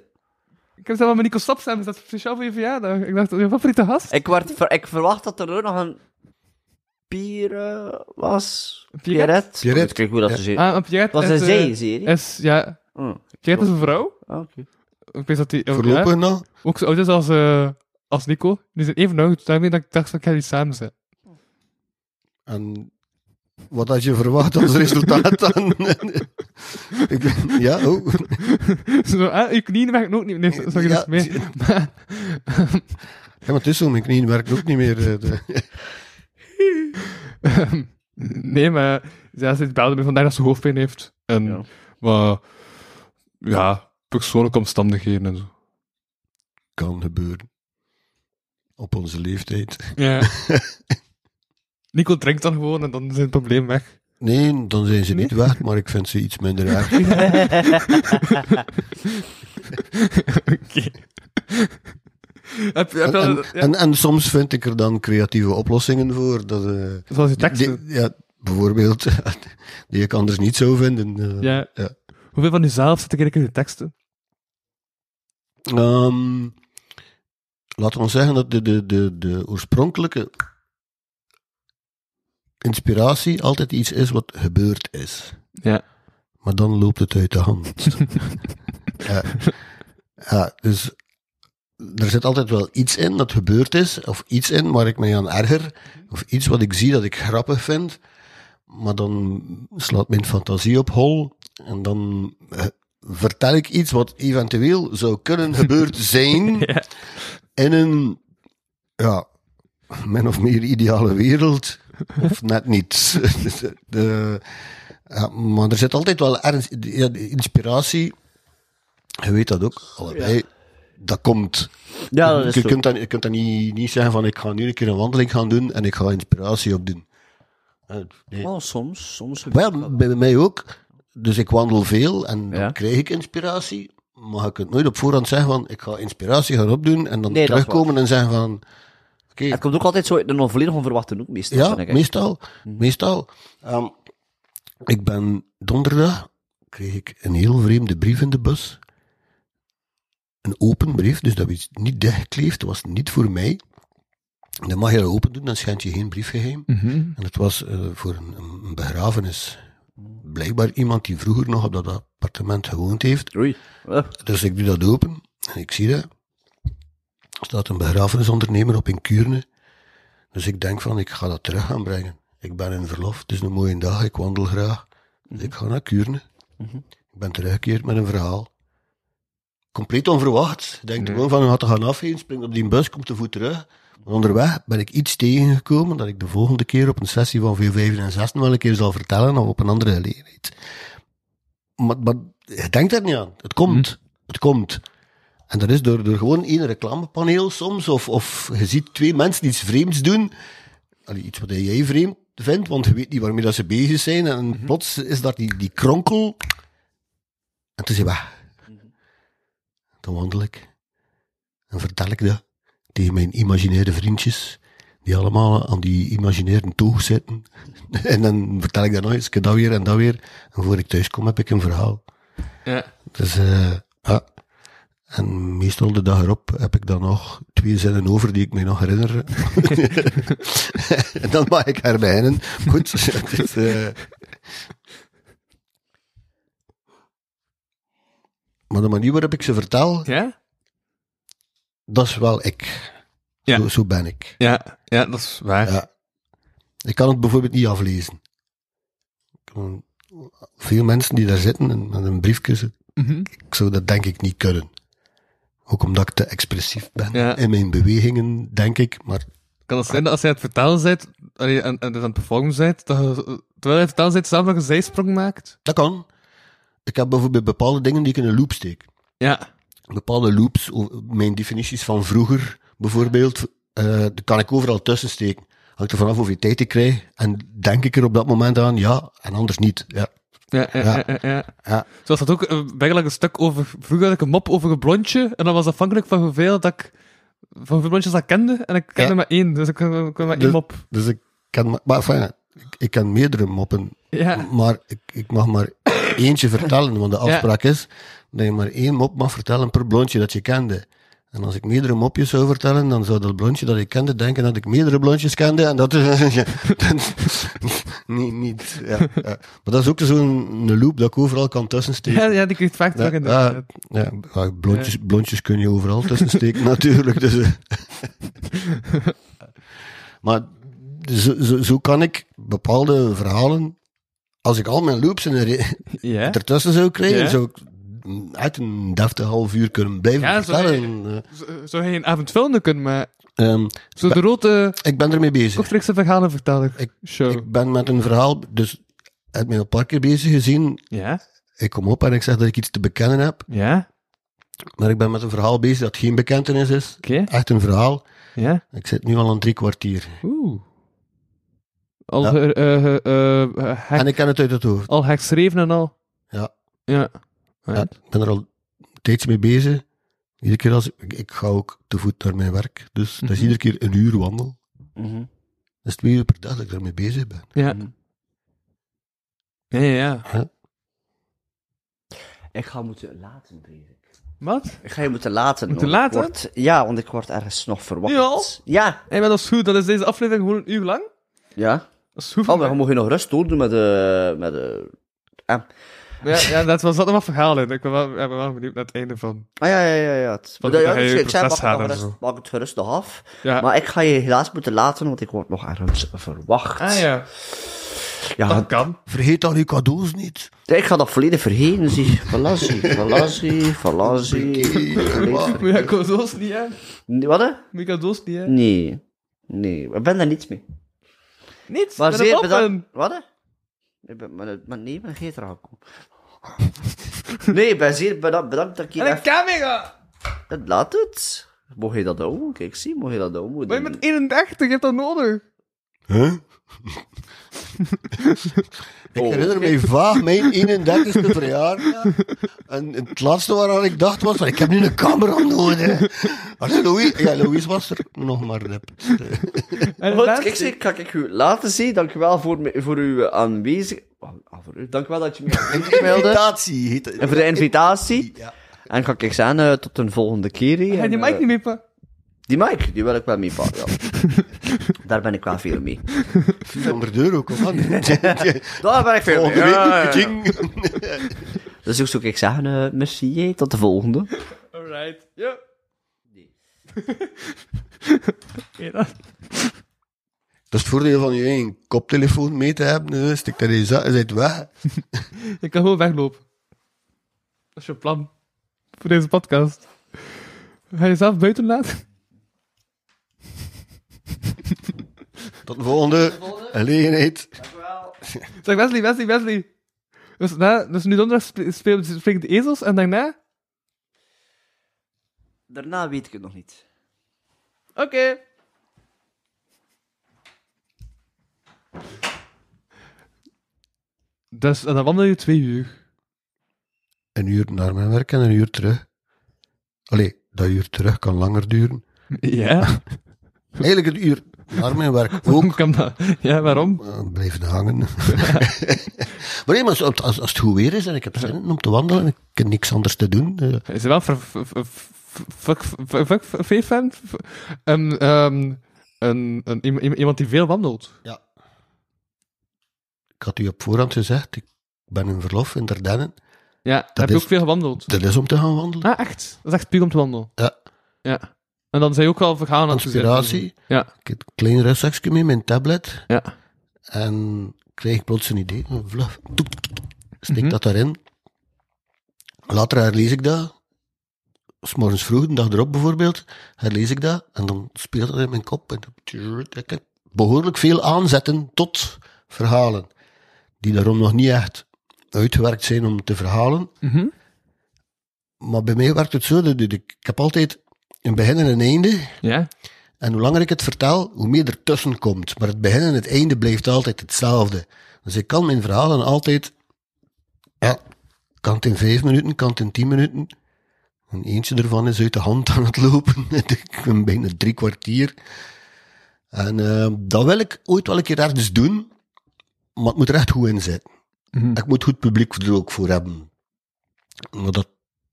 Speaker 3: Ik heb zelf wel met Nico Staps samen dat speciaal voor je verjaardag. Ik dacht, je favoriete gast?
Speaker 4: Ik, werd ver- ik verwacht dat er ook nog een Pire was.
Speaker 3: Pierret?
Speaker 4: Pierret?
Speaker 2: Pierret.
Speaker 4: Ik weet hoe dat ze zien.
Speaker 3: Ah, een Pierrette
Speaker 4: was
Speaker 3: is,
Speaker 4: een
Speaker 3: eh,
Speaker 4: zee-serie.
Speaker 3: Is, ja,
Speaker 4: Oh, oké.
Speaker 3: Pierrette is een vrouw. Ik weet dat die, oh,
Speaker 2: Voorlopig
Speaker 3: ja,
Speaker 2: nog.
Speaker 3: ook zo oud is als, eh, als Nico. Die zijn even oud. Daarmee dat ik dacht dat ik jullie samen zijn.
Speaker 2: En wat had je verwacht als resultaat dan? ik ben, ja, oh.
Speaker 3: zo, ah, je knieën werken ook niet meer. Nee, sorry,
Speaker 2: Ja,
Speaker 3: dat is mee.
Speaker 2: zie-
Speaker 3: Maar,
Speaker 2: Ja, maar het is zo, mijn knieën werken ook niet meer. eh, de-
Speaker 3: nee, maar ja, ze belde me vandaag dat ze hoofdpijn heeft. En,
Speaker 4: Ja.
Speaker 3: maar, ja, persoonlijke omstandigheden en zo.
Speaker 2: kan gebeuren. Op onze leeftijd.
Speaker 3: Ja. Nico drinkt dan gewoon en dan is het probleem weg.
Speaker 2: Nee, dan zijn ze niet waard, maar ik vind ze iets minder erg.
Speaker 3: Oké. heb, heb je al-
Speaker 2: En,
Speaker 3: ja,
Speaker 2: en, en soms vind ik er dan creatieve oplossingen voor. Dat, eh,
Speaker 3: zoals je teksten.
Speaker 2: die, ja, bijvoorbeeld, die ik anders niet zou vinden. eh.
Speaker 3: ja.
Speaker 2: ja.
Speaker 3: Hoeveel van jezelf zit er eigenlijk in de teksten?
Speaker 2: Ehm, laten we zeggen dat de, de, de, de oorspronkelijke inspiratie altijd iets is wat gebeurd is.
Speaker 3: Ja.
Speaker 2: Maar dan loopt het uit de hand. ja. ja, dus er zit altijd wel iets in dat gebeurd is, of iets in waar ik mij aan erger, of iets wat ik zie dat ik grappig vind, maar dan slaat mijn fantasie op hol en dan eh, vertel ik iets wat eventueel zou kunnen gebeurd zijn
Speaker 3: Ja.
Speaker 2: in een, ja, min of meer ideale wereld, of net niet. De- ja, maar er zit altijd wel ergens ja, de inspiratie. Je weet dat ook, allebei. Dat komt.
Speaker 4: Ja, dat is
Speaker 2: je,
Speaker 4: zo.
Speaker 2: kunt dan, je kunt dan niet, niet zeggen van ik ga nu een keer een wandeling gaan doen en ik ga inspiratie opdoen. Eh, Nee.
Speaker 4: Oh, soms, soms.
Speaker 2: Wel, bij mij ook. Dus ik wandel veel en dan
Speaker 4: Ja.
Speaker 2: krijg ik inspiratie. Maar je kunt nooit op voorhand zeggen van ik ga inspiratie gaan opdoen en dan
Speaker 4: Nee, dat is
Speaker 2: terugkomen en zeggen van oké,
Speaker 4: Het komt ook altijd zo uit een volledig onverwachte hoek, meestal.
Speaker 2: ja,
Speaker 4: vind ik, hè.
Speaker 2: meestal.
Speaker 4: Mhm.
Speaker 2: Meestal. Ehm, ik ben donderdag, kreeg ik een heel vreemde brief in de bus. Een open brief, dus dat was niet dichtgekleefd, dat was niet voor mij. Dan mag je dat open doen, dan schijnt je geen briefgeheim.
Speaker 3: Hmm.
Speaker 2: En het was eh, voor een, een begrafenis. Blijkbaar iemand die vroeger nog op dat appartement gewoond heeft.
Speaker 4: Oei. Eh,
Speaker 2: Dus ik doe dat open en ik zie dat. Er staat een begrafenisondernemer op in Kuurne. Dus ik denk van, ik ga dat terug gaan brengen. Ik ben in verlof, het is een mooie dag, ik wandel graag. Dus ik ga naar Kuurne. Ik ben teruggekeerd met een verhaal. Compleet onverwacht. Ik denk gewoon van, hij gaat te gaan afheen, springt op die bus, komt te voet terug. Maar onderweg ben ik iets tegengekomen dat ik de volgende keer op een sessie van V5 en 6 wel een keer zal vertellen of op een andere gelegenheid. Maar, maar je denkt er niet aan. Het komt. Het komt. En dat is door, door gewoon één reclamepaneel soms, of, of je ziet twee mensen iets vreemds doen. Allee, iets wat jij vreemd vindt, want je weet niet waarmee dat ze bezig zijn. En plots is daar die, die kronkel. En toen is hij weg. Dan wandel ik. En vertel ik dat tegen mijn imaginaire vriendjes, die allemaal aan die imaginaire toog zitten. en dan vertel ik dat nog eens, ik dat weer en dat weer. En voor ik thuis kom, heb ik een verhaal.
Speaker 3: Ja.
Speaker 2: Dus, eh, ja. En meestal de dag erop heb ik dan nog twee zinnen over die ik me nog herinner. en dan mag ik herbeginnen. Goed. het is, eh. Maar de manier waarop ik ze vertel,
Speaker 3: Ja?
Speaker 2: dat is wel ik.
Speaker 3: Ja.
Speaker 2: Zo, zo ben ik.
Speaker 3: Ja, ja, dat is waar.
Speaker 2: Ja. Ik kan het bijvoorbeeld niet aflezen. Ik kan- Veel mensen die daar zitten en met een briefje zitten,
Speaker 3: Mhm.
Speaker 2: ik zou dat denk ik niet kunnen. Ook omdat ik te expressief ben
Speaker 3: Ja.
Speaker 2: in mijn bewegingen, denk ik. Maar
Speaker 3: Kan het zijn dat als jij aan het vertalen bent allee, en, en dus aan het performen bent, dat je, terwijl je aan het vertalen bent, zelf nog een zijsprong maakt?
Speaker 2: dat kan. Ik heb bijvoorbeeld bepaalde dingen die ik in een loop steek.
Speaker 3: Ja.
Speaker 2: bepaalde loops, o- mijn definities van vroeger bijvoorbeeld, eh die kan ik overal tussen steken. Hangt er vanaf hoeveel tijd ik krijg. En denk ik er op dat moment aan, ja, en anders niet. Ja.
Speaker 3: Ja, ja, ja.
Speaker 2: Ja.
Speaker 3: ja, ja.
Speaker 2: Ja.
Speaker 3: Zoals dat ook, eh, eigenlijk een stuk over, vroeger had ik een mop over een blondje, en dat was afhankelijk van hoeveel dat ik, van hoeveel blondjes dat ik kende, en ik kende
Speaker 2: Ja.
Speaker 3: maar één, dus ik kon ik kon maar één
Speaker 2: Dus-
Speaker 3: mop.
Speaker 2: Dus ik kan, maar, maar enfin, ik, ik kan meerdere moppen,
Speaker 3: Ja,
Speaker 2: maar ik, ik mag maar eentje vertellen, want de afspraak is dat je maar één mop mag vertellen per blondje dat je kende. En als ik meerdere mopjes zou vertellen, dan zou dat blondje dat ik kende denken dat ik meerdere blondjes kende. En dat is. ja, dat- niet, niet. Ja, ja. Maar dat is ook zo'n een loop dat ik overal kan tussensteken.
Speaker 3: ja, ja die kreeg vaak terug in de...
Speaker 2: ja, ah, ja, ja, blondjes, blondjes kun je overal tussensteken natuurlijk. Dus, eh. maar zo, zo, zo kan ik bepaalde verhalen, als ik al mijn loops in een re-
Speaker 3: Ja.
Speaker 2: ertussen zou krijgen,
Speaker 3: Ja.
Speaker 2: zou ik uit een deftig half uur kunnen blijven
Speaker 3: Ja, zo-
Speaker 2: vertellen.
Speaker 3: Z- Zou hij een avondfilmde kunnen maken?
Speaker 2: Eh, ehm,
Speaker 3: Zo de rode,
Speaker 2: ik ben ermee bezig.
Speaker 3: kortrijkse verhalenverteller
Speaker 2: Ik-
Speaker 3: show.
Speaker 2: Ik ben met een verhaal, dus heb mij al een paar keer bezig gezien.
Speaker 3: Ja,
Speaker 2: Ik kom op en ik zeg dat ik iets te bekennen heb,
Speaker 3: ja,
Speaker 2: maar ik ben met een verhaal bezig dat geen bekentenis is.
Speaker 3: oké,
Speaker 2: Echt een verhaal.
Speaker 3: ja.
Speaker 2: Ik zit nu al aan drie kwartier.
Speaker 3: Oeh. Al,
Speaker 2: Ja.
Speaker 3: her- eh, eh, eh, eh, hek-
Speaker 2: En ik ken het uit het hoofd.
Speaker 3: al herschreven en al.
Speaker 2: Ja.
Speaker 3: Ja.
Speaker 2: Ja, ik ben er al tijds mee bezig. Iedere keer als ik, ik ga ook te voet naar mijn werk. Dus dat is
Speaker 3: Mhm.
Speaker 2: iedere keer een uur wandel.
Speaker 4: Mhm.
Speaker 2: Dat is twee uur per dag dat ik daarmee bezig ben.
Speaker 3: Ja.
Speaker 4: Mhm.
Speaker 3: Ja, ja, ja.
Speaker 4: Ik ga moeten laten, bezig.
Speaker 3: Wat?
Speaker 4: Ik ga je moeten laten.
Speaker 3: Moeten
Speaker 4: want ik
Speaker 3: laten?
Speaker 4: word- ja, want ik word ergens nog verwacht.
Speaker 3: Nu al?
Speaker 4: Ja.
Speaker 3: Hé, maar dat is goed. Dan is deze aflevering gewoon een uur lang.
Speaker 4: Ja.
Speaker 3: Dat is goed.
Speaker 4: Oh, maar we mogen nog rust doordoen met
Speaker 3: eh,
Speaker 4: de... Met de...
Speaker 3: ja, ja, dat was dat nog wat verhaal in. Ik ben wel, ja, ben wel benieuwd naar het einde van.
Speaker 4: Ah, ja, ja, ja. ja. Het,
Speaker 3: Van
Speaker 4: ja,
Speaker 3: dat
Speaker 4: ja,
Speaker 3: hij
Speaker 4: dus
Speaker 3: je
Speaker 4: ik zei,
Speaker 3: proces
Speaker 4: mag,
Speaker 3: gaat
Speaker 4: het nog
Speaker 3: en
Speaker 4: rust,
Speaker 3: zo.
Speaker 4: mag het gerust nog af.
Speaker 3: Ja.
Speaker 4: Maar ik ga je helaas moeten laten, want ik word nog ergens verwacht.
Speaker 3: Ah ja, Ah.
Speaker 4: Ja,
Speaker 3: dat kan.
Speaker 2: Vergeet al uw cadeaus niet.
Speaker 4: ik ga dat volledig vergeten, zie. Fallazie, fallazie, fallazie. Volledig ver-
Speaker 3: Maar ja, cadeaus niet, hè.
Speaker 4: Nee, Wat, hè?
Speaker 3: Moet je cadeaus niet, hè.
Speaker 4: Mm. Nee. Nee, ik ben daar niets mee.
Speaker 3: Niets,
Speaker 4: Maar
Speaker 3: met
Speaker 4: zeer
Speaker 3: een
Speaker 4: bedankt.
Speaker 3: moppen.
Speaker 4: Wat? hè? Ik ben, maar, maar nee, ik ben geen traag Nee, ik ben zeer bedankt, bedankt dat ik hier
Speaker 3: En een
Speaker 4: even...
Speaker 3: camera.
Speaker 4: Dat laat het. Mocht je dat doen? Kijk, zie, mocht je dat doen? Moet
Speaker 3: Maar je
Speaker 4: doen.
Speaker 3: bent 31, je hebt dat nodig.
Speaker 2: Huh? ik
Speaker 4: Oh.
Speaker 2: herinner mij vaag mijn 31ste verjaardag. En het laatste waaraan ik dacht was, van, ik heb nu een camera nodig. Maar Louis, ja, Louis was er nog maar nep.
Speaker 3: En
Speaker 4: Goed,
Speaker 3: laatst-
Speaker 4: kijk, zie, ik ga ik u laten zien. Dankjewel voor, me- voor uw eh, aanwezigheid. Ah, voor u. Dankjewel dat je me hebt ingemeld.
Speaker 2: Invitatie heet het.
Speaker 4: En voor de invitatie.
Speaker 2: Ja.
Speaker 4: En ga ik zeggen, eh, tot een volgende keer. hè.
Speaker 3: Ga
Speaker 4: En,
Speaker 3: je die
Speaker 4: eh,
Speaker 3: mic niet mee, pa?
Speaker 4: Die mic, die wil ik wel mee pakken, ja. Daar ben ik wel veel mee.
Speaker 2: 400 euro, kom aan.
Speaker 4: Daar ben ik veel mee.
Speaker 2: Volgende
Speaker 4: Ja, ja,
Speaker 2: week.
Speaker 4: ja.
Speaker 2: Tjing.
Speaker 4: Dus ik zou ik zeggen, eh, merci, hè. tot de volgende.
Speaker 3: Alright. Yep. Nee. dat...
Speaker 2: Dat is het voordeel van je eigen koptelefoon mee te hebben. hè. Stik dat in je zak en zit weg.
Speaker 3: Je kan gewoon weglopen. Dat is je plan. Voor deze podcast. Ga je jezelf buiten laten?
Speaker 2: Tot de volgende gelegenheid.
Speaker 3: Zeg Wesley, Wesley, Wesley. Dus, na, dus nu donderdag spe- speel- springen de ezels en daarna?
Speaker 4: Daarna weet ik het nog niet.
Speaker 3: Oké. Dus, en dan wandel je twee uur.
Speaker 2: Een uur naar mijn werk en een uur terug. Allee, dat uur terug kan langer duren.
Speaker 3: Ja?
Speaker 2: Eigenlijk een uur naar mijn werk ook.
Speaker 3: kan dat? Ja, waarom?
Speaker 2: Eh, Blijven hangen. maar nee, maar als, als, als het goed weer is en ik heb zin om te wandelen en ik heb niks anders te doen. eh,
Speaker 3: Is er wel ver- ver- ver- ver- ver- ver- ver- ver- fan? Ver- Een, ehm, een, een, iem- iem- iemand die veel wandelt.
Speaker 2: ik had u op voorhand gezegd, ik ben in verlof in Dardenne.
Speaker 3: Ja, heb je
Speaker 2: is-
Speaker 3: ook veel gewandeld.
Speaker 2: Dat is om te gaan wandelen.
Speaker 3: Ah, echt? Dat is echt puur om te wandelen.
Speaker 2: Ja.
Speaker 3: Ja. En dan zijn je ook wel vergaan aan het verzinnen.
Speaker 2: Inspiratie.
Speaker 3: Ja.
Speaker 2: Ik heb een klein rugzakje mee, mijn tablet.
Speaker 3: Ja.
Speaker 2: En kreeg ik plots een idee. Een Vlug. Toek, toek, toek. Steek
Speaker 3: Mhm.
Speaker 2: dat daarin. Later herlees ik dat. 's morgens vroeg, een dag erop bijvoorbeeld, herlees ik dat. En dan speelt dat in mijn kop. En dan- ik heb behoorlijk veel aanzetten tot verhalen. Die daarom nog niet echt uitgewerkt zijn om te verhalen.
Speaker 3: Mhm.
Speaker 2: Maar bij mij werkt het zo, dat ik, ik heb altijd een begin en een einde.
Speaker 3: Ja?
Speaker 2: En hoe langer ik het vertel, hoe meer er tussen komt. Maar het begin en het einde blijft altijd hetzelfde. Dus ik kan mijn verhalen altijd, ja, kan het in vijf minuten, kan het in tien minuten. En eentje ervan is uit de hand aan het lopen. ik ben bijna drie kwartier. En eh, dat wil ik ooit wel een keer ergens doen. Maar het moet er echt goed in zitten. Ik moet goed publiek er ook voor hebben. Maar dat,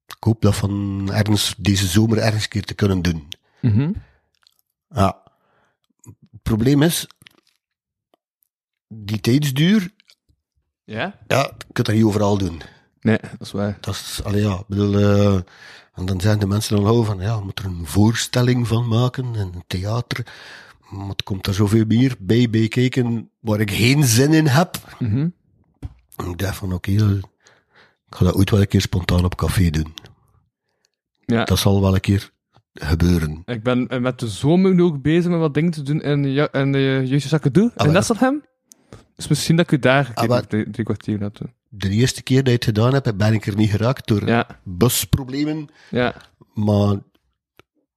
Speaker 2: ik hoop dat van ergens, deze zomer ergens een keer te kunnen doen.
Speaker 3: Mhm.
Speaker 2: Ja. Het probleem is, die tijdsduur,
Speaker 3: Ja?
Speaker 2: ja, je kunt dat niet overal doen.
Speaker 3: Nee, dat is waar.
Speaker 2: Dat is, allee, ja, ik bedoel, eh, en dan zijn de mensen dan al van, ja, je moet er een voorstelling van maken, en een theater. Maar het komt er zoveel meer bij, bij kijken waar ik geen zin in heb.
Speaker 3: Mhm.
Speaker 2: En ik dacht van, oké, eh, ik ga dat ooit wel een keer spontaan op café doen.
Speaker 3: Ja.
Speaker 2: Dat zal wel een keer gebeuren.
Speaker 3: Ik ben eh, met de zomer nu ook bezig met wat dingen te doen in, ja, in de Jezus Akkedoe.
Speaker 2: Ah,
Speaker 3: in
Speaker 2: wel. Ah,
Speaker 3: Nesselhem. Dus misschien dat ik u daar een keer
Speaker 2: maar-
Speaker 3: nog drie, drie kwartier laat doen.
Speaker 2: De eerste keer dat je het gedaan hebt, ben ik er niet geraakt door
Speaker 3: Ja,
Speaker 2: busproblemen.
Speaker 3: ja.
Speaker 2: Maar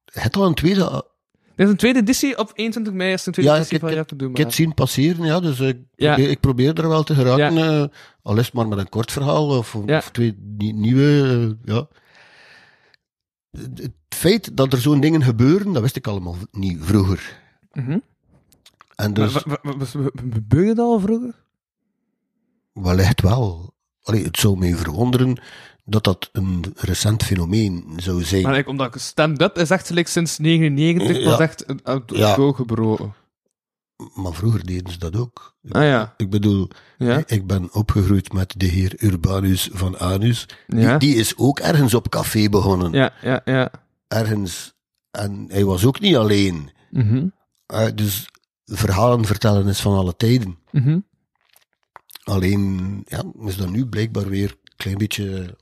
Speaker 2: het al een tweede
Speaker 3: Er is een tweede editie. Op 21 mei is een tweede
Speaker 2: Ja,
Speaker 3: editie
Speaker 2: ik-
Speaker 3: van
Speaker 2: ik-
Speaker 3: Ja Akkedoe. maar-
Speaker 2: kit zien passeren, ja. Dus ik,
Speaker 3: Ja.
Speaker 2: probeer, ik probeer er wel te geraken. eh, al is het maar met een kort verhaal of,
Speaker 3: Ja.
Speaker 2: of twee nie- nieuwe. eh, ja. Het het feit dat er zo'n dingen gebeuren, dat wist ik allemaal niet vroeger.
Speaker 3: Mhm. Maar
Speaker 2: En dus,
Speaker 3: wa- wa- wa- wa- Gebeurde dat al vroeger?
Speaker 2: wellicht wel. Allee, het zou mij verwonderen dat dat een recent fenomeen zou zijn.
Speaker 3: Maar like, omdat stand-up is echt like, sinds 99 was
Speaker 2: Ja.
Speaker 3: echt een- een-
Speaker 2: Ja.
Speaker 3: doorgebroken.
Speaker 2: maar vroeger deden ze dat ook.
Speaker 3: Ah ja.
Speaker 2: Ik bedoel,
Speaker 3: Ja.
Speaker 2: ik ben opgegroeid met de heer Urbanus van Anus.
Speaker 3: Ja.
Speaker 2: Die, die is ook ergens op café begonnen.
Speaker 3: Ja, ja, ja.
Speaker 2: Ergens. En hij was ook niet alleen.
Speaker 3: Mhm.
Speaker 2: Eh, dus verhalen vertellen is van alle tijden.
Speaker 3: Mhm.
Speaker 2: Alleen ja, is dat nu blijkbaar weer een klein beetje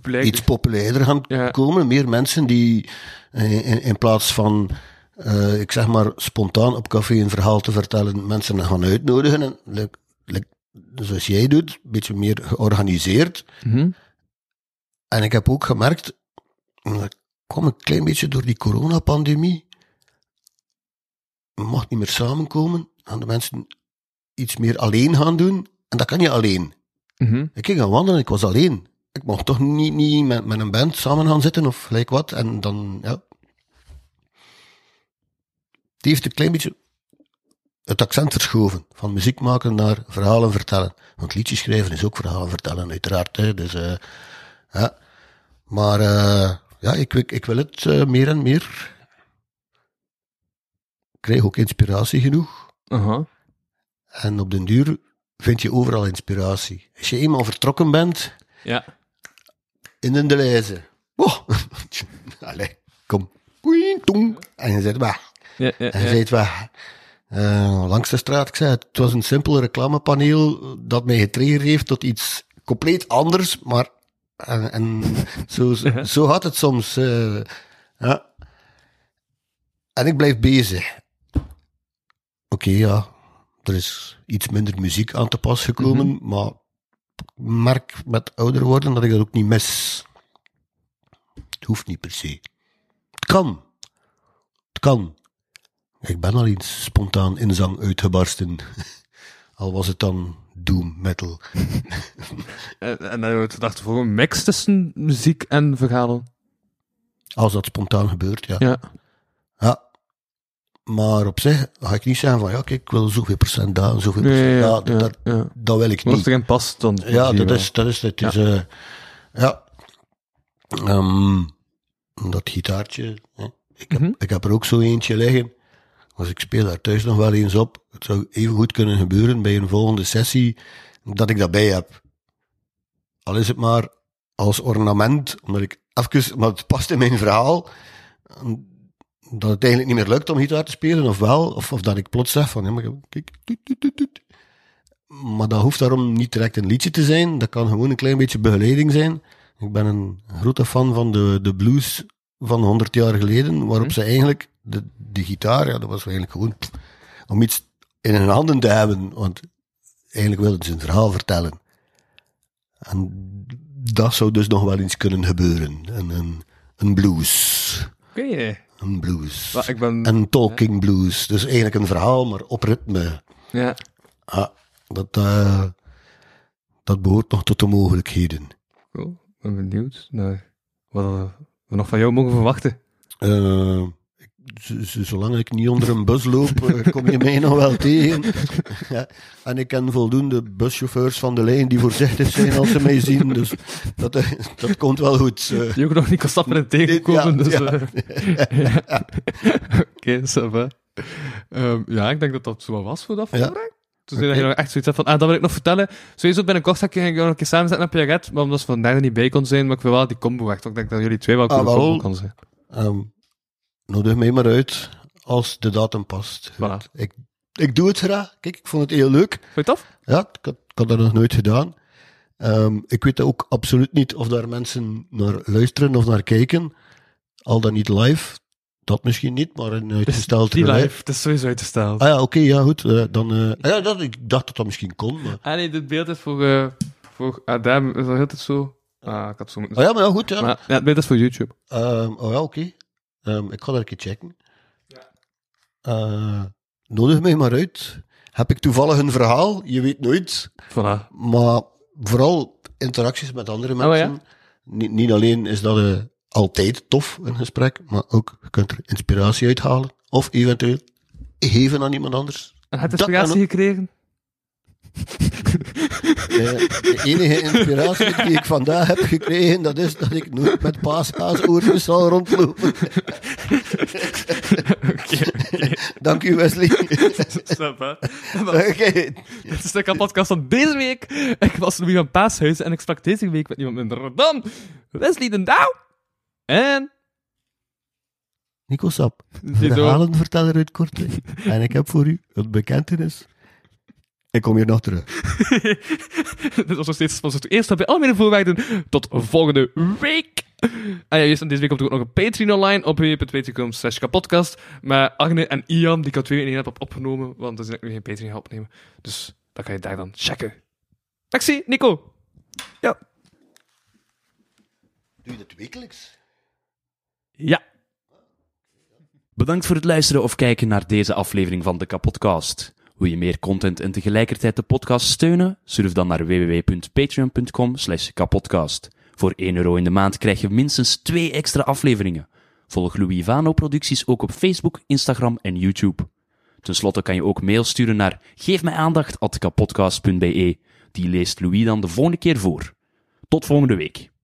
Speaker 3: Blijkbaar.
Speaker 2: iets populairder gaan
Speaker 3: dus- Ja.
Speaker 2: komen. Meer mensen die eh, in, in plaats van, eh, ik zeg maar, spontaan op café een verhaal te vertellen, mensen gaan uitnodigen. En, like- like, zoals jij doet, een beetje meer georganiseerd.
Speaker 3: Mhm.
Speaker 2: En ik heb ook gemerkt, dat kwam een klein beetje door die coronapandemie. Je mag niet meer samenkomen, gaan de mensen iets meer alleen gaan doen. En dat kan je alleen.
Speaker 3: Mhm.
Speaker 2: Ik ging gaan wandelen, ik was alleen. Ik mocht toch niet, niet met, met een band samen gaan zitten of gelijk wat. En dan, ja. Die heeft een klein beetje het accent verschoven. Van muziek maken naar verhalen vertellen. Want liedjes schrijven is ook verhalen vertellen, uiteraard. Hè. Dus, eh, ja. Maar eh, ja, ik, wil- ik wil het eh, meer en meer. Ik krijg ook inspiratie genoeg.
Speaker 3: Aha.
Speaker 2: En op den duur vind je overal inspiratie. Als je eenmaal vertrokken bent
Speaker 3: Ja.
Speaker 2: in een Deleuze. Oh. Allee, kom. Oei, tong. En je zit weg.
Speaker 3: Ja, ja,
Speaker 2: En je
Speaker 3: ja.
Speaker 2: zit weg. Eh, langs de straat, ik zei het, het was een simpel reclamepaneel dat mij getriggerd heeft tot iets compleet anders, maar en, en zo, zo- zo gaat het soms. eh, ja. En ik blijf bezig. Oké, ja, er is iets minder muziek aan te pas gekomen,
Speaker 3: Mhm.
Speaker 2: maar ik merk met ouder worden dat ik dat ook niet mis. Het hoeft niet per se. Het kan. Het kan. Ik ben al eens spontaan in zang uitgebarsten. Al was het dan doom metal.
Speaker 3: En, en dan wordt gedacht voor een mix tussen muziek en verhalen.
Speaker 2: Als dat spontaan gebeurt, ja.
Speaker 3: Ja.
Speaker 2: Ja. Maar op zich ga ik niet zeggen van, ja, kijk, ik wil zoveel procent daar, en zoveel
Speaker 3: Ja,
Speaker 2: procent
Speaker 3: ja,
Speaker 2: daar. Dat,
Speaker 3: ja,
Speaker 2: dat,
Speaker 3: ja.
Speaker 2: dat wil ik
Speaker 3: Maar als
Speaker 2: niet.
Speaker 3: het erin past, dan...
Speaker 2: Ja,
Speaker 3: zie je
Speaker 2: dat
Speaker 3: wel.
Speaker 2: is, dat is, het is, eh, ja. Ehm, dat gitaartje, hè. Ik, heb,
Speaker 3: Mhm.
Speaker 2: ik heb er ook zo eentje liggen. Als ik speel daar thuis nog wel eens op. Het zou even goed kunnen gebeuren bij een volgende sessie, dat ik dat bij heb. Al is het maar als ornament, omdat ik even, maar het past in mijn verhaal, dat het eigenlijk niet meer lukt om gitaar te spelen, of wel, of, of dat ik plots zeg van, ja, maar kijk, toet, toet, toet, toet. Maar dat hoeft daarom niet direct een liedje te zijn. Dat kan gewoon een klein beetje begeleiding zijn. Ik ben een grote fan van de, de blues van 100 jaar geleden, waarop ze eigenlijk de, de gitaar, ja, dat was eigenlijk gewoon pff, om iets in hun handen te hebben, want eigenlijk wilden ze een verhaal vertellen. En dat zou dus nog wel eens kunnen gebeuren. Een, een, een blues.
Speaker 3: Oké.
Speaker 2: Een blues.
Speaker 3: Wel, ik ben...
Speaker 2: Een talking blues. Dus eigenlijk een verhaal, maar op ritme.
Speaker 3: Ja.
Speaker 2: Ah, dat, eh, dat behoort nog tot de mogelijkheden.
Speaker 3: Cool. Oh, Ik ben benieuwd naar wat we nog van jou mogen verwachten.
Speaker 2: Eh, ik- z- z- zolang ik niet onder een bus loop, eh, kom je mij nog wel tegen. ja, en ik ken voldoende buschauffeurs van de lijn die voorzichtig zijn als ze mij zien. Dus dat, eh, dat komt wel goed. Eh,
Speaker 3: Je ook nog niet kan stappen en tegenkomen,
Speaker 2: Ja,
Speaker 3: dus...
Speaker 2: ja.
Speaker 3: eh, ja. Oké, ça va. Ehm, ja, ik denk dat dat zo wel was voor dat
Speaker 2: Ja.
Speaker 3: voorbereid. Toen zei dat je nog echt zoiets had van, ah, dat wil ik nog vertellen. Sowieso binnenkort ga ik je nog een keer samenzetten op je red, maar omdat ze vandaag er niet bij kon zijn, maar ik wil wel die combo echt. want Ik denk dat jullie twee wel
Speaker 2: Ah,
Speaker 3: kunnen
Speaker 2: wel.
Speaker 3: combo kan zijn.
Speaker 2: ehm, nodig mij maar uit als de datum past.
Speaker 3: Voilà.
Speaker 2: Ik, ik doe het graag. Kijk, ik vond het heel leuk.
Speaker 3: Vond je het af?
Speaker 2: Ja, ik had, ik had dat nog nooit gedaan. Ehm, ik weet ook absoluut niet of daar mensen naar luisteren of naar kijken. Al dan niet live. Dat misschien niet, maar een uitgesteld
Speaker 3: Die
Speaker 2: relais.
Speaker 3: live, het is sowieso uitgesteld.
Speaker 2: Ah ja, oké, ja, goed. eh, dan, eh, ah ja, dat, ik dacht dat dat misschien kon. Maar,
Speaker 3: Ah nee, dit beeld is voor, eh voor Adam, is dat heel tijd zo? Ah, ik had het zo moeten
Speaker 2: ah ja, maar ja, goed. Ja.
Speaker 3: Maar ja, het beeld is voor YouTube.
Speaker 2: Ehm, oh ja, oké. Ehm, ik ga dat een keer checken. Eh, nodig mij maar uit. Heb ik toevallig een verhaal? Je weet nooit.
Speaker 3: Voilà.
Speaker 2: Maar vooral interacties met andere
Speaker 3: ja?
Speaker 2: mensen. niet, niet alleen is dat eh, altijd tof, een gesprek, maar ook je kunt er inspiratie uithalen. Of eventueel geven aan iemand anders.
Speaker 3: En had je
Speaker 2: Dat
Speaker 3: inspiratie
Speaker 2: kan
Speaker 3: gekregen?
Speaker 2: Eh, de enige inspiratie die ik vandaag heb gekregen, dat is dat ik nooit met paaskaasoortjes zal rondlopen. Dank u, Wesley.
Speaker 3: Snap, hè?
Speaker 2: Oké.
Speaker 3: Dit is de kapotkast van deze week. Ik was Louis van Paashuizen en ik sprak deze week met niemand minder dan Wesley den Douw en
Speaker 2: Nico Sap,
Speaker 3: Ziezo.
Speaker 2: verhalenverteller uit Kortrijk. En ik heb voor u een bekentenis. Ik kom hier nog terug.
Speaker 3: Dit was nog steeds sponsor. Eerst heb je alle mijn voorwaarden. Tot volgende week. En ja, juist, en deze week komt er ook nog een Patreon online op www.patreon.com slash kapotkast. Maar Agne en Ian, die ik al twee in één heb op- opgenomen, want er zijn ook nu geen Patreon gaan opnemen. Dus dat kan je daar dan checken. Taxi, Nico. Ja.
Speaker 2: Doe je dat wekelijks?
Speaker 3: Ja.
Speaker 5: Bedankt voor het luisteren of kijken naar deze aflevering van de Kapodcast. Wil je meer content en tegelijkertijd de podcast steunen? Surf dan naar www.patreon.com slash kapodcast. Voor 1 euro in de maand krijg je minstens 2 extra afleveringen. Volg Louis Vano producties ook op Facebook, Instagram en YouTube. Ten slotte kan je ook mail sturen naar geefmijaandacht.kapodcast.be. Die leest Louis dan de volgende keer voor. Tot volgende week.